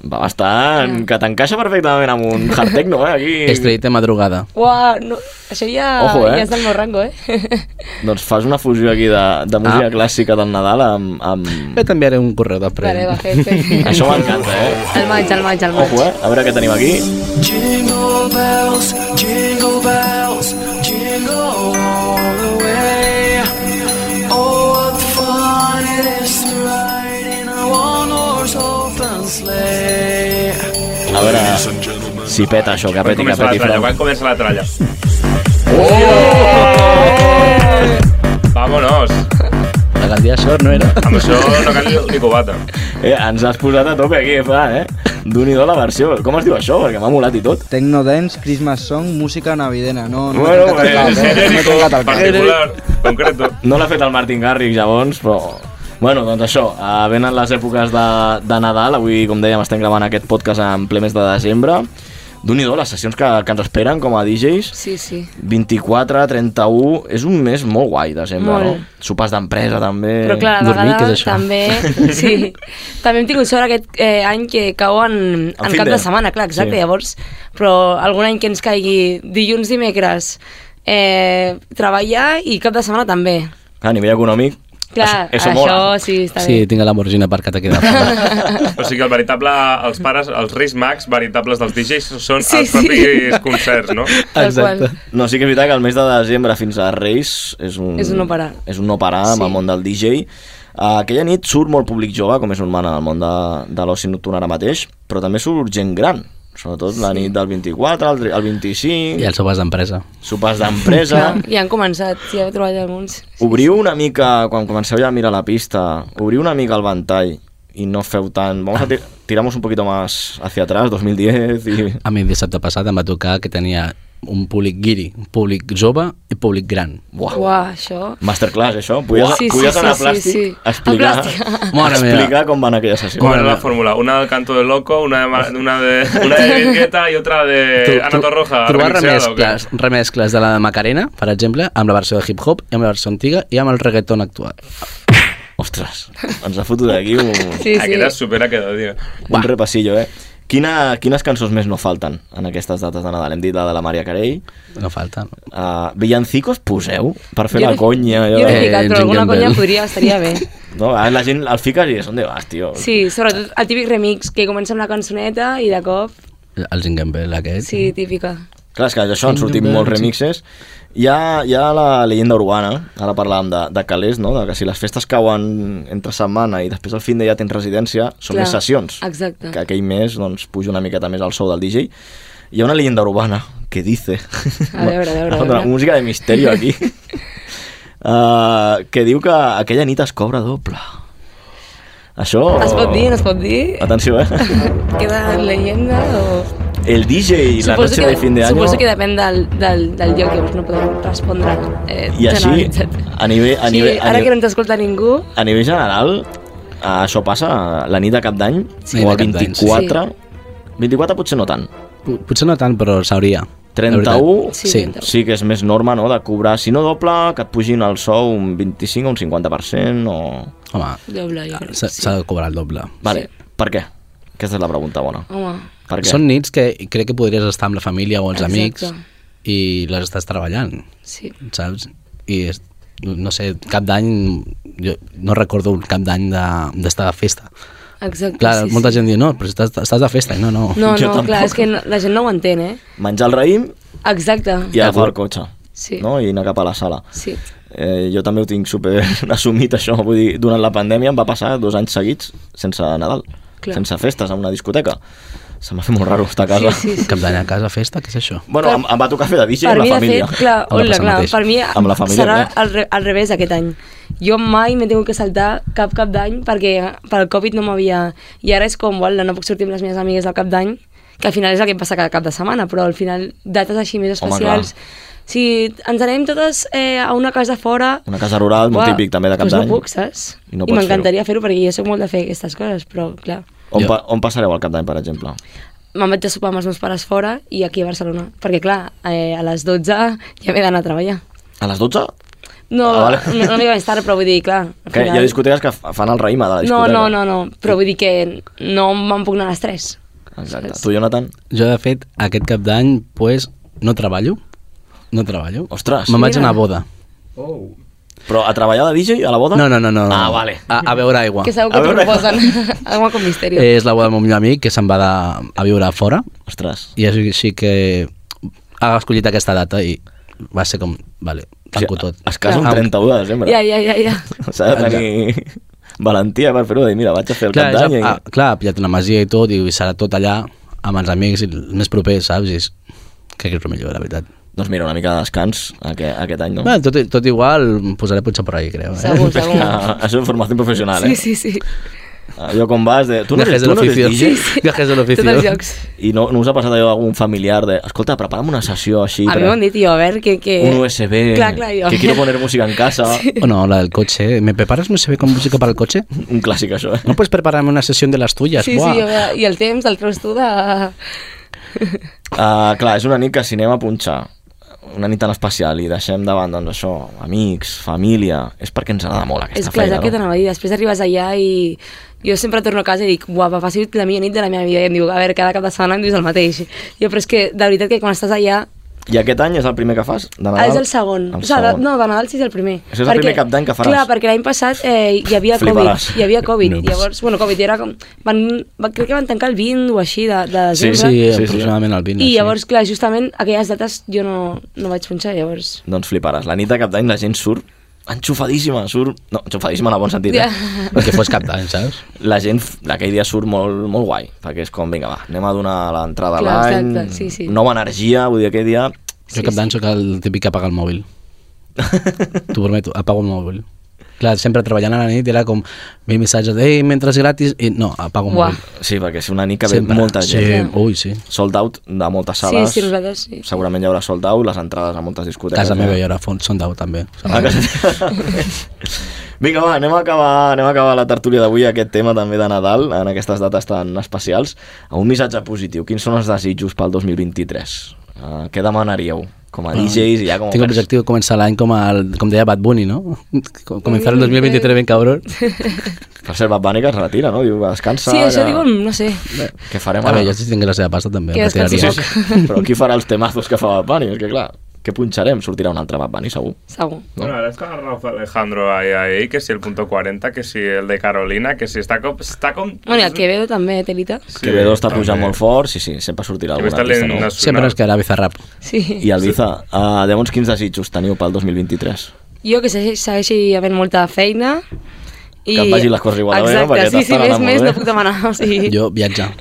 Va
Ah.
bastant... Que t'encaixa perfectament amb un hard techno, eh, aquí.
Estrellita madrugada.
Uah, no, això ja,
Ojo, eh?
ja és del meu rango, eh?
Doncs fas una fusió aquí de, de música ah. clàssica del Nadal amb... amb...
Jo t'enviaré un correu després.
vale, va, fer, fer.
Això m'encanta, eh?
El maig, el maig, el maig.
Ojo, eh? A veure què tenim aquí.
Jingle bells, jingle bells, jingle all the way. Oh, what fun it is to ride in a one-horse open sleigh.
A veure si peta això, que
Quan
peti, que
comença la
peti.
tralla,
Fran.
quan comença la tralla.
Oh!
Vámonos.
La Gandia Short no era.
Amb això no cal ni- ni cubata.
Eh, ens has posat a tope aquí, Fran, eh? d'un i do la versió. Com es diu això? Perquè m'ha molat i tot.
Tecno dance, Christmas song, música navideña. No, no
Bueno,
m'he tancat el cap,
bueno,
eh? No m'he tancat el cap.
concreto.
No l'ha fet el Martin Garrix, llavors, però... Bueno, doncs això, eh, venen les èpoques de, de Nadal, avui, com dèiem, estem gravant aquest podcast en ple mes de desembre. d'un i do les sessions que, que ens esperen com a DJs.
Sí, sí.
24, 31, és un mes molt guai, desembre,
Molt.
no? Sopars d'empresa, també.
Però clar, a vegades també... Sí, també hem tingut sort aquest eh, any que cau en, en,
fin
cap
de.
de setmana, clar, exacte,
Sí.
sí. llavors. Però algun any que ens caigui dilluns, dimecres, eh, treballar i cap de setmana també.
A nivell econòmic,
Clar,
Eso- eso
això,
mola.
sí, està
Sí, tinc la morgina per que t'ha quedat.
O sigui que el veritable, els pares, els reis mags veritables dels DJs són
Sí,
els
sí.
propis concerts, no?
Exacte.
No, sí que és veritat que el mes de desembre fins a Reis és un...
És un no parar.
És un no parar sí. amb
Sí.
el món del DJ. Uh, aquella nit surt molt públic jove, com és normal en el món de, de l'oci nocturn ara mateix, però també surt gent gran, sobretot sí. la nit del 24, el, el 25...
I els sopars d'empresa.
Sopars d'empresa...
Clar, ja han començat, ja he trobat alguns.
Obriu una mica, quan comenceu ja a mirar la pista, obriu una mica el ventall i no feu tant... Vamos a tir tiramos un poquito más hacia atrás, 2010 i...
A mi dissabte passat em va tocar que tenia un públic guiri, un públic jove i públic gran. Eh,
Uau.
Uah, això...
Masterclass, això? Podies,
Sí, sí,
podies anar a
sí,
plàstic
sí, sí.
explicar,
A plàstic.
Mare meva.
explicar com va anar aquella sessió.
¿Cuál era la fórmula? Una del canto de loco, una de, ma- una de, una de Bengueta y otra de Ana Eh, Torroja.
trobar
remixeada, ¿o qué?
remescles, remescles de la Macarena, per exemple, amb la versió de hip-hop i amb la versió antiga i amb el reggaeton actual.
Ostres, ens ha fotut aquí un...
Aquella supera quedó, tío.
Un repassillo, eh? Quina, quines cançons més no falten en aquestes dates de Nadal? Hem dit la de la Maria Carey.
No falten.
Uh, villancicos poseu per fer
Jo
la
no he-
conya. eh?
jo no he
Eh,
ficat, però alguna conya podria, estaria bé.
No, ara la gent el fica i és on de vas, tio.
Sí, sobretot el típic remix, que comença amb la cançoneta i de cop,
El Zingamber aquest.
sí, típica.
Clar, és que d'això han sortit
Zingamber,
molts
sí.
remixes. Hi ha, hi ha la llegenda urbana, ara parlàvem de, de calés, no? De que si les festes cauen entre setmana i després al fin de ja tens residència, són
Clar,
les sessions.
Exacte.
Que aquell mes doncs, puja una miqueta més al sou del DJ. Hi ha una leyenda urbana que dice...
A veure, a veure, a
Una
veure.
música de misterio aquí. uh, que diu que aquella nit es cobra doble. Això...
Es pot dir, no es pot dir?
Atenció, eh?
Queda en leyenda o...?
El DJ, la noche de fin de año...
Suposo que depèn del, del, del lloc, llavors no podem respondre. Eh,
I així,
generalitzat.
a nivell, a nivell,
sí,
a
ara que
nivell,
no ens escolta ningú,
a nivell general, eh, això passa la nit de cap d'any,
Sí.
o el
Nit de Cap d'Any, sí.
24, 24 potser no tant.
Po- Potser no tant, però s'hauria.
31
Sí. sí.
sí que és més norma no, de cobrar, si no doble, que et pugin el sou un 25 o un 50% o...
Home,
doble, jo crec.
s'ha s'ha de cobrar el doble.
Vale, per què? Aquesta és la pregunta bona.
Home,
Per què?
Són nits que crec que podries estar amb la família o els
Exacte.
amics i les estàs treballant,
sí.
saps? I és, no sé, cap d'any, jo no recordo un cap d'any de- d'estar de, festa.
Exacte,
Clar,
sí,
molta gent diu, no, però estàs, estàs de festa. I No, no.
No, no, clar, és que no, la gent no ho entén, eh?
Menjar el raïm
Exacte.
i agafar el cotxe.
Sí.
No? I anar cap a la sala.
Sí.
Eh, jo també ho tinc super assumit, això. Vull dir, durant la pandèmia em va passar dos anys seguits sense Nadal,
Clar.
sense festes, en una discoteca. Se m'ha fet molt raro estar a casa.
Sí, sí, sí,
Cap d'any a casa, festa, què és això?
Bueno, em, em va tocar fer de DJ
per
amb
mi,
la família.
de fet, clar, hola, clar, per mi
amb la família, eh?
serà
clar.
al, re, al revés aquest any. Jo mai m'he tingut que saltar cap cap d'any perquè pel Covid no m'havia... I ara és com, uala, no puc sortir amb les meves amigues al cap d'any, que al final és el que em passa cada cap de setmana, però al final dates així més
Home,
especials... si ens anem totes eh, a una casa fora...
Una casa rural, molt típic també de cap
doncs
d'any.
no puc, saps?
I no
I
pots
m'encantaria fer-ho perquè jo soc molt de fer aquestes coses, però clar...
On, pa, on passareu el cap d'any, per exemple?
me'n vaig a sopar amb els meus pares fora i aquí a Barcelona. Perquè, clar, eh, a les 12 ja m'he d'anar a treballar.
A les 12?
No,
Ah, vale.
no, no m'hi vaig estar, però vull dir, clar... al
Que hi ha discoteques que fa- fan el raïm a la
No,
discoteca.
no, no, no, però vull dir que no me'n puc anar a les 3.
Exacte. Tu, Jonathan?
Jo, de fet, aquest cap d'any, pues, no treballo. No treballo.
Ostres.
Me'n vaig
Mira.
anar a boda.
Però a treballar de DJ a la boda?
No, no, no. no.
Ah, vale.
A, a beure aigua.
Que sabeu que t'ho proposen. Alguna com misteri.
Eh, És la boda del meu millor amic que se'n va de, a viure a fora.
Ostres.
I així, així que ha escollit aquesta data i va ser com, vale, tanco tot.
Es casa un 31 de desembre.
Ja, ja, ja, ja.
S'ha de tenir valentia per fer-ho, de dir, mira, vaig a fer el
Clar,
cap
és,
d'any i...
a, a, clar, ha pillat una masia i tot i serà tot allà amb els amics i els més propers, saps? I és, crec que és el millor, la veritat.
Doncs mira, una mica de descans aquest, aquest any, no?
No. Bé, tot, i- tot igual, em posaré potser per ahí, crec. eh?
Segur, segur. Ah, això és formació professional, eh?
Sí, sí, sí.
Ah, Jo quan vas de... Tu no eres,
Gajes de
tu no eres
l'oficio.
DJ?
Sí, sí. Gajes de l'oficio. Tots els jocs.
I no, no us ha passat allò a algun familiar de... Escolta, prepara'm una sessió així...
A mi m'ho han dit, jo, a veure, que... que...
Un USB,
Clar, clar, jo.
que quiero poner música en casa...
Sí.
O no, la del cotxe. eh? ¿Me preparas no se ve con música para el coche?
Un clásico eso, ¿eh?
No puedes prepararme una sesión de las tuyas.
Sí,
Buah.
sí, jo, i el temps el treus tu de...
Uh, clar, és una nit que si anem a punxar una nit tan especial i deixem de banda doncs, això, amics, família, és perquè ens agrada molt aquesta
És clar, és el
feina,
que t'anava a dir. Després arribes allà i jo sempre torno a casa i dic, guapa, va ser la millor nit de la meva vida. I em diu, a veure, cada cap de setmana em dius el mateix. Jo, però és que, de veritat, que quan estàs allà...
I aquest any és el primer que fas? De Nadal?
Ah, és el segon.
Ah, El
o sigui, de-
segon.
no, de Nadal sí és el primer.
Això és el primer cap d'any que faràs.
Clar, perquè l'any passat eh, hi havia
Fliparàs.
Covid. Hi havia Covid.
Noobs.
Llavors, bueno, Covid era com... Van, van, crec que van tancar el 20 o així de, de
Sí,
desembre.
sí, sí, aproximadament al 20.
I llavors, clar, justament aquelles dates jo no, no vaig punxar, llavors...
Doncs fliparàs. La nit de cap d'any la gent surt enxufadíssima, surt... No, enxufadíssima en el bon sentit, eh?
Ja.
Perquè fos cap d'any, saps?
La gent, f- aquell dia surt molt, molt guai, perquè és com, vinga, va, anem a donar l'entrada a
Clar,
l'any,
exacte, sí, sí.
nova energia, vull dir, aquell dia...
Jo cap d'any sóc el típic que apaga el mòbil. T'ho prometo, apago el mòbil. Clar, sempre treballant a la nit era com veia missatges de ei, mentre és gratis, i no, apago el
Uah.
mòbil.
Sí, perquè és una nit que ve molta gent.
Sí, ui, sí.
Sold out de moltes sales.
Sí, sí, nosaltres sí.
Segurament hi haurà sold out, les entrades a moltes discoteques.
Casa meva
eh?
hi haurà fons, són eh? d'au també.
A casa- Vinga, va, anem a acabar, anem a acabar la tertúlia d'avui, aquest tema també de Nadal, en aquestes dates tan especials. Un missatge positiu. Quins són els desitjos pel 2023? Uh, Eh, què demanaríeu? com a DJs i ja com a
Ah. Tinc l'objectiu de començar l'any com, el, com deia Bad Bunny, no? Com- Començar el 2023 ben cabrón.
Per ser Bad Bunny que es retira, no? Diu, descansa.
Sí, això
que-
diuen, no sé.
Què farem
A
ara?
veure, jo si tinc la seva pasta també. em
Que descansi
retiraria.
poc.
Però qui farà els temazos que fa Bad Bunny? És que clar, què punxarem? Sortirà un altre Bad Bunny, segur.
Segur.
Bueno, ahora está Rafa Alejandro ahí, ahí, que si el punto 40, que si el de Carolina, que si está con... Está con
Bueno, i el Quevedo també, Telita.
Sí, Quevedo està pujant molt fort, sí, sí, sempre sortirà algun
està
artista
l'en
nou.
nacional. Sempre ens
quedarà Bizarrap.
Sí.
I el Biza, uh, llavors quins desitjos teniu pel 2023?
Jo que segueixi, segueixi havent molta feina. I...
Que et vagin les coses igual de bé,
Exacte,
perquè
sí, sí,
t'estan
més,
anant molt
més
bé.
no puc demanar. O sigui...
Jo viatjar.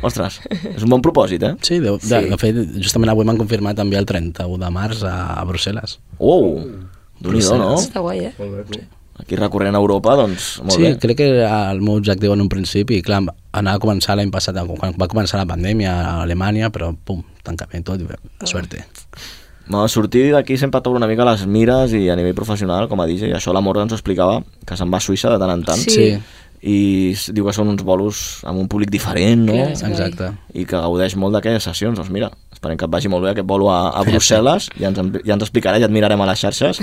Ostres, és un bon propòsit, eh?
Sí, de, de,
Sí.
de fet, justament avui m'han confirmat també el 31 de març a, a Brussel·les.
Uou, déu nhi no?
Està guai, eh?
Aquí recorrent a Europa, doncs, molt
sí,
bé.
crec que era el meu objectiu en un principi, i clar, anar a començar l'any passat, quan va començar la pandèmia a Alemanya, però pum, tancament tot, i suerte.
No, sortir d'aquí sempre t'obre una mica les mires i a nivell professional, com a DJ, això la Morra ens ho explicava, que se'n va a Suïssa de tant en tant.
Sí. Sí.
I s- diu que són uns bolos amb un públic diferent, no?
Clar, és guai. Exacte.
I que gaudeix molt d'aquelles sessions. Doncs mira, esperem que et vagi molt bé aquest bolo a, a Brussel·les, ja ens, en- ja ens explicarà, ja et mirarem a les xarxes.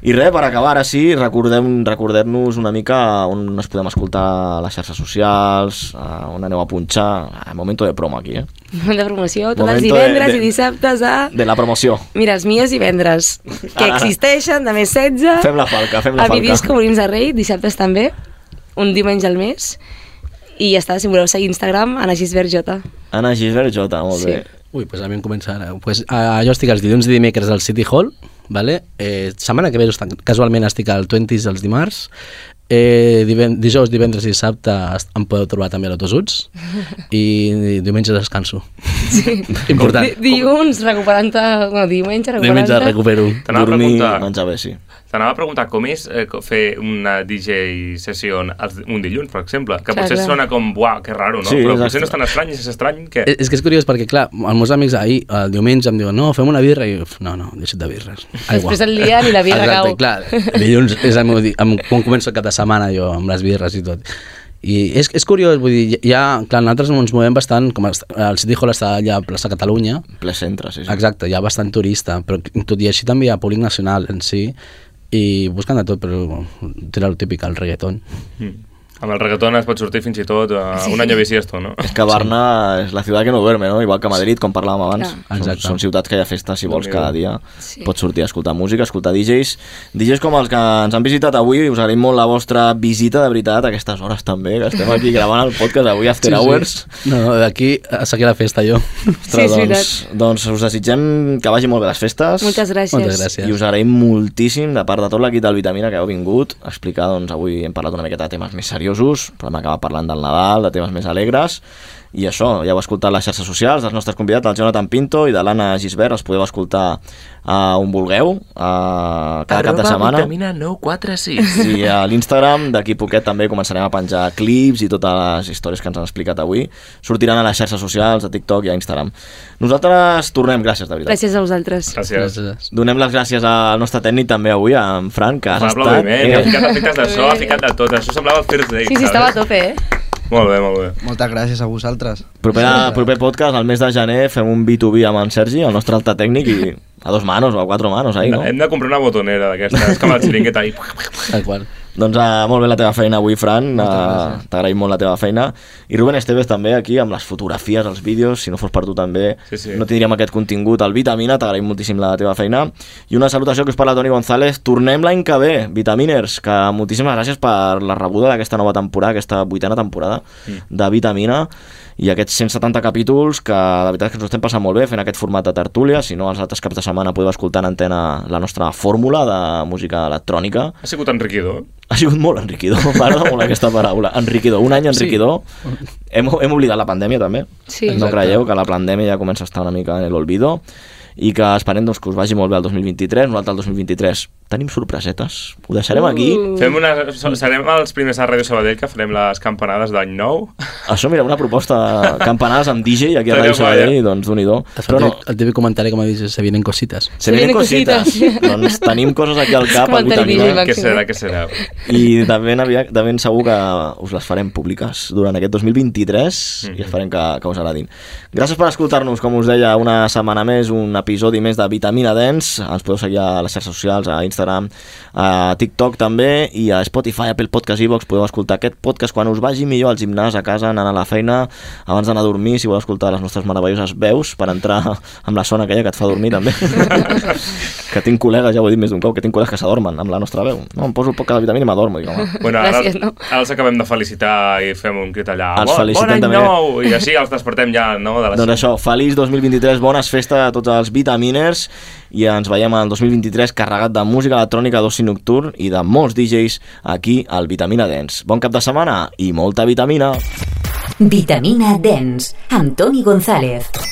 I res, per acabar, ara sí, recordem- recordem-nos una mica on ens podem escoltar a les xarxes socials, a on aneu a punxar, a momento de promo aquí, eh?
Moment de promoció, tots
Momento
els
de-
divendres
de-
i dissabtes a...
De la promoció.
Mira, els meus divendres, que
Ara.
existeixen, de més 16.
Fem la falca, fem la
A mi
falca.
disco Molins de Rei, dissabtes també, un diumenge al mes. I ja està, si em voleu seguir Instagram, Ana Gisbert J.
Anna Gisbert Jota, molt
Sí.
bé.
Ui, pues a mi em comença ara. Pues, uh, jo estic els dilluns i dimecres al City Hall, vale? eh, setmana que ve just- casualment estic al 20s els dimarts, eh, diven dijous, divendres i dissabte est- em podeu trobar també a l'Autosuts i diumenge descanso. Sí. Important.
Di- Dilluns, recuperant-te... Bueno, diumenge, recuperant-te...
T'anava a
Dormir,
preguntar.
menjar bé, sí.
T'anava a preguntar com és eh, co- fer una DJ sessió un dilluns, per exemple, que
Clar,
potser
clar.
sona com, buah, que raro, no?
Sí,
Però
exacte.
potser no és tan estrany, és estrany que...
Eh,
Eh,
És, és que és curiós perquè, clar, els meus amics ahir, el diumenge, em diuen no, fem una birra, i jo, no, no, deixa't de birres. Aigua.
Després el dia ni la birra
Exacte,
cau.
clar, dilluns és el meu dia, amb, quan començo el cap de setmana jo, amb les birres i tot. I és, és curiós, vull dir, ja, clar, nosaltres ens movem bastant, com est- el City Hall està allà a plaça Catalunya.
Ple centre, sí, sí.
Exacte, hi ha bastant turista, però tot i així també hi ha públic nacional en si, i busquen de tot, però tira el típic, el reggaeton.
Amb el reggaeton es pot sortir fins i tot a
Sí.
un any bisiesto, no?
És que Barna és la ciutat que no duerme, no? Igual que Madrid, com parlàvem abans.
Clar.
Són,
Exacte.
són ciutats que hi ha festa, si vols,
Déu-n'hi-do.
cada dia.
Sí.
Pots sortir a escoltar música, escoltar DJs. DJs com els que ens han visitat avui, us agraïm molt la vostra visita, de veritat, a aquestes hores també, que estem aquí gravant el podcast avui, After Hours.
Sí. No, no, d'aquí a seguir la festa jo.
Ostres, doncs, doncs us desitgem que vagi molt bé les festes.
Moltes gràcies. Moltes gràcies.
I us agraïm moltíssim de part de tot l'equip del Vitamina que heu vingut a explicar, doncs avui hem parlat una miqueta de temes més seriosos, però hem acabat parlant del Nadal, de temes més alegres, i això, ja heu escoltat les xarxes socials dels nostres convidats, del Jonathan Pinto i de l'Anna Gisbert, els podeu escoltar a on vulgueu, a cada cap de setmana.
vitamina 946.
I a l'Instagram d'aquí poquet també començarem a penjar clips i totes les històries que ens han explicat avui. Sortiran a les xarxes socials, a TikTok i a Instagram. Nosaltres tornem, gràcies, de veritat.
Gràcies a vosaltres.
Gràcies. Donem les gràcies al nostre tècnic també avui, a en Fran, que has
Un
estat... eh,
aplaudiment, ha ficat efectes de so, ha ficat de tot, això semblava el First Date,
Sí, sí, estava a tope, eh?
Molt bé, molt bé.
Moltes gràcies a vosaltres.
Propera, proper podcast, al mes de gener, fem un B2B amb en Sergi, el nostre alta tècnic, i a dos manos o a quatre manos, ahí, no?
Hem de comprar una botonera d'aquestes, com el xiringuet ahí.
Tal qual.
Doncs uh, molt bé la teva feina avui, Fran. Uh, T'agraïm molt la teva feina. I Rubén Esteves també aquí, amb les fotografies, els vídeos. Si no fos per tu també,
Sí, sí.
no tindríem aquest contingut al Vitamina. T'agraïm moltíssim la teva feina. I una salutació que us parla Toni González. Tornem l'any que ve, Vitaminers, que moltíssimes gràcies per la rebuda d'aquesta nova temporada, aquesta vuitena temporada
Mm.
de Vitamina i aquests 170 capítols que la veritat és que ens ho estem passant molt bé fent aquest format de tertúlia, si no els altres caps de setmana podeu escoltar en antena la nostra fórmula de música electrònica
Ha sigut enriquidor.
ha sigut molt enriquidor, m'agrada molt aquesta paraula. Enriquidor, un any enriquidor. Hem, hem oblidat la pandèmia també.
Sí.
No
Exacte.
creieu que la pandèmia ja comença a estar una mica en l'olvido i que esperem doncs, que us vagi molt bé el 2023. Nosaltres el 2023 tenim sorpresetes. Ho deixarem aquí.
Fem una, so- serem els primers a Ràdio Sabadell que farem les campanades d'any nou.
Això, mira, una proposta campanades amb DJ aquí a
Estaria
Ràdio Sabadell,
guai, eh?
doncs d'un i do. Però no,
El típic comentari, com dius, se vienen cositas.
se vienen cositas. doncs tenim coses aquí al cap, al
Comentari
vuitanta.
DJ, Què serà, què serà?
I de ben, aviat, de ben segur que us les farem públiques durant aquest 2023 i esperem que, que us agradin. Gràcies per escoltar-nos, com us deia, una setmana més, un episodi més de Vitamina Dens. Ens podeu seguir a les xarxes socials, a Instagram, a TikTok també, i a Spotify, Apple Podcast, Evox. Podeu escoltar aquest podcast quan us vagi millor al gimnàs, a casa, anant a la feina, abans d'anar a dormir, si voleu escoltar les nostres meravelloses veus per entrar amb la sona aquella que et fa dormir també. que tinc col·legues, ja ho he dit més d'un cop, que tinc col·legues que s'adormen amb la nostra veu. No, em poso el poc de vitamina i m'adormo. Dic, home.
Bueno, ara,
Gràcies,
no? ara els acabem de felicitar i fem un crit allà.
Els
"Bon-
felicitem
bon any
també."
nou! I així els despertem ja, no? De la
Doncs això, feliç 2023, bones festes a tots els vitaminers i ens veiem el 2023 carregat de música electrònica d'oci nocturn i de molts DJs aquí al Vitamina Dance. Bon cap de setmana i molta vitamina!
Vitamina Dens amb Toni González.